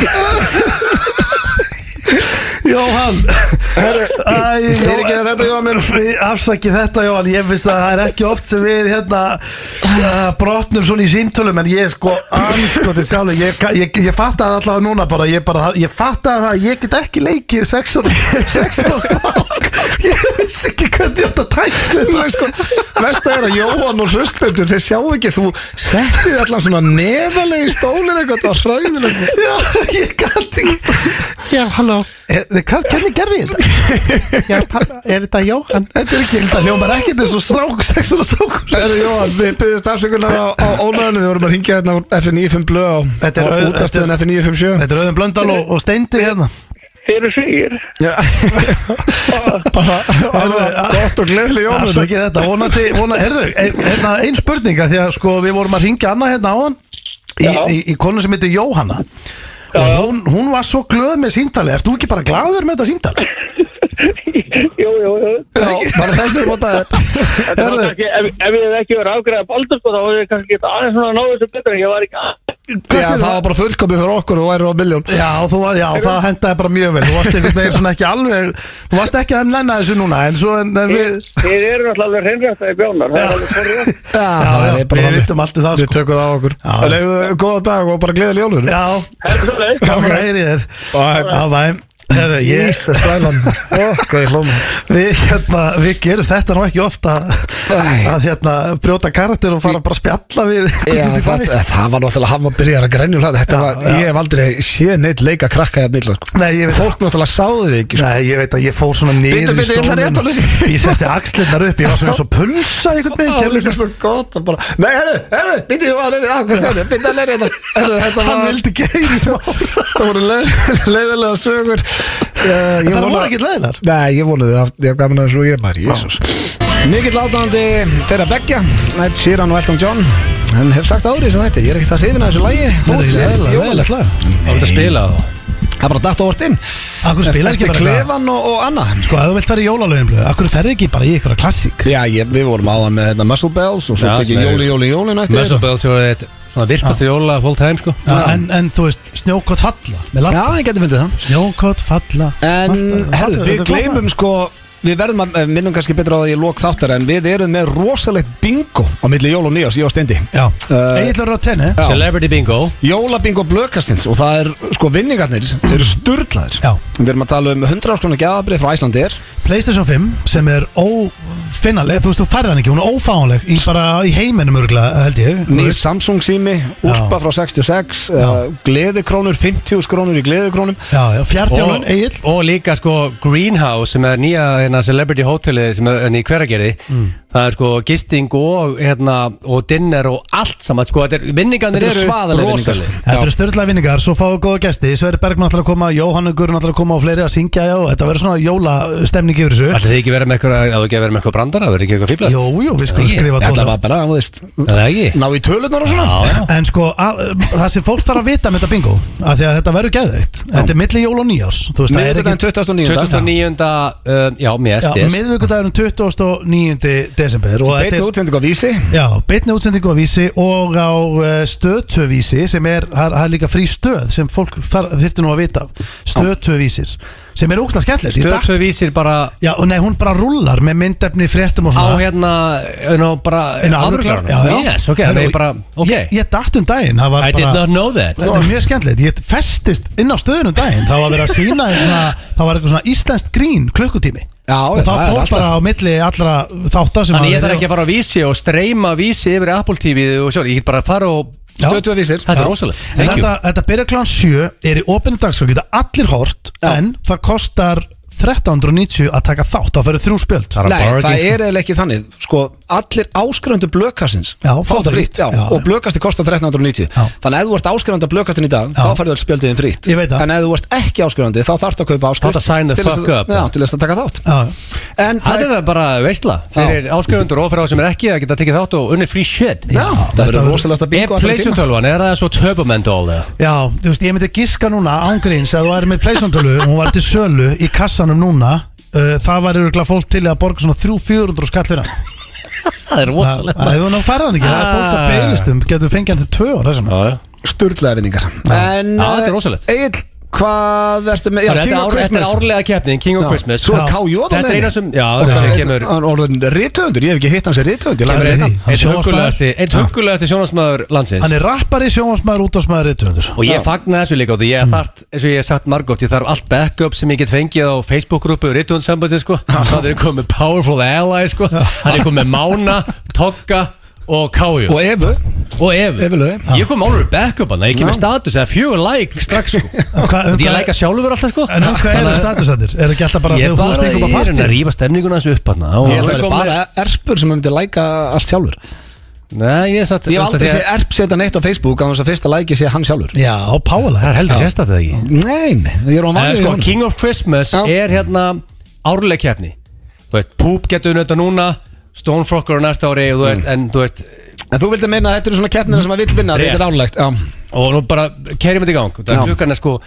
S3: Jóhann Æ,
S1: Fyrir ekki þetta Jóhann minn
S3: Afsaki þetta Jóhann, ég finnst að það er ekki oft sem við hérna uh, brotnum svona í símtölum en ég sko anskotir sjálfur, ég, ég, ég fattaði allavega núna bara, ég bara, ég fattaði það að ég get ekki leikið sex og sex og strák, ég vissi ekki hvernig ég átt að tækla þetta
S1: Nei, sko, Vest að er að Jóhann og hlustendur þeir sjá ekki, þú settið allan svona neðarlega í stólinn eitthvað, það var hræðilegt
S3: Já, ég gæti ekki Já, halló er, Eh, hvað, Hvernig gerði ég þetta? Já, pappa, er þetta Jóhann? Þetta er ekki, þetta hljómar ekkert eins og strák, sex og strákur
S1: Herru Jóhann, við byggjumst afsökunar á, á ónæðinu, við vorum að ringja hérna úr F95 blöð á,
S3: Þetta
S1: á
S3: er auð-
S1: útastöðun F957
S3: Þetta er auðvitað blöndal og, og steindir hérna
S4: Þeir eru sigir.
S1: Já. Bara, herru, Gott og gleðli
S3: Alltaf
S1: Jóhann
S3: ekki þetta, vonandi, vonandi Herðu, ein, hérna, ein spurninga Því að sko, við vorum að ringja annað hérna á hann Í,
S4: Já.
S3: í, í konu sem heitir Jóhanna Og
S4: Já.
S3: hún, hún var svo glöð með símtali Ert þú ekki bara glaður með þetta símtali?
S4: Jú, jú, jú.
S3: Já, bara þessu móta
S4: Þetta var
S3: Herðu,
S4: kannski, ef, ef ég hef ekki verið afgræða baldur, sko, þá var ég kannski getað aðeins svona að ná þessu betur en ég var ekki að.
S1: Já, það var bara fullkomið fyrir okkur og værið á miljón
S3: Já, þú, var- já það hendaði bara mjög vel Þú varst einhvern veginn svona ekki alveg Þú varst ekki að þeim nenna þessu núna En svo en, en við
S4: Þeir eru náttúrulega alveg hreinrættaði bjónar. Það er alveg forrið.
S1: Já, það
S3: já,
S1: er bara
S3: við
S1: þannig.
S3: vitum allt um það,
S1: Við
S3: sko.
S1: tökum það á okkur
S3: Já.
S1: Leifðu góða dag og bara gleðli Jóhann
S3: Já,
S4: Það er svo leið.
S3: það var heyri þér
S1: Bye.
S3: Já, bæm Herðu, ég
S1: Ísast ælan Hvað ég hlóma
S3: Við, hérna, við gerum þetta nú ekki ofta
S1: Nei.
S3: að hérna, brjóta karakter og fara bara að spjalla við
S1: Já,
S3: einhvern út í
S1: það,
S3: bæ.
S1: það var náttúrulega hann var byrjar að grænja um hlaði Þetta var,
S3: já.
S1: ég hef aldrei séð neitt leika krakka hérna illa sko.
S3: Nei, ég veit
S1: Fólk náttúrulega sáðu þig ekki sko.
S3: Nei, ég veit að ég fór svona
S1: Bíddu,
S3: niður
S1: bíddu, ég ætla rétt að lesa.
S3: Ég setti axlirnar upp, ég var svona eins og pulsa einhvern
S1: Það var
S3: veginn gerði
S1: líka
S3: eitthvað-
S1: svo gott að bara Nei, herru, herru, býttu ég að leira Hvað stæðu, býttu að leira þetta Herru, Þetta
S3: Hann
S1: var,
S3: vildi geiri smá
S1: það voru leið- leiðilega sögur Það
S3: Það voru ekkert leiðilar
S1: Nei, ég vonuði það, ég haf gaman að þessu og ég bara, jésús Mikill átáðandi þeirra begja, Ed Sheeran og Elton John Hann hef sagt árið sem þetta, ég er ekkert að hrifin að þessu lægi
S3: Þetta er ekki leiðilega, leiðilegt lag
S2: Það er að spila það
S1: Það er bara datt á orðin
S3: Akkur spila ekki
S1: Eftir
S3: bara eitthvað-
S1: klefan og, og annað
S3: Sko, ef þú vilt vera í jólalögin blöð, akkur ferði ekki bara í eitthvað klassík
S1: Já, ég, við vorum áðan með þetta Muscle Bells og svo
S2: Já,
S1: tekið
S2: sem er-
S1: Jóli, Jóli, Jóli nætti
S2: Muscle Bells er eitt svona virtasta jóla of all time sko
S3: en, en þú veist, snjókott falla með labb-
S1: Já, ég geti fundið það
S3: Snjókott falla
S1: En,
S3: Alltaf-
S1: herru,
S3: alltaf-
S1: við
S3: þetta er gott lag.
S1: gleymum sko Við verðum að, eh, minnum kannski betra á það ég lók þáttar En við erum með rosalegt bingo á milli Jól og Nýjás, ég og Steindi
S3: Já,
S1: Eh,
S3: Egil er á tenni
S1: Já.
S2: Celebrity Bingo
S1: Jólabingo blökastins og það er, sko, vinningarnir eru sturglaðir
S3: Já.
S1: Við erum að tala um 100 áskonar gæðabrið frá Æslandir
S3: Playstation 5 sem er ó, finna þú veist, þú færði hann ekki, hún er ófáanleg í, bara í heiminum örgulega, held ég Þú
S1: Nýr
S3: veist,
S1: Samsung sími, úlpa frá 66 uh, Gleðikrónur, 50 skrónur í gleðikrónum
S3: Já, já, fjartjálun,
S2: og,
S3: Egil
S2: og líka sko Greenhouse sem er nýja hérna, celebrity hotelið sem er hérna, í hveragerði það er sko gisting og hérna, og dinner og allt saman sko, þetta er, vinningarnir
S1: Þetta eru
S2: eru
S1: svaðalega
S2: rosalegir.
S1: vinningar,
S3: Þetta eru störðlega vinningar, svo fáum við góða gesti Sverri Bergmann ætlar að koma, Jóhannu Gurun ætlar að koma og fleiri að syngja, já, þetta verður svona jólastemning yfir þessu
S2: Ætli þið ekki vera með eitthvað, að þú ekki að vera með eitthvað brandara, verður ekki eitthvað fýblast?
S3: Jú, jú, við skulum skrifa
S1: Þetta
S3: tóla
S1: var bara, þú veist
S2: Það er ekki?
S1: Ná í tölunar og svona
S2: Já, já.
S3: En sko, að, það sem fólk þarf að vita með þetta bingo af því að þetta verður geðveikt Þetta er milli jól og nýjás Þú veist,
S1: Miðvikudaginn 29.
S3: það er ekki
S2: 29. um, Já, mér
S3: Já,
S2: stés
S3: miðvikudagurinn 29. desember og þetta
S1: Beitn
S3: er-
S1: útvending á vísi
S3: Já, beitni útsendingu á vísi og á eh, stöðtöðvísi sem er, það er- það er líka frí stöð sem fólk þar- þyrfti nú að vita af. stöðtöðvísir, sem er ógstlega skemmtilegt Ég datt-
S2: Stöðtöð vísir bara
S3: Já, og nei, hún bara rullar með myndefni fréttum og
S2: á
S3: svona
S2: hérna inn á bara
S3: Inn á afruglaranum. Já, já.
S2: Yes, ok,
S3: Herru,
S2: það er bara, ok
S3: Ég, ég datt um daginn, það var
S2: I did
S3: bara
S2: not know that
S3: Þetta er mjög skemmtilegt, ég festist inn á stöðunum daginn Það var verið að sína Það var eitthvað svona íslenskt grín klukkutími
S1: Já,
S3: Og það
S1: það er
S3: fór
S1: alltaf.
S3: bara á milli allra þáttar sem
S2: Þannig ég þarf ekki að fara á vísi og streyma vísi yfir Apple TV og sjálf, ég get bara að fara og
S3: Já.
S1: Stötu að vísir
S2: Þetta er
S3: Já.
S2: rosalegt,
S3: En
S2: thank you
S3: Þetta, þetta byrjar klán 7 er í opinni dagskráð, geta allir hort
S1: Já.
S3: En það kostar 1390 að taka þátt, það fyrir þrjú spjöld
S2: Bara
S1: Nei, það
S2: bargain.
S1: er eða ekki þannig Sko, allir áskröndu blökassins
S3: Já,
S1: fá það fritt já,
S3: já.
S1: Og blökasti kostar 1390
S3: Já.
S1: Þannig að ef þú ert áskröndu blökastin í dag
S3: Já.
S1: Þá færðu alls spjöldiðin fritt
S3: Ég veit það.
S1: En ef þú ert ekki áskröndu Þá þarftu að kaupa áskrift
S2: Þarftu að sign the
S1: til þess
S2: fuck up.
S1: Já, til þess að taka þátt
S3: Já,
S1: En það
S2: Þetta er bara veistla Fyrir áskrifundur og fyrir á sem er ekki að geta tekið þátt og unni free shit
S1: Já, það
S3: þetta
S1: verður
S3: verður-
S1: rosalegasta
S2: Er
S1: bingo allan
S2: Playstation
S1: tímann.
S2: 12, er það svo turbomendol eða?
S3: já, þú veist, ég myndi giska núna ángríns að þú er með pleysandölu og hún var til sölu í kassanum núna uh, Það var yfirlega fólk til að borga svona 300-400 skall fyrir hann
S2: Það er
S3: Það
S2: rosalega
S3: hefur ná færðan ekki, það er fólk að
S2: Ah.
S3: beilist um Getur fengið hann til tvö ára
S2: Já,
S3: svona
S2: já.
S1: Sturlaða vinningar En eh,
S2: Já, þetta er rosalegt.
S1: Egil, hvað ertu með? Já,
S2: Þannig að
S1: King of
S2: Þetta ár- þetta er
S1: Christmas
S2: árlega keppnin, King of
S1: Já.
S2: Christmas
S1: Svo
S2: Já.
S1: er KJ á
S2: Þetta er
S1: leiðinni.
S2: eina sem, já,
S1: Og
S2: sem
S1: það-
S2: kemur
S1: Hann er orðin rithöfundur, ég hef ekki hitt hans er rithöfundur Ég
S3: Kemur
S1: lagði
S3: inn
S1: hérna.
S3: í. hann er
S2: Eitt
S3: sjónvarpsmaður.
S2: huggulegasti, eitt huggulegasti sjónasmaður landsins
S3: Hann er rappari, sjónvarsmaður, útvarsmaður, reyttöfundur
S2: Og ég fagna þessu líka og því ég mm. þart, eins og ég hef sagt margótt, ég þarf allt backup sem ég get fengið á Facebook-grúpu Rittundsambandi, sko. Það er komið Powerful Ally, sko. Það er komið Mána, Tokka og Káju.
S1: Og Evu
S2: Og Evu.
S1: Evu Laufey.
S2: Ég kom álur backup hann, ég kem með status, það er fjögur like strax, sko.
S3: Hvað-
S2: Því ég
S3: hvað-
S2: læka sjálfur alltaf, sko.
S3: En um hvað eru
S2: Þannig að-
S3: statusendir? Er ekki alltaf bara
S2: Ég
S3: þegar þú varst
S2: bara,
S3: einhver
S2: ég er að
S3: partí?
S2: rýfa stemninguna þessu upp hann.
S1: Ég held að það er bara erpur sem myndi læka allt sjálfur
S2: Nei, ég satt,
S1: Ég hef aldrei
S2: því að-
S1: sé erp setja neitt á Facebook á þess að fyrsta læki sé hann sjálfur
S3: Já, pála
S2: Það er heldur sérstætt eða ekki.
S1: Nein, ég er á
S2: Nei,
S1: vanið
S2: sko, King of Christmas
S1: Já.
S2: er hérna árlega keppni Þú veist, Poop getur við þetta núna Stonefrocker á næsta ári og þú
S3: Mm.
S2: veist, en þú veist
S1: En þú vildi meina að þetta eru svona keppnir sem að vill vinna
S2: Rétt.
S1: Þetta er álegt Já,
S2: og nú bara kerjum þetta í gang það
S1: Já.
S2: er klukkan er sko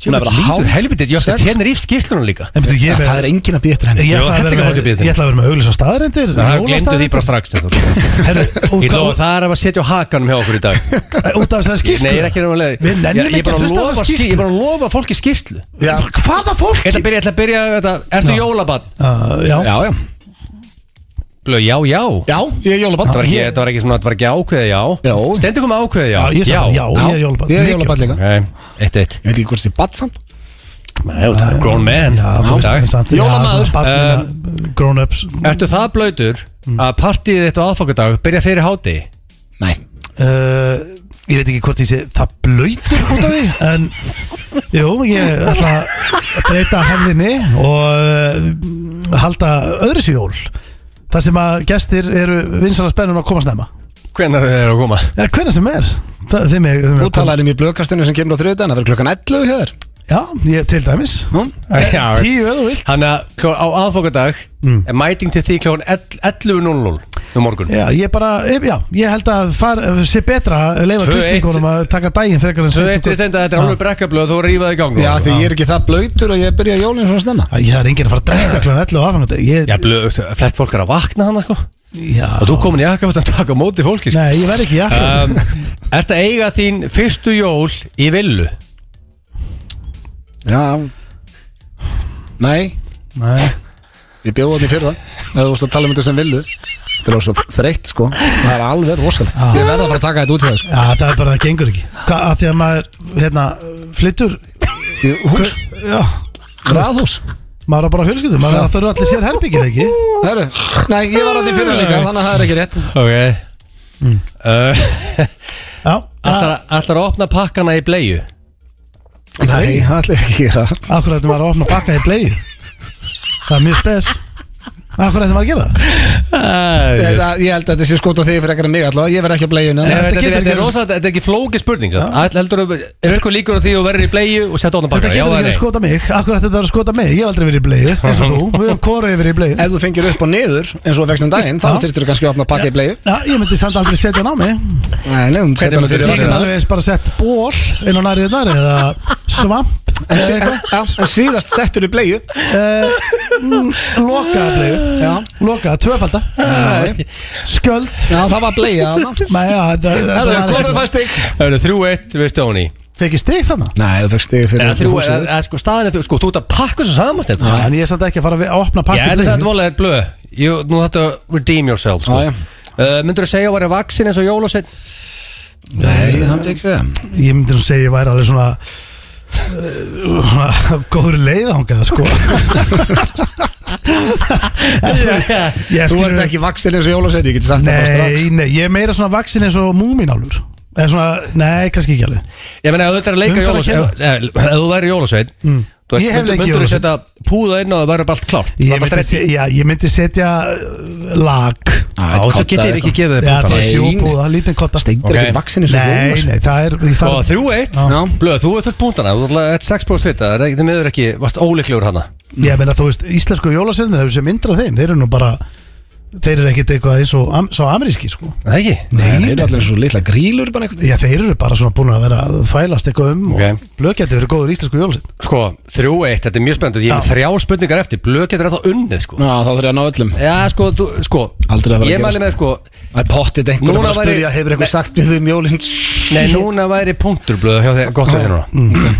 S1: Hún er bara hálf-
S2: lítur helvitið, ég ætti
S1: sex.
S2: tennir í skýslunum líka
S3: En betur, ég
S1: Já,
S3: er
S1: það er engin að býja eftir henni
S3: Ég
S2: Jú,
S3: ætla að
S2: hellinga
S3: vera
S2: fólk í
S3: með-
S2: bíðinni.
S3: ég ætla að vera með auglýs á staðarindir
S2: það glemdu því bara strax Steindór. ég lofa það er að sketja á hakanum hjá okkur í dag
S3: Út af þessari skýrslu
S2: nei, ég er ekki reyna
S3: Við nennum
S2: ég
S3: ekki
S2: er bara
S3: að
S2: að
S3: hlusta á
S2: lofa
S3: þessa
S2: skýrslu
S3: skýrslu.
S2: ég er bara að lofa fólki skýrslu
S1: Já,
S3: Hvaða fólk?
S2: ég ætla að byrja, ég ætla að byrja þetta, ertu jólabann?
S3: Uh, Já,
S1: já, já
S2: Blöð, já, já
S1: Já, ég er jólabann
S2: það var ekki, þetta var ekki svona, þetta var ekki ákveðið já
S1: Jó.
S2: stendur komið ákveðið
S3: Já, ég
S2: já,
S3: sagði bara já, ég er jólabarn
S1: Ég er jólabann líka
S2: Ok, eitt, eitt
S1: Ég veit ekki hvort þið er badsamt
S2: Nei, þú ert grown man Eh,
S3: Já, þú veist það samt
S1: Jólamaður.
S3: Jólamaður Grown ups
S2: Ertu það blöytur að partíið þitt á aðfangadag byrja fyrir háti?
S1: Nei
S3: Uh, ég veit ekki hvort ég sé það blöytur út af því en jú, ég ætla að breyta hefðinni og uh, halda öðru sér jól það sem að gestir eru vinsala spennun að koma snemma
S2: Hvenær þið eru að koma?
S3: ja, hvernig sem er það, þeim er, þeim er
S1: Þú talaði um í blökastinu sem kemur á þriðudaginn Það verður klukkan 11 hjá þér Hm?
S3: já, ég, til dæmis Eh,
S1: Nú?
S2: Já.
S3: tíu eða þú vilt
S2: Þannig að kló- á aðfangadag er mæting til því klón 11.00 um morgun
S3: já, ég bara, eh, já, ég held að far, eh, sé betra að leifa
S2: 2-1.
S3: kristingunum að taka daginn frekar en
S2: Svo
S3: seint
S2: þetta
S3: og
S2: er stend að þetta er alveg brekkablöð þú rífaði í gang Ah.
S1: Já, því ég er ekki það blöytur og ég byrja jólinn svona snemma
S3: kvöld. Já, það er enginn að fara að drekka kljóðan 11 og aðfangt
S2: Já, blöð, flest fólk er að vakna þannig sko og þú
S3: já,
S2: komin í akkaföld að taka á móti fólki sko.
S3: nei, ég verð ekki í akkúrat.
S2: um, Ertu að eiga þín fyrstu jól í villu?
S1: Já Nei,
S3: Nei
S1: ég bjóði hann í fyrra Eða þú veist að tala um þetta sem villu Þetta er svo þreytt sko Það er alveg rosalegt
S5: Ah.
S1: Ég verða bara að taka þetta út hjá þér sko
S3: Já, það er bara, það gengur ekki Hvað, að því að maður, hérna, flyttur
S1: Ég- Hús,
S3: Já,
S1: raðhús
S3: maður er bara fjölskyldum maður er að þurfa allir sér herbyggið ekki
S5: Hörru, nei, ég var átti fyrir líka, þannig að það er ekki rétt
S2: Ok
S3: Mm.
S2: uh,
S3: já, Ah,
S2: ætlar, að- ætlar að opna pakkana í bleiu
S3: nei,
S5: það ætla ég ekki að gera
S3: akkur þetta maður að opna bakka í bleið það er mjög spes akkur þetta maður að gera það?
S2: Þetta
S5: Þetta, ég held að þetta sé skot á þig fyrir ekkert en mig allavega, ég verð ekki hérna. á bleiðinu
S3: Nei.
S2: þetta-
S3: getur
S2: þetta
S3: ekki
S2: er
S3: verið-
S2: rosa- þetta er ekki flókið spurning samt. Ætl- heldurðu- Er eitthvað líkur á því að þú verður í bleiu og setja ofna
S3: þetta
S2: pakkana? Já
S3: getur
S2: eða
S3: ekki sko. að
S2: nei?
S3: skota mig akkur þetta er að skota mig, ég hef aldrei verið í bleið eins og þú, við höfum kóra yfir í bleið
S5: Ef þú fengir upp og niður, eins og vextum daginn, þá
S3: Já.
S5: þurftur þú kannski að opna að pakka í bleiðu
S3: Já, ég myndi samt aldrei setja hann á mig
S5: Nei, nefnum,
S2: Hvernig
S5: setja hann
S2: myndir
S5: fyrir
S2: þú
S3: Ég get
S2: það?
S5: vatnið.
S3: alveg eins bara sett ból inn á nærið þar eða svamp Eh,
S5: En
S3: eða
S5: sí- en-
S3: eitthvað
S5: já, en síðast settur í bleiðu
S3: mm, Lokaða
S5: Já.
S3: bleið Lokaða, tvöfalda Skjöld
S5: Já, það var bleiða
S3: Nei, já, þetta
S5: Það er
S3: þetta
S5: korður
S3: var
S5: fæst þig
S2: Það eru 3-1 við Stóni
S3: Fekk ég stig þannig?
S5: Nei, þú fekk stig fyrir
S2: Eða þrjú, eða eða sko staðin er þrjú, sko þú ert að pakka þessu samast
S3: Já,
S2: þetta
S3: en ég er samt ekki að fara að vi- að opna
S2: Ég
S3: pakki
S2: held að þetta vola er blöð Jú, Nú þetta redeem yourself sko.
S5: Já, já.
S2: uh, Myndur þú segja að vera vaksin eins og jólasveit
S5: Nei, það myndi ekki segja.
S3: Ég myndi nú segja að ég væri alveg svona uh, svona góður leiðangað sko Ég
S5: Þú
S3: skil-
S5: ert ekki vaksin eins og jólaseit, ég geti sagt það bara strax
S3: Nei, nei, ég er meira svona vaksin eins og múminálur Eða svona, nei, kannski ekki alveg
S2: Ég meina, ef þetta er að leika
S3: Umferð að
S2: jólasveit Ef ef- ef þú væri jólasveit mm.
S3: Ég hef leikið
S2: Myndur þú
S3: jólasveinn.
S2: setja púða inn og það verður bara allt klárt
S3: Ég
S2: Bara allt
S3: myndi,
S2: ready.
S3: se- já, ég myndi setja uh, lag
S5: Á,
S2: Já, Svo getið þér ekki gefið þér
S3: sko. Já,
S2: púða
S3: það er
S5: Nei.
S3: stjópúða, lítinn kotta
S5: Steindir
S2: Ok.
S5: ekki vaksin eins og
S3: Nei,
S5: jólaseit
S3: nei, það er ég
S2: Og
S3: þarf,
S2: þrjú eitt
S5: Já.
S2: Blöð, þú ert þurft púntana Þú ert 6 bróðst vita Það er ekki, þið meður ekki Vast óleiklegur hana
S3: Ég meina, þú veist, íslensku jólasennir hefur sem myndra þeim, þeir eru nú bara þeir eru ekkit eitthvað eins og am, svo ameríski, sko
S2: Það er ekki
S5: Nei,
S3: Nei,
S5: það er allir eins og litla grílur bara einhvern
S3: Já, þeir eru bara svona búin að vera að þvælast eitthvað um
S2: Ok.
S3: og blökjandi verið góður íslensku jólasenn
S2: Sko, þrjú eitt Þetta er mjög spennandi Ég er með
S3: Já. Mm.
S2: þrjá spurningar eftir Blöð getur eða unnið sko
S5: Já, þá þarf ég að ná öllum
S2: Já, sko, þú, sko
S5: Aldrei að fara
S2: Ég
S5: að gerast.
S2: mæli með sko
S5: Það er pottið einhver
S2: Núna
S5: að fara að
S2: væri-
S5: spyrja Hefur
S2: Nei.
S5: einhver sagt við þau um jólinn
S2: Nei, núna væri punktur blöð hjá þeir Gott við þeir núna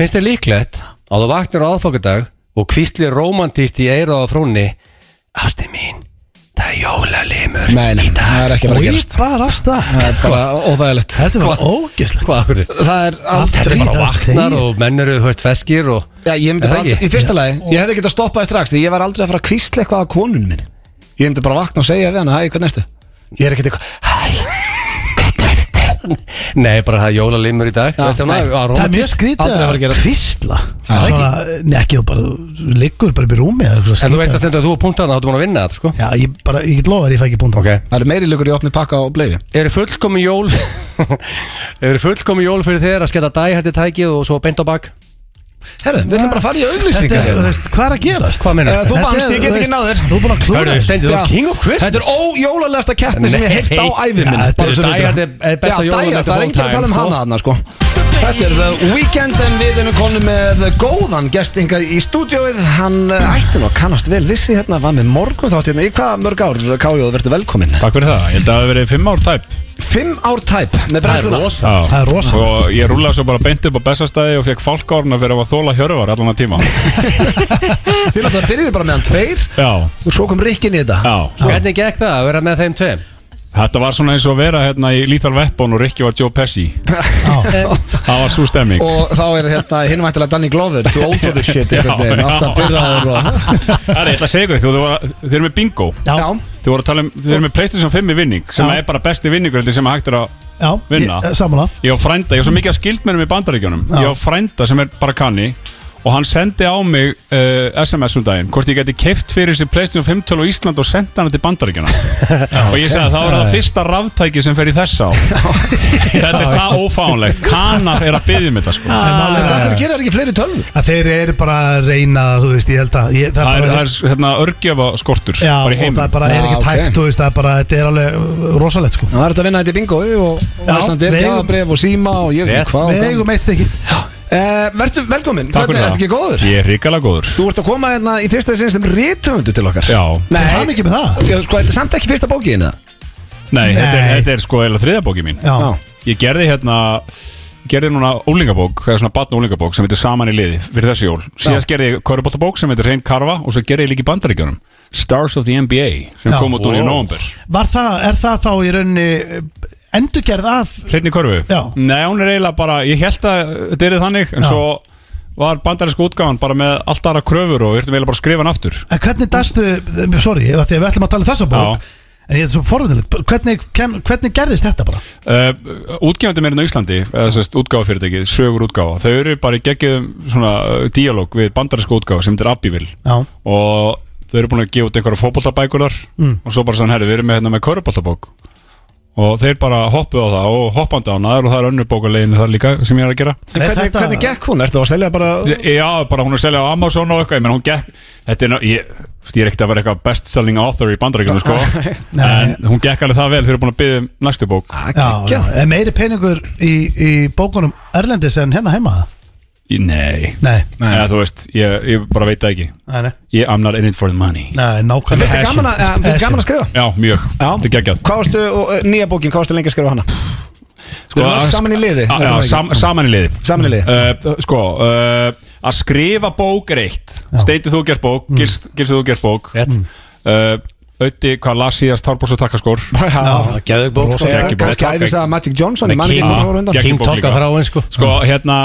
S2: Finnst þér líklegt Að þú vaknar á aðfokkadag Og kvíslir romantíst í eira á frónni Ásti mín Það er jólalimur
S5: Nei, nei, það er ekki að fara að gerast
S3: bara stað
S5: Það er bara óþægilegt
S3: Þetta er bara ógeslegt
S2: Hvað, akkur
S5: Það er
S3: Þetta
S5: aldrei
S3: er bara
S2: Vaknar og menn eru, þú veist, feskir og
S5: Já,
S2: Er
S5: ég myndi
S2: það
S5: bara aldrei,
S2: ekki?
S5: í fyrsta lagi, ég hefði getað stoppaði strax því ég var aldrei að fara að kvísla eitthvað að konun minn ég myndi bara vakna og segja við hana, hæ, hvernig ertu? Ég er ekkert eitthvað, hæ, hvernig ertu?
S2: Nei, bara það er jólalimur í dag
S5: Já,
S2: veist,
S5: nei.
S2: það, var
S3: Það er mjög
S2: romantískt.
S3: skrítið
S5: Aldrei að fara að gerast.
S3: kvistla
S5: Já, það
S3: Svona, Nei, ekki, þú bara þú liggur bara upp í rúmi eða eitthvað
S2: En þú veist að
S3: skrítið.
S2: stendur að þú er punktana Þá ertu búin að vinna þetta, sko
S3: Já, ég bara, ég get lofa þér, ég fæ ekki búin
S2: Ok
S5: Það eru meiri lukur í opni pakka og bleiði
S2: Eru fullkomi jól Eru fullkomi jól fyrir þér að skella dæ hætti tækið og svo beint á bak
S5: Herru, við ætlum bara að fara í
S3: Þetta er,
S5: auglýsingar hérna.
S3: þú veist, hvað er að gerast?
S2: Hvað meinar
S5: Eh,
S2: þú?
S5: þú-
S3: Þetta
S5: vannst,
S3: er,
S5: ég get
S3: þú
S5: ekki
S3: veist,
S5: náð þér.
S3: Þú er búin að klúra
S2: Hörru,
S3: þessu.
S2: Steindi, þú
S5: Já.
S2: er king of Christmas
S5: Þetta er ójólalegasta keppni sem ég
S2: Nei.
S5: heyrt á æfiminni
S2: Dæ
S3: Já, þetta er
S2: hætti er besta
S5: Já,
S2: jól
S5: dæja, það er enginn að tala um hana þarna sko Þetta er The Weeknd en við erum konu með góðan gest hingað í stúdióið Hann eh, ætti nú að kannast vel vissi hérna, var með morgun þátt hérna Í hvað mörg ár, Kájóð, verður velkomin
S6: Takk fyrir það, ég held að það hafi verið fimm ár tæp
S5: Fimm ár tæp með brennsluna
S6: Já.
S3: Það er rosa.
S6: Og ég rúlaði svo bara beint upp á bestastæði og fekk fálkárna fyrir að hafa þóla hjörvar allan að tíma
S5: Þið náttúrulega byrjuðu bara meðan tveir
S6: Já,
S5: og svo kom Rikkin í þetta
S6: já
S2: Sko, Hvernig gekk það að vera með þeim tveim?
S6: Þetta var svona eins og að vera hérna í Lethal Weapon og Rikki var Joe Pesci
S3: Eh,
S6: Það var svo stemming
S5: og þá er hérna hinvæntilega Danny Glover to old for the shit einhvern veginn alltaf byrjaður og
S6: Það er eitthvað að segja ykkur, þú- þú var- þið eru með bingo
S5: já,
S6: Þið voru að tala um, þið eru með Playstation 5 í vinning sem
S3: Já.
S6: er bara besti vinningur heldur sem hægt er að
S3: Já,
S6: Vinna.
S3: ég- eh, sammála.
S6: Ég á frænda, ég á svo mikið af skildmennum í bandaríkjunum Ég á frænda sem er bara kanni Og hann sendi á mig uh, SMS um daginn Hvort ég geti keift fyrir þessi Playstation 5 töl á Ísland og senda hana til bandaríkjuna Og ég segi að það var það fyrsta ráftæki sem fer í þessa á Þetta er það ófánlegt Kanar er að byggja með þetta sko
S3: En málið
S5: en
S3: er
S5: hvað
S3: að-
S5: þurfið gerir ekki fleiri tölv?
S3: að Þeir eru bara að reyna, þú veist, ég held að ég, það,
S6: Það er, það
S3: bara,
S6: er hérna örgjöfa skortur
S3: Já,
S6: bara í
S3: og
S6: heim
S3: það er bara, er
S5: Já,
S3: ekki
S5: ok.
S3: tækt, þú veist, það er bara, þetta er alveg uh, rosalegt, sko
S5: Það var þetta að vinna þetta í bingo og
S3: Já,
S5: Íslandi er
S3: við eigum-
S5: gjafabref og síma og ég veit
S2: Rétt,
S5: ekki hvað
S3: Við eigum eitt ekki
S5: Eh, Vertu velkomin,
S6: Takk
S5: hvernig
S6: fyrir
S5: er
S6: það
S5: ekki góður?
S6: Ég er ríkala góður
S5: Þú ert að koma hérna í fyrsta sinn sem rithöfundu til okkar
S6: Já.
S5: Nei,
S3: Það er mikið með það
S5: Já, sko, þetta er samt ekki fyrsta bókið hérna
S6: Nei, Þetta, er,
S3: Nei.
S6: þetta er sko eða þriðabóki mín
S3: Já,
S5: Já.
S6: Ég gerði hérna ég gerði núna úlingabók, eða svona batna úlingabók sem heitir Saman í liði fyrir þessi jól síðast gerði ég köruboltabók sem heitir Reyn Karfa og svo gerði ég líka í bandaríkjunum Stars of the NBA sem
S3: Já.
S6: kom út núna í
S2: Wow.
S6: november
S3: Var það, er það þá í rauninni uh, endurgerð af
S6: Hreinni körfu?
S3: Já.
S6: Nei, hún er eiginlega bara, ég held að þetta er þannig en
S3: Já.
S6: svo var bandarísku útgáfan bara með allt aðra kröfur og við ertum eiginlega bara að skrifa hann aftur
S3: En eh, hvernig dastu, eh, sorry, af því að við ætlum að tala um þessa bók En ég er svo forvindilegt, hvernig, kem- hvernig gerðist þetta bara?
S6: Uh, útgefandi meirinn á Íslandi eða sérst útgáfafyrirtækið, sögur útgáfa þau eru bara í geggjum svona uh, díalóg við bandarísku útgáfa sem þetta er Abbeville
S3: Já,
S6: og þau eru búin að gefa út einhverja fótboltabækur þar og svo bara sann, herri, við erum með hérna með köruboltabók og þeir bara hoppuð á það og hoppandi á hana og það er önnur bók á leiðinni þar líka sem ég er að gera
S1: En
S3: Nei,
S1: hvernig,
S3: þetta-
S1: hvernig gekk hún? Ertu að selja bara
S6: Ég- Já, bara hún er að selja á Amazon og eitthvað, ég menn hún gekk þetta er, ná- ég, þú veist, ég er ekkert að vera eitthvað bestselling author í bandarækjum, sko
S3: Nei.
S6: en hún gekk alveg það vel, þau eru búin að byggja um næstu bók
S1: að
S3: já, já, er meiri peningur í, í bókunum Erlendis en hérna heima
S6: Í- Nei,
S3: Nei,
S6: Eða, þú veist, ég, ég bara veit það ekki
S3: nei, nei,
S6: ég, I'm not in it for the money
S3: nei
S1: En
S3: nákvæmlega
S1: finnst þið gaman, að- eh, finnst þér gaman að skrifa?
S6: Já, mjög, þetta er geggjað
S1: Hvað varstu, og, eh, nýja bókin, hvað varstu lengi að skrifa hana? Sko,
S6: að sk-
S1: saman í liði
S6: Já,
S1: þetta var ekki.
S6: sam, saman í liði
S1: Saman í liði.
S6: uh, Sko, uh, að skrifa bók er eitt Steitið þú gert bók, mm. gils, gilsið þú gert bók
S2: Rétt.
S6: uh, Ötti, hvað las ég að Starbors og Takkaskór
S1: Já,
S2: Gæðu bók sko.
S1: Eða
S6: geggjubók.
S1: kannski æfis að Magic Johnson Ég man ekki
S2: King-
S1: hvernig voru undan
S6: geggjubók
S2: King Talk
S6: líka.
S2: að þráin sko
S6: Sko, hérna,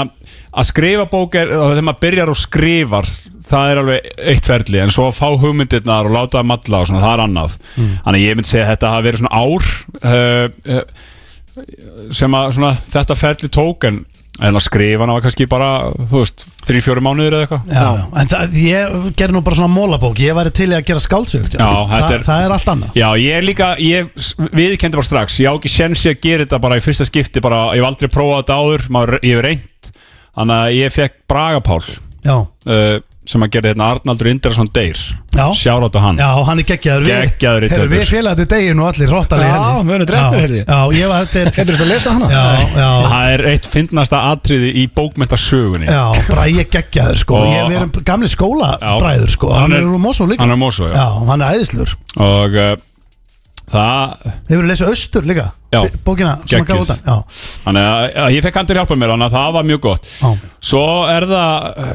S6: að skrifa bók er að Þegar maður byrjar og skrifar Það er alveg eitt ferli En svo að fá hugmyndirnar og láta það malla og svona, Það er annað Þannig að ég myndi segja að þetta hafi verið svona ár uh, uh, Sem að svona, þetta ferli tók En, en að skrifa hana var kannski bara Þú veist, 3-4 mánuðir eða eitthvað
S3: Já, en það, ég gerði nú bara svona mólabók Ég væri til í að gera skáldsögt
S6: Já, þetta er-
S3: Það er allt annað
S6: Já, ég er líka, ég viðkendi bara strax Ég á ekki sjensi að gera þetta bara í fyrsta skipti bara, Ég hef aldrei prófað þetta áður, maður, ég hef reynt Þannig að ég fekk Bragapál
S3: Já,
S6: uh, sem að gera hérna Arnaldur Indrason Deyr
S3: Já.
S6: Sjárat á hann
S3: já hann er geggjaður við-
S6: Geggjaður
S3: Heyrðu, Við
S6: rithöfundur.
S3: félagandi deginu og allir hróttalega
S1: Já, við erum drepnir, heyrðu.
S3: Já, ég var þetta
S1: Getur þú að lesa hana?
S3: er- Já, já
S6: Það er eitt fyndnasta atriði í bókmyndasögunni
S3: Já, bara ég geggjaður sko
S6: Og-
S3: Ég verið gamli
S6: Já.
S3: skólabræður sko Hann er úr Mosó líka
S6: Hann er úr Mosó, já.
S3: Já, hann er æðislur
S6: Og uh, það
S3: Þeir verið lesið Östur líka
S6: Já.
S3: Fi- Bókina sem hann gaf
S6: Geggjuð.
S3: út hann. Já,
S6: Þannig að að ég fekk hann til að hjálpa mér Þannig að það var mjög gott
S3: Já.
S6: Svo er það uh,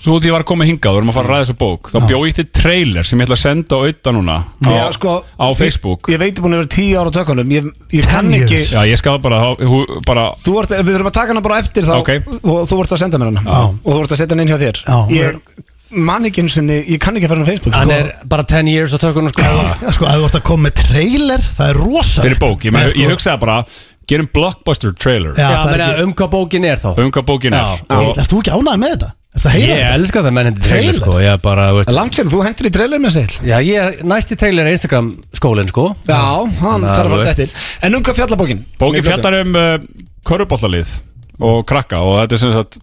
S6: Svo því ég var að koma hingað Þú erum að fara að ræða þessa bók Þá bjó ég til trailer sem ég ætla að senda á auðta núna á,
S1: Já, sko,
S6: á Facebook
S1: Ég, ég veit búin að vera tíu ára á tökunum Ég, ég kann
S3: Ten
S1: ekki
S3: years.
S6: Já, ég skal bara, hú, bara
S1: Þú ert, við þurfum að taka hana bara eftir þá
S6: Ok.
S1: og þú ert að senda mér hana
S3: Já.
S1: og þú ert að setja hana inn hjá þér
S3: Já.
S1: ég man ekki eins og ég kann ekki að fara á Facebook
S2: Hann
S1: sko.
S2: er bara 10 years á tökunum sko
S3: Sko, að þú ert að koma með trailer Það er rosalegt
S6: Fyrir bók, ég,
S3: Nei,
S6: meni,
S3: sko,
S6: ég hugsaði bara Gerum blockbuster trailer
S3: Já,
S2: Já,
S3: það er
S2: menna
S3: ekki
S2: um hvað bókin er þá
S6: Um hvað bókin
S2: Já.
S6: er Og-
S3: Erst þú ekki ánægð með þetta? Erst það
S2: Ég
S3: heyrað þetta?
S2: elska það menn hindi trailer
S3: Trailer?
S2: sko Ég er bara, veist
S1: En langt sem þú hendur í trailer með sér
S2: Já, ég er næsti trailer er Instagram skólinn sko
S1: Já, hann þarf
S2: Já,
S1: að
S2: þú
S1: fara
S2: veist.
S1: þetta eftir En um hvað fjallabókin?
S6: Bókin fjallar um uh, körubóllalið og krakka og þetta er sem sagt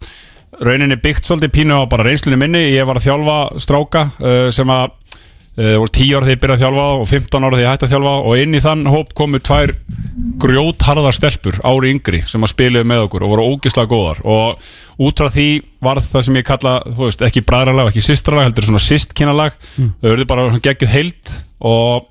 S6: rauninni byggt svolítið pínu á bara reynslunni minni ég var að þjálfa stráka uh, sem að uh, voru 10 ára þegar ég byrjaði að þjálfa og 15 ára þegar ég hætti að þjálfa og inn í þann hóp komu tvær grjótharðar stelpur ári yngri sem að spiluðu með okkur og voru ógislega góðar og út frá því varð það sem ég kalla þú veist, ekki bræðralag, ekki sýstralag heldur svona sýstkinalag þau verður bara geggjuð heilt og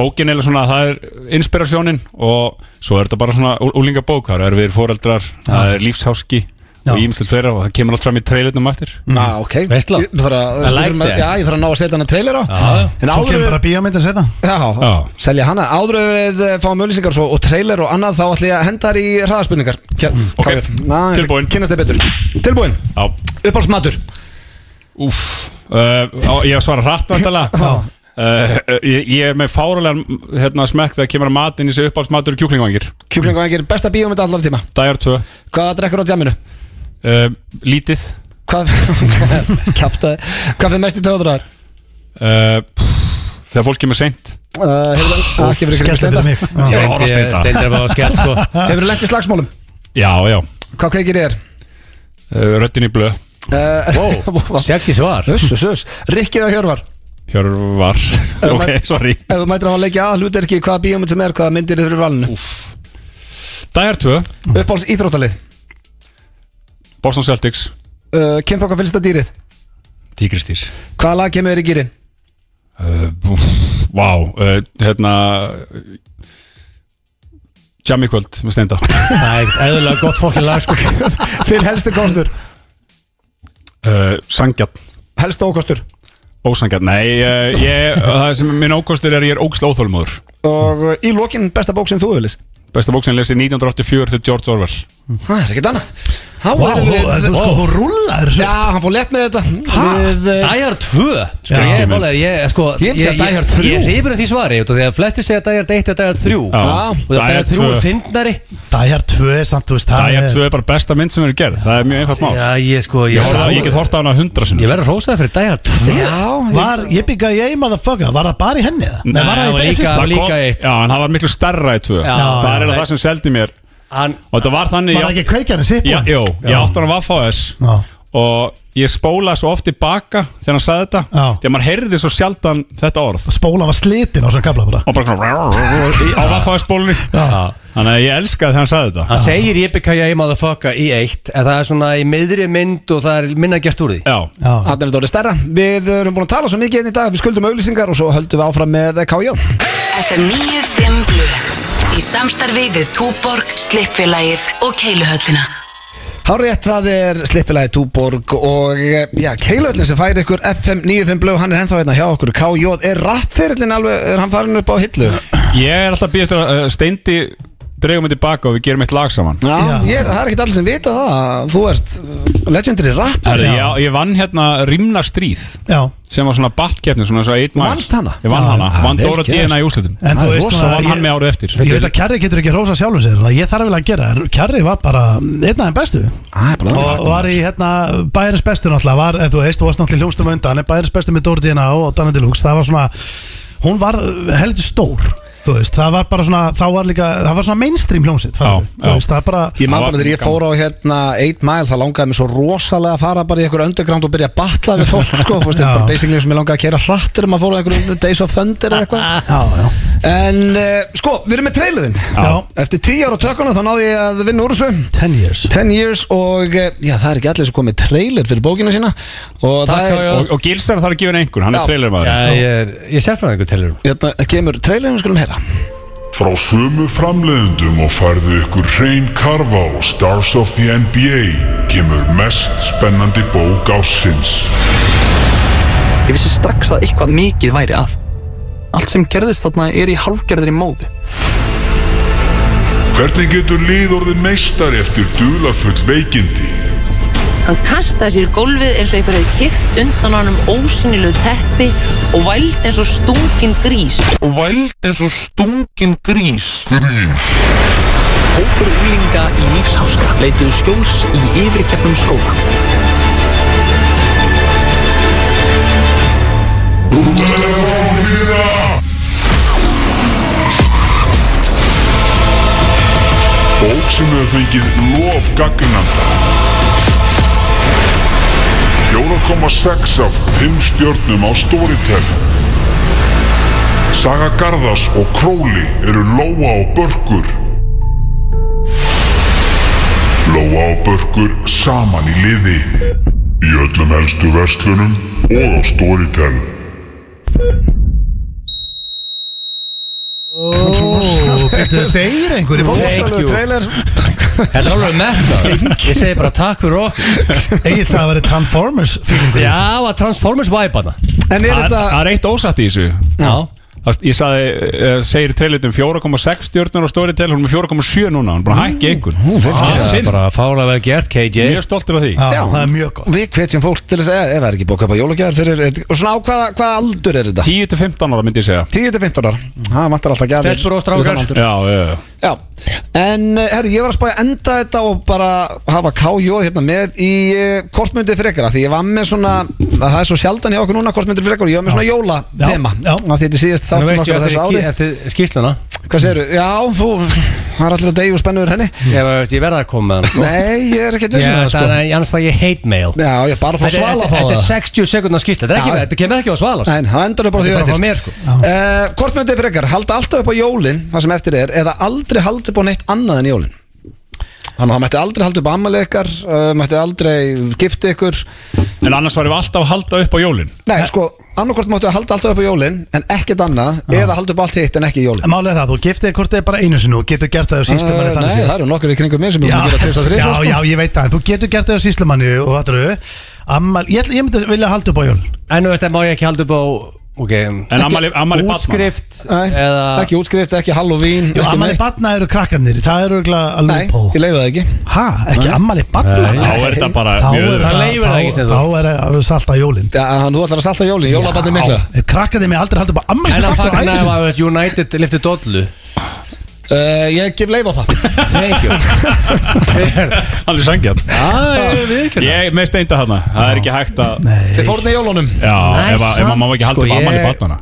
S6: bókin er svona, það er inspirasjónin og svo er þetta bara svona úlinga bók, það er við foreldrar það er lífsháski
S3: Já.
S6: og ímslut fleira og það kemur allt fram í trailertum eftir
S5: Mm.
S1: Já, Ah, ok
S2: Veistla.
S1: Ég þarf að-
S2: I like that.
S1: Já, ég þarf að ná að setja hana trailer á En
S3: Svo
S1: áður
S3: kemur
S1: við
S3: bara bíómyndin setna
S1: Já,
S6: Já.
S1: selja hana Áður en við eh, fáum öllisingar svo og trailer og annað þá ætla ég að henda þær í hraðaspurningar Kjær,
S6: Ok.
S1: KF. Aðeins að
S6: Tilbúin.
S1: Kynnast þið betur Tilbúin
S6: Já,
S1: Uppáhaldsmatur
S6: úf uh, á, Ég svara hratt vandalega uh, ég, ég er með fárulegan hérna, smekk þegar kemur að matinn í sig uppáhaldsmatur kjúklingvangir,
S1: Kjúklingvængir, besta bíómynd allar tíma
S6: dagar tvö uh,
S1: Hvað drekkur á djaminu?
S6: lítið
S1: Hvað Kjaftaði Hvað fyrir mest í töðurar?
S6: uh, pff, þegar fólk kemur seint
S1: Uh, hefur
S3: Skellti fyrir mig Já.
S6: Ég er að horfa
S2: Steindi-
S6: á Steinda.
S2: Steindi er bara að skell sko
S1: Hefur lent í slagsmálum?
S6: Já, já,
S1: Hvað kveikir þér?
S6: uh, röddin í blöð
S1: Uh,
S2: Wow, sexy svar
S1: Uss, uss, uss Rikkið og Hjörvar
S6: Hjörvar, ok, sorry
S1: Ef þú mætir á að leikja að hlutirki Hvaða bíómynd sem er, hvaða myndir þið fyrir valinu
S6: Dagar tvö,
S1: Uppáhalds íþróttalið
S6: Boston Celtics
S1: uh, Kynþokka fylgsta dýrið
S6: Tígristýr
S1: Hvaða lag kemur þér í gýrin?
S6: Uh, úff, Vá, uh, hérna Jammy kvöld með steinda
S2: Það er eðlilega gott fólkið lag sko
S1: Þinn helsti kostur
S6: uh, Sangjarn,
S1: Helsti ókostur
S6: ósangjarn Nei, uh, ég, það sem minn ókostur er ég er ógst óþólmóður
S1: Og uh, í lokin besta bók sem þú hefur lýst
S6: Besta bók sem ég lesi 1984 til George Orwell
S1: Það er ekkert annað Há
S3: Vá,
S1: erum við-
S3: þú- þú sko, þú rúlar þessu.
S1: Já, hann fór lett með þetta Við, eh,
S2: Die Hard 2 sko,
S3: Já.
S2: ég, er málega, ég, sko,
S1: Ég myndi segja Die Hard 3.
S2: Ég hrifur um því svari út af því að flesti segja Die Hard 1 eða Die Hard 3
S6: Já.
S2: Og það er Die Hard 3 er fyndnari
S3: Dæjar 2 er samt, þú veist það
S6: Dæjar
S3: er-
S6: 2 er bara besta mynd sem eru gerð Það er mjög einfalt mál
S2: Ah, Já, ég sko Ég,
S6: Ég, horfði á- ég get hort á hana hundra sinni
S2: Ég verður rósaði fyrir Die Hard 2
S1: Já,
S3: Var, ég byggaði ég motherfucker, var það bara í henni eða? Nei, var
S2: það
S3: það
S2: var
S3: í
S2: líka-
S3: fyrsta?
S2: var líka eitt.
S6: Já, en það var miklu stærra í 2
S2: Já.
S6: Það er eiginlega
S2: Já.
S6: það sem seldi mér
S2: Hann
S6: Og þetta var þannig
S3: Var það ekki kveikjarinn
S6: Já,
S3: sýpun?
S6: jú, ég átti hann að vaffa á þess
S3: Já.
S6: Og ég spóla svo oft tilbaka Þegar hann sagði þetta
S3: Já.
S6: Þegar maður heyrði svo sjaldan þetta orð
S3: Spólan var slitin á svona kabla bara
S6: Og bara svona Á vaffa á spólunni Þannig að ég elskaði þegar hann sagði þetta
S2: Hann segir Yippee-Ki-Yay motherfucker í eitt En það er svona í miðri mynd og það er minna gert úr því
S6: Já,
S3: Já,
S1: Þannig er þetta orðið stærra Við erum búin að tala svo mikið hérna í dag Við skuldum auðlýsingar og svo höldum við áfram með KJ
S5: FM 95 Blu Í samstarfi við Túborg, Slippfélagið og Keiluhöllina
S1: Hárétt, það er slippilagi Túborg og eh, já, Keilöldin sem færi ykkur FM 95 blöð, hann er ennþá hérna hjá okkur KJ, er rappferillin alveg, er hann farin upp á hillu?
S6: ég er alltaf býð eftir að uh, Steindi dreigum mig tilbaka og við gerum eitt lag saman
S1: Já, ég, er- það er ekkert allir sem vita það að Þú ert eh, legendary rappar
S6: Herri, já, ég vann hérna Rimna stríð
S3: já
S6: sem var svona battkeppni svona svo einn maður.
S1: Vannst hana?
S6: Ég vann
S3: Já,
S6: hana,
S1: já,
S6: vann
S1: vel
S6: Dóra
S1: gert.
S6: DNA í úslitum
S3: En
S1: Það
S3: þú
S1: er
S3: veist
S1: rosa,
S6: Svo
S3: svona
S6: vann hann
S3: ég-
S6: mig árið eftir
S3: Ég veit að Kjarri getur ekki rósa sjálfum sér þannig að Ég þarf vel að gera En Kjarri var bara einn aðeins bestu
S7: Ah,
S1: Það er bara
S3: Og og var í hérna bæjarins bestu náttúrulega Var, ef þú veist, þú varst náttúrulega í hljómsnum á undan En bæjarins bestu með Dóri Dina og Danny Deluxe Það var svona, hún var heldur stór Þú veist, það var bara svona Það var líka, það var svona mainstream hljómsitt fattarðu?
S6: Já, já.
S3: Þú veist, það er bara
S1: Ég man
S6: Það
S1: bara
S6: var
S1: þegar ég
S6: gaman.
S1: fór á hérna 8 mile, það langaði mér svo rosalega að fara bara í einhver underground og byrja að batla við fólk sko, fórst, þetta er
S3: Já.
S1: bara basically sem ég langaði að kera hrattir um að fóra á einhverjum Days of Thunder eða eitthvað
S3: Já, já,
S1: En uh, sko, við erum með trailerinn
S3: já,
S1: Eftir 10 ára tökuna þá náði ég að vinna úr þessu
S3: 10 years
S1: 10 years og eh, já, það er ekki allir sem komið trailer fyrir bókina sína og það er,
S6: Og, og Gilsar þarf að gefa henni einhvern, hann
S1: Já.
S6: er trailermaður
S2: Já, ég er, ég sér frá einhver telur
S1: hérna, kemur trailerinn við skulum heyra
S8: Frá sömu framleiðendum og færðu ykkur hrein karfa og Stars of the NBA kemur mest spennandi bók ásins.
S7: Ég vissi strax að eitthvað mikið væri að. Allt sem gerðist þarna er í halvgerðri móðu.
S8: Hvernig getur lið orðið meistar eftir dularfull veikindi?
S9: Hann kastaði sér í gólfið eins og einhver hefði kift undan honum ósynilegu teppi og væld eins og stungin grís.
S7: Hópur úlinga í lífsháska leituðu skjóls í yfirkeppnum skóla.
S8: Rúðarfónina! Bók sem hefur fengið lof gagginanda. 4,6 af 5 stjörnum á Storytel. Saga Garðas og Króli eru Lóa og Börkur. Lóa og Börkur saman í liði. Í öllum helstu verslunum og á Storytel.
S3: Ó, betur, deyr einhver í fólk
S2: Thank
S1: Rosalegu
S2: you
S1: trailer
S2: Þetta er alveg metta Ég segi bara takk fyrir okkur
S3: Egil það að vera Transformers feelingur í þessu.
S2: Já, að Transformers vibe hana
S1: En er
S6: Það er-
S1: þetta
S6: það er eitt ósatt í þessu
S2: Já
S6: Það, ég sagði, uh, segir trailerðum 4,6 stjórnur á Storytel, hún er með 4,7 núna, hún er
S2: Mm.
S6: bara að hækki einhvern
S1: Ú, vel
S6: Ah.
S1: gert.
S2: Það
S6: Finn.
S2: er bara fálega vel gert KJ
S6: Mjög stoltur af því
S3: Já,
S1: Já.
S3: það er mjög gott
S1: Við hvetjum fólk til að segja ef það er ekki búið að kaupa jólagjafar fyrir og svona á hvaða, hvaða aldur er þetta?
S6: 10 til 15 ára myndi ég segja
S1: 10 til 15 ára Það vantar alltaf gjafir
S2: Stelpur og strákar.
S1: við þann aldur.
S6: Já, já, já
S1: Já, en eh, herri, ég var að spája enda þetta og bara hafa KJ hérna með í eh, kortmyndið frekar af því ég var með svona, að það er svo sjaldan hjá okkur núna kortmyndið frekar, ég var með svona
S3: Já,
S1: jólathema
S3: já.
S1: af því þetta er síðast
S2: Nú
S1: þáttum
S2: veit ég
S1: okkar á
S2: eftir,
S1: þessu ári
S2: eftir skýsluna
S1: Hvað segirðu? Já, þú, það er allir að deyja og spenna yfir henni
S2: Ég, veist, ég verða að koma með hann
S1: Hmm. Nei, ég er ekki að
S2: Ég,
S1: vissin um það
S2: það
S1: sko
S2: er annars fæ ég hate mail
S1: Já, ég bara fór
S2: Þetta-
S1: svala
S2: þetta-
S1: þá
S2: Þetta er
S1: það
S2: 60 sekundna skýsla Þetta er
S1: Já.
S2: ekki- þetta kemur ekki á svala sko.
S1: Nei, það endur bara því
S2: Þetta
S1: að
S2: er bara frá
S1: þetta
S2: mér, sko.
S1: uh, Kortmyndið frekar, halda alltaf upp á jólin það sem eftir er, eða aldrei halda upp á neitt annað en jólin Þannig að það mætti aldrei halda upp á ammali ykkar uh, mætti aldrei gifta ykkur
S6: En annars varum við alltaf að halda upp á jólin
S1: Nei, sko, annarkort máttu að halda alltaf upp á jólin en ekkert annað, eða halda upp á allt hitt en ekki jólin
S3: Málið er það, þú giftið hvort eða bara einu sinni og getur gert það á síslumanni
S1: Eh,
S3: þannig
S1: Nei, það eru nokkur í kringum mér sem ég búin að gera til þess að
S3: já,
S1: þrýsa
S3: já, ég veit það, en þú getur gert það á síslumanni og það eru Ammal, ég, ætla- ég myndi vilja halda upp á jól
S2: En nú veist, má ég ekki halda upp á Ok,
S6: En ammali, ammali Batman
S2: útskrift
S1: Nei,
S2: eða
S1: Ekki útskrift, ekki Halloween
S3: Jú,
S1: ekki
S3: ammali batna eru krakkarnir, það eru örugglega að
S1: Nei,
S3: lúpa
S1: ég leiði það ekki
S3: Hæ, ekki ammali
S6: Þá
S3: batna?
S6: er þetta bara
S3: Þá
S6: mjög
S3: er
S6: öðruvísi.
S2: Það leyfir það ekki,
S3: það,
S2: Steindór.
S3: þá er það salta jólin
S1: Já, hann, Þú ætlar að salta jólin, jólabarnið mikla
S3: Krakkarnir með aldrei haldið bara ammali
S2: En að fagna ef að United lifti dollu
S1: uh, Ég gef leif á það
S2: Thank you
S6: Allir sangjarn
S2: Það er viðkjörna
S6: Ég með steinda hana Það er ekki hægt að
S1: Þið
S3: Nei,
S1: fórnir jólunum
S6: Já,
S2: Nei,
S6: ef að- ef að má
S2: samt,
S6: ekki
S2: sko,
S6: halda upp ammali
S2: ég-
S6: Batmana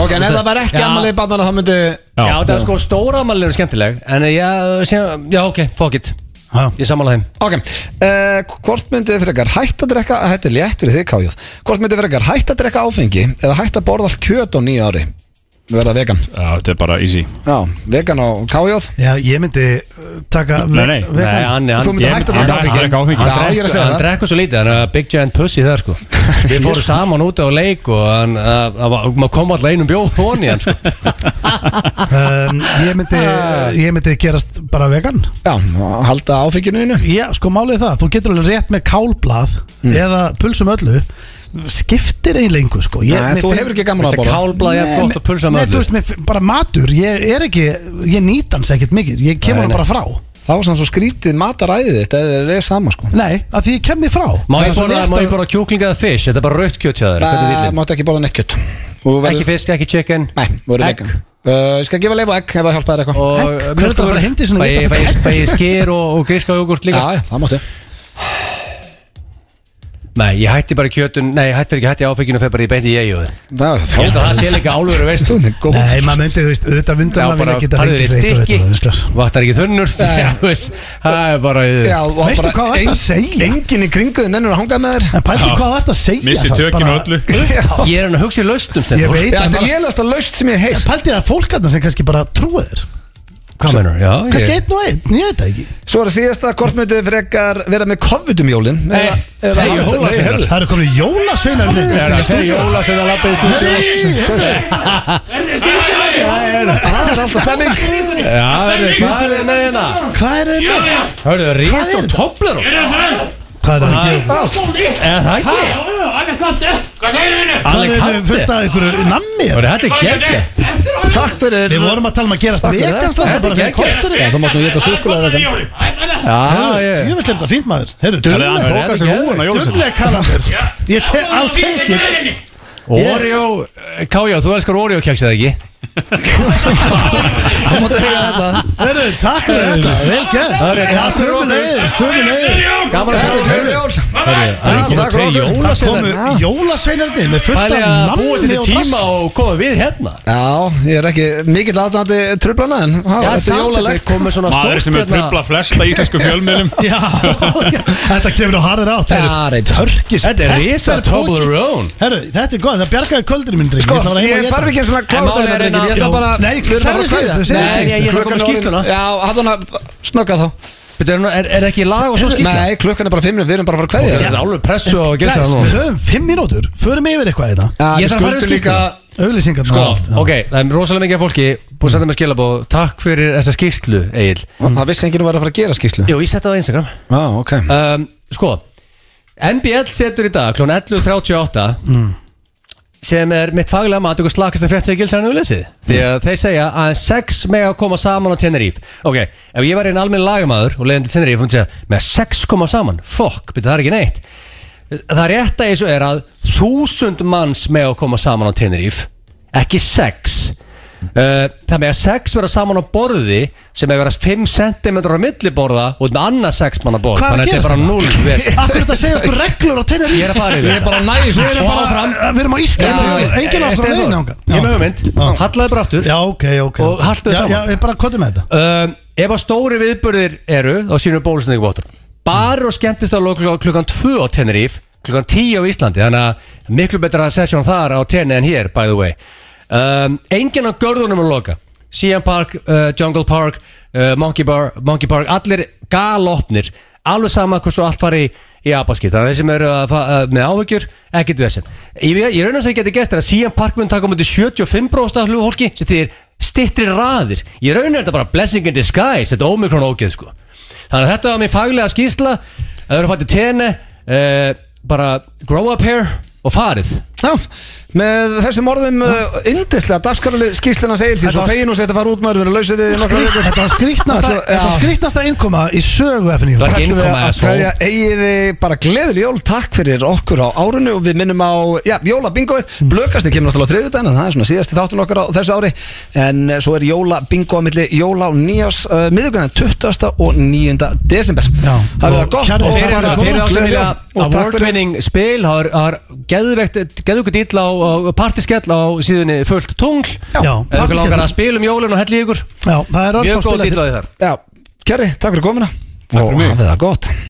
S1: Ok, en ef það var ekki
S2: Já.
S1: ammali barnana það myndi
S2: Já, það er sko stóra ammali er skemmtileg En já, sem, já ok, fuck it
S3: Ha.
S2: Ég sammála þeim
S1: Ok, uh, hvort myndi frekar hætt að drekka Þetta er létt fyrir þig kájóð Hvort myndi frekar hætt að drekka áfengi Eða hætt að borða allt kjöt á nýju ári Verða vegan
S6: Já, þetta er bara easy
S1: Já, vegan á kájóð
S3: já, ég myndi uh, taka
S6: Nei, nei.
S3: vegan-
S2: Nei, hann,
S1: Þú
S2: hann,
S1: myndir
S6: ég-
S1: hætt að
S6: hann-
S1: drekka
S6: hann-
S1: áfengi
S6: hann- áfengi.
S1: Já, ég er að segja
S2: hann
S1: það
S2: drekkur svo lítið, hann er big giant pussy það sko Við fórum saman út á leik og hann, að- að- að- maður kom alltaf einum bjóð honi hann sko
S3: um, ég, myndi, ég myndi gerast bara vegan
S1: Já, halda áfenginu innu
S3: Já, sko málið er það, þú getur alveg rétt með kálblað eða pulsum öllu skiptir eiginlega engu sko ég,
S1: Nei,
S3: mér
S1: þú
S3: finn-
S1: hefur ekki gaman á að
S2: Þetta
S1: borða
S2: kálblað ég
S3: Nei,
S2: gott og pulsa
S3: nei,
S2: með
S3: þú
S2: öllu
S3: veist, mér finn- bara matur, ég er ekki ég nýt hans ekkert mikið, ég kemur
S2: Nei,
S3: hann
S2: nei.
S3: bara frá
S1: Þá er samt svo skrítið mataræðið þitt eða Það er sama sko
S3: Nei, af því ég kem þig frá
S2: Má ég
S3: Það er svo
S2: borða-
S3: rétt
S2: má ég
S3: að-
S2: borða kjúkling eða fisk? Þetta er bara rautt kjöt hjá þér hvernig er
S1: Nei,
S2: dýllinn?
S1: máttu ekki borða neitt kjöt Þú
S2: Ekki
S1: verður-
S2: fisk, ekki chicken
S1: Nei, þú verður
S2: Egg.
S1: vegan Uh, Ég skal gefa leif og egg ef það hjálpa þér eitthvað
S2: og
S3: Egg? Hver er þetta að fara heim til sín að
S2: Fæ-
S3: éta
S2: fæ-
S3: þetta?
S2: fæ ég skyr og, og gríska jógurt
S1: Já,
S2: líka
S1: já, það máttu
S2: Nei, ég hætti bara í kjötun Nei, ég hætti ekki, hætti í áfenginu og fer bara í beinti í eigu Ég
S1: Já, þá
S2: held að það sé líka álveru veist
S1: Þú er góð
S3: Nei, maður myndi, þú veist, auðvitað
S2: Já,
S3: vundar maður
S2: bara
S3: vilja geta
S2: farðu
S3: fengið
S2: þér
S3: sér eitt og
S2: stykki
S3: eitt og eitt, sko.
S2: Vatnar ekki þunnur
S1: Já, já.
S2: Já, þú veist, Það er bara
S1: Já, og
S3: Veistu
S1: bara
S3: hvað varstu að
S1: ein-
S3: segja?
S1: Enginn í kringuðin ennur að hanga með þér
S3: En pælti
S6: Já.
S3: hvað það ert að segja
S6: Missi
S3: samt,
S6: tökin
S3: bara-
S6: og öllu.
S2: Ég er hann að hugsa í laustum
S3: Ég
S2: Steindór.
S3: veit
S1: Já,
S3: að
S1: þetta er
S3: maður-
S1: lélast að laust sem ég heist
S3: Pælti það fólk að sem kannski bara trúir
S2: Hvað mennur? Já,
S3: Kannski
S2: ég
S3: einn og einn, ég veit það ekki
S1: Svo er að síðasta, hvort myndið frekar vera með COVID um jólin
S2: Nei, það er jólasveinar.
S1: heyrðu.
S3: Það eru komin jólasveinar
S2: Ég er að segja Jóla sem að lappa í stúdíu
S1: Það er alltaf stemming
S2: Já, verður, hvað er með hérna?
S3: Hvað er það með?
S2: Hörðu,
S3: Hvað
S2: ríst
S3: er
S2: og
S3: þetta?
S2: toplar
S3: Hvað er það að gera?
S2: Er það ekki?
S3: Hvað
S2: Allir
S3: er það með
S2: katti
S3: fullt að einhverju nammi?
S2: Það er þetta geggja
S1: Takk fyrir
S3: Við vorum að tala um að gerast
S1: fyrir
S3: vegan
S1: þetta.
S3: Það er bara
S2: Þetta er
S3: fyrir kortur
S1: Já, Það máttum við geta súkulega
S2: Já,
S3: Ég
S2: ég
S3: vil þetta fínt maður Herru,
S6: Það er að
S3: dulleg
S6: tóka sér húin á jólasölu
S3: Dulleg kalandir Ég te I'll take it
S2: Oreo, Kája, þú elskar Oreo keksið ekki?
S1: Það máttu segja þetta
S3: Herru, takk fyrir þetta Vel gert
S2: Hörru,
S3: Já,
S2: takk fyrir
S3: sömu leiðis Sömu leiðis
S2: Gaman að sjá
S1: Takk fyrir
S2: þér.
S1: Jón.
S2: Það er
S1: takk,
S2: komið tvei
S1: Robert.
S3: Það
S2: jólasveinar
S3: komu jólasveinarnir með fullt af
S2: Það er
S3: nammi
S2: að búa sér til
S3: og
S2: tíma
S3: drasli.
S2: og koma við hérna
S1: Já, ég er ekki mikill aðdæmandi trublana en það
S2: Já,
S1: þetta
S2: samt
S1: er jólalegt
S2: þetta er komið svona
S6: Maður sem er
S2: stórt hérna.
S6: trubla flesta íslensku fjölmiðlum
S3: Já, já, þetta kemur á harðir átt Herru,
S1: Það er
S3: Hörkis
S2: Þetta er risa Toblerone
S3: Herru, þetta er góð, það bjargaði köldurinn minn dreng
S1: Sko, ég þarf ekki svona klára þetta
S2: En málið er
S1: drengir,
S2: hérna-
S1: Ég ætla
S2: Já.
S1: bara
S3: Nei,
S1: við erum bara
S3: segðu
S1: að
S3: síðustu,
S1: kvæða.
S3: segðu
S1: Nei,
S2: síðustu.
S1: ég ætla að
S2: Klukkan
S1: koma
S2: er orðin-
S1: skýrsluna Já, hafðu hana snöggað þá
S2: Bíddu, Er, er, er ekki lag og svo skýrla?
S1: Nei, klukkan er bara 5 við erum bara að fara að
S2: Þetta
S1: kveðja
S2: er alveg pressu á að gera
S3: Gæs,
S2: það
S3: við
S2: nú
S3: höfum fimm mínútur Förum yfir eitthvað hérna
S1: Já,
S2: Ég
S1: við
S2: þarf að fara
S1: skuldum
S2: yfir skýrsluna.
S1: líka-
S3: Auðlýsingarnar og allt, já.
S2: Sko, Ok, það er rosalega mikið af fólki Búið að senda mér skilabóð Takk fyrir þessa skýrslu, Egil
S1: Það vissi enginn að vera að fara að gera skýslu
S2: Jú, ég setja það á Instagram
S1: Já, ok
S2: um, Sko, NBL setur í dag kl. 11.38 sem er mitt faglega mat ykkur slakast að frétta gilsarinn við lesið því að þeir segja að sex með að koma saman á Tenerife ok, ef ég var einn almenn lagamæður og leiðin til Tenerife og segja með að sex koma saman fokk, betur það er ekki neitt það rétta í þessu er að þúsund manns með að koma saman á Tenerife ekki sex Uh, það með að sex vera saman á borði sem hefur verið 5 cm á milliborða út með annað sex manna borð
S3: Hvað er að
S2: þannig að þetta er
S3: gerast
S2: bara
S3: þarna?
S2: 0 vesen.
S3: Akkur þetta segja okkur reglur á tennir
S2: ég er að fara yfir þetta.
S1: næs
S3: Við erum bara Við erum á Íslandi
S1: Já,
S2: Eh,
S3: Engin okkur á
S2: Steindór,
S3: leiðinu ánga
S2: Ég með hugmynd, hallaði bara aftur
S3: Já, ok, ok
S2: Og haltu þið
S3: Já,
S2: saman.
S3: Já, við bara kottum með þetta
S2: um, Ef að stóri viðburðir eru þá sínum bólusendingu vottar Bar og skemmtist á klukkan 2 á Tenerife klukkan 10 á Íslandi þannig að miklu betra sesjón þar á Tenni en hér by the way um, Engin á görðunum að loka CM Park, uh, Jungle Park uh, Monkey, Bar, Monkey Park allir galopnir alveg sama hversu allt fari í, í abaskýt þannig að þeir sem eru að, fa- að, með áhugjur ekkert þessin ég, ég raun og sem geti gæst er að CM Park mun taka um 75% af hlugi sem þýðir stittri raðir ég raun og þetta bara blessing in disguise þetta ómikrón ógeð sko þannig að þetta var mér faglega eh, skýrsla að það eru fætti tenni uh, bara grow up here og farið
S5: Já, með þessum orðum uh,
S1: eh,
S5: yndislega, dagskarali skýsluna segir því
S3: Þetta
S5: svo
S3: var-
S5: fegin og setja að fara út maður við erum lausir við í nokkrar vikur.
S3: Þetta var skrýtnasta
S5: Svo-
S3: Þetta var
S5: já.
S3: skrýtnasta innkoma í sögu FNU
S2: Það er
S5: Ætlum við
S2: innkoma
S5: að
S2: eða svo
S5: kveðja eigiði bara gleðil jól Takk fyrir okkur á árinu og við minnum á já, jólabingoið, blökastin kemur náttúrulega á þriðudaginn en það er svona síðasti þáttun okkar á þessu ári en eh, svo er jólabingo á milli jóla og nýjás uh, miðugunan 20. og 9. desember
S3: Já.
S5: Það er það
S3: Og
S5: gott
S3: kæru
S5: og
S3: þeir-
S2: Fyrir
S5: farið
S3: þeir-
S2: það sem
S5: góð, gleðileg
S2: vilja
S5: jól og takk
S2: award
S5: fyrir
S2: winning spil það er- það er geðvegt geðvöku dýll á, á partyskell á síðunni fullt tungl
S3: Já,
S2: eða okkur langar að
S3: partyskell.
S2: spila um jólun og helli ykkur
S3: Já, það er örfá
S2: mjög góð dýll á því þar
S5: Já, kæri, takk fyrir komina
S1: fyrir
S5: og
S1: mig.
S5: hafið það gott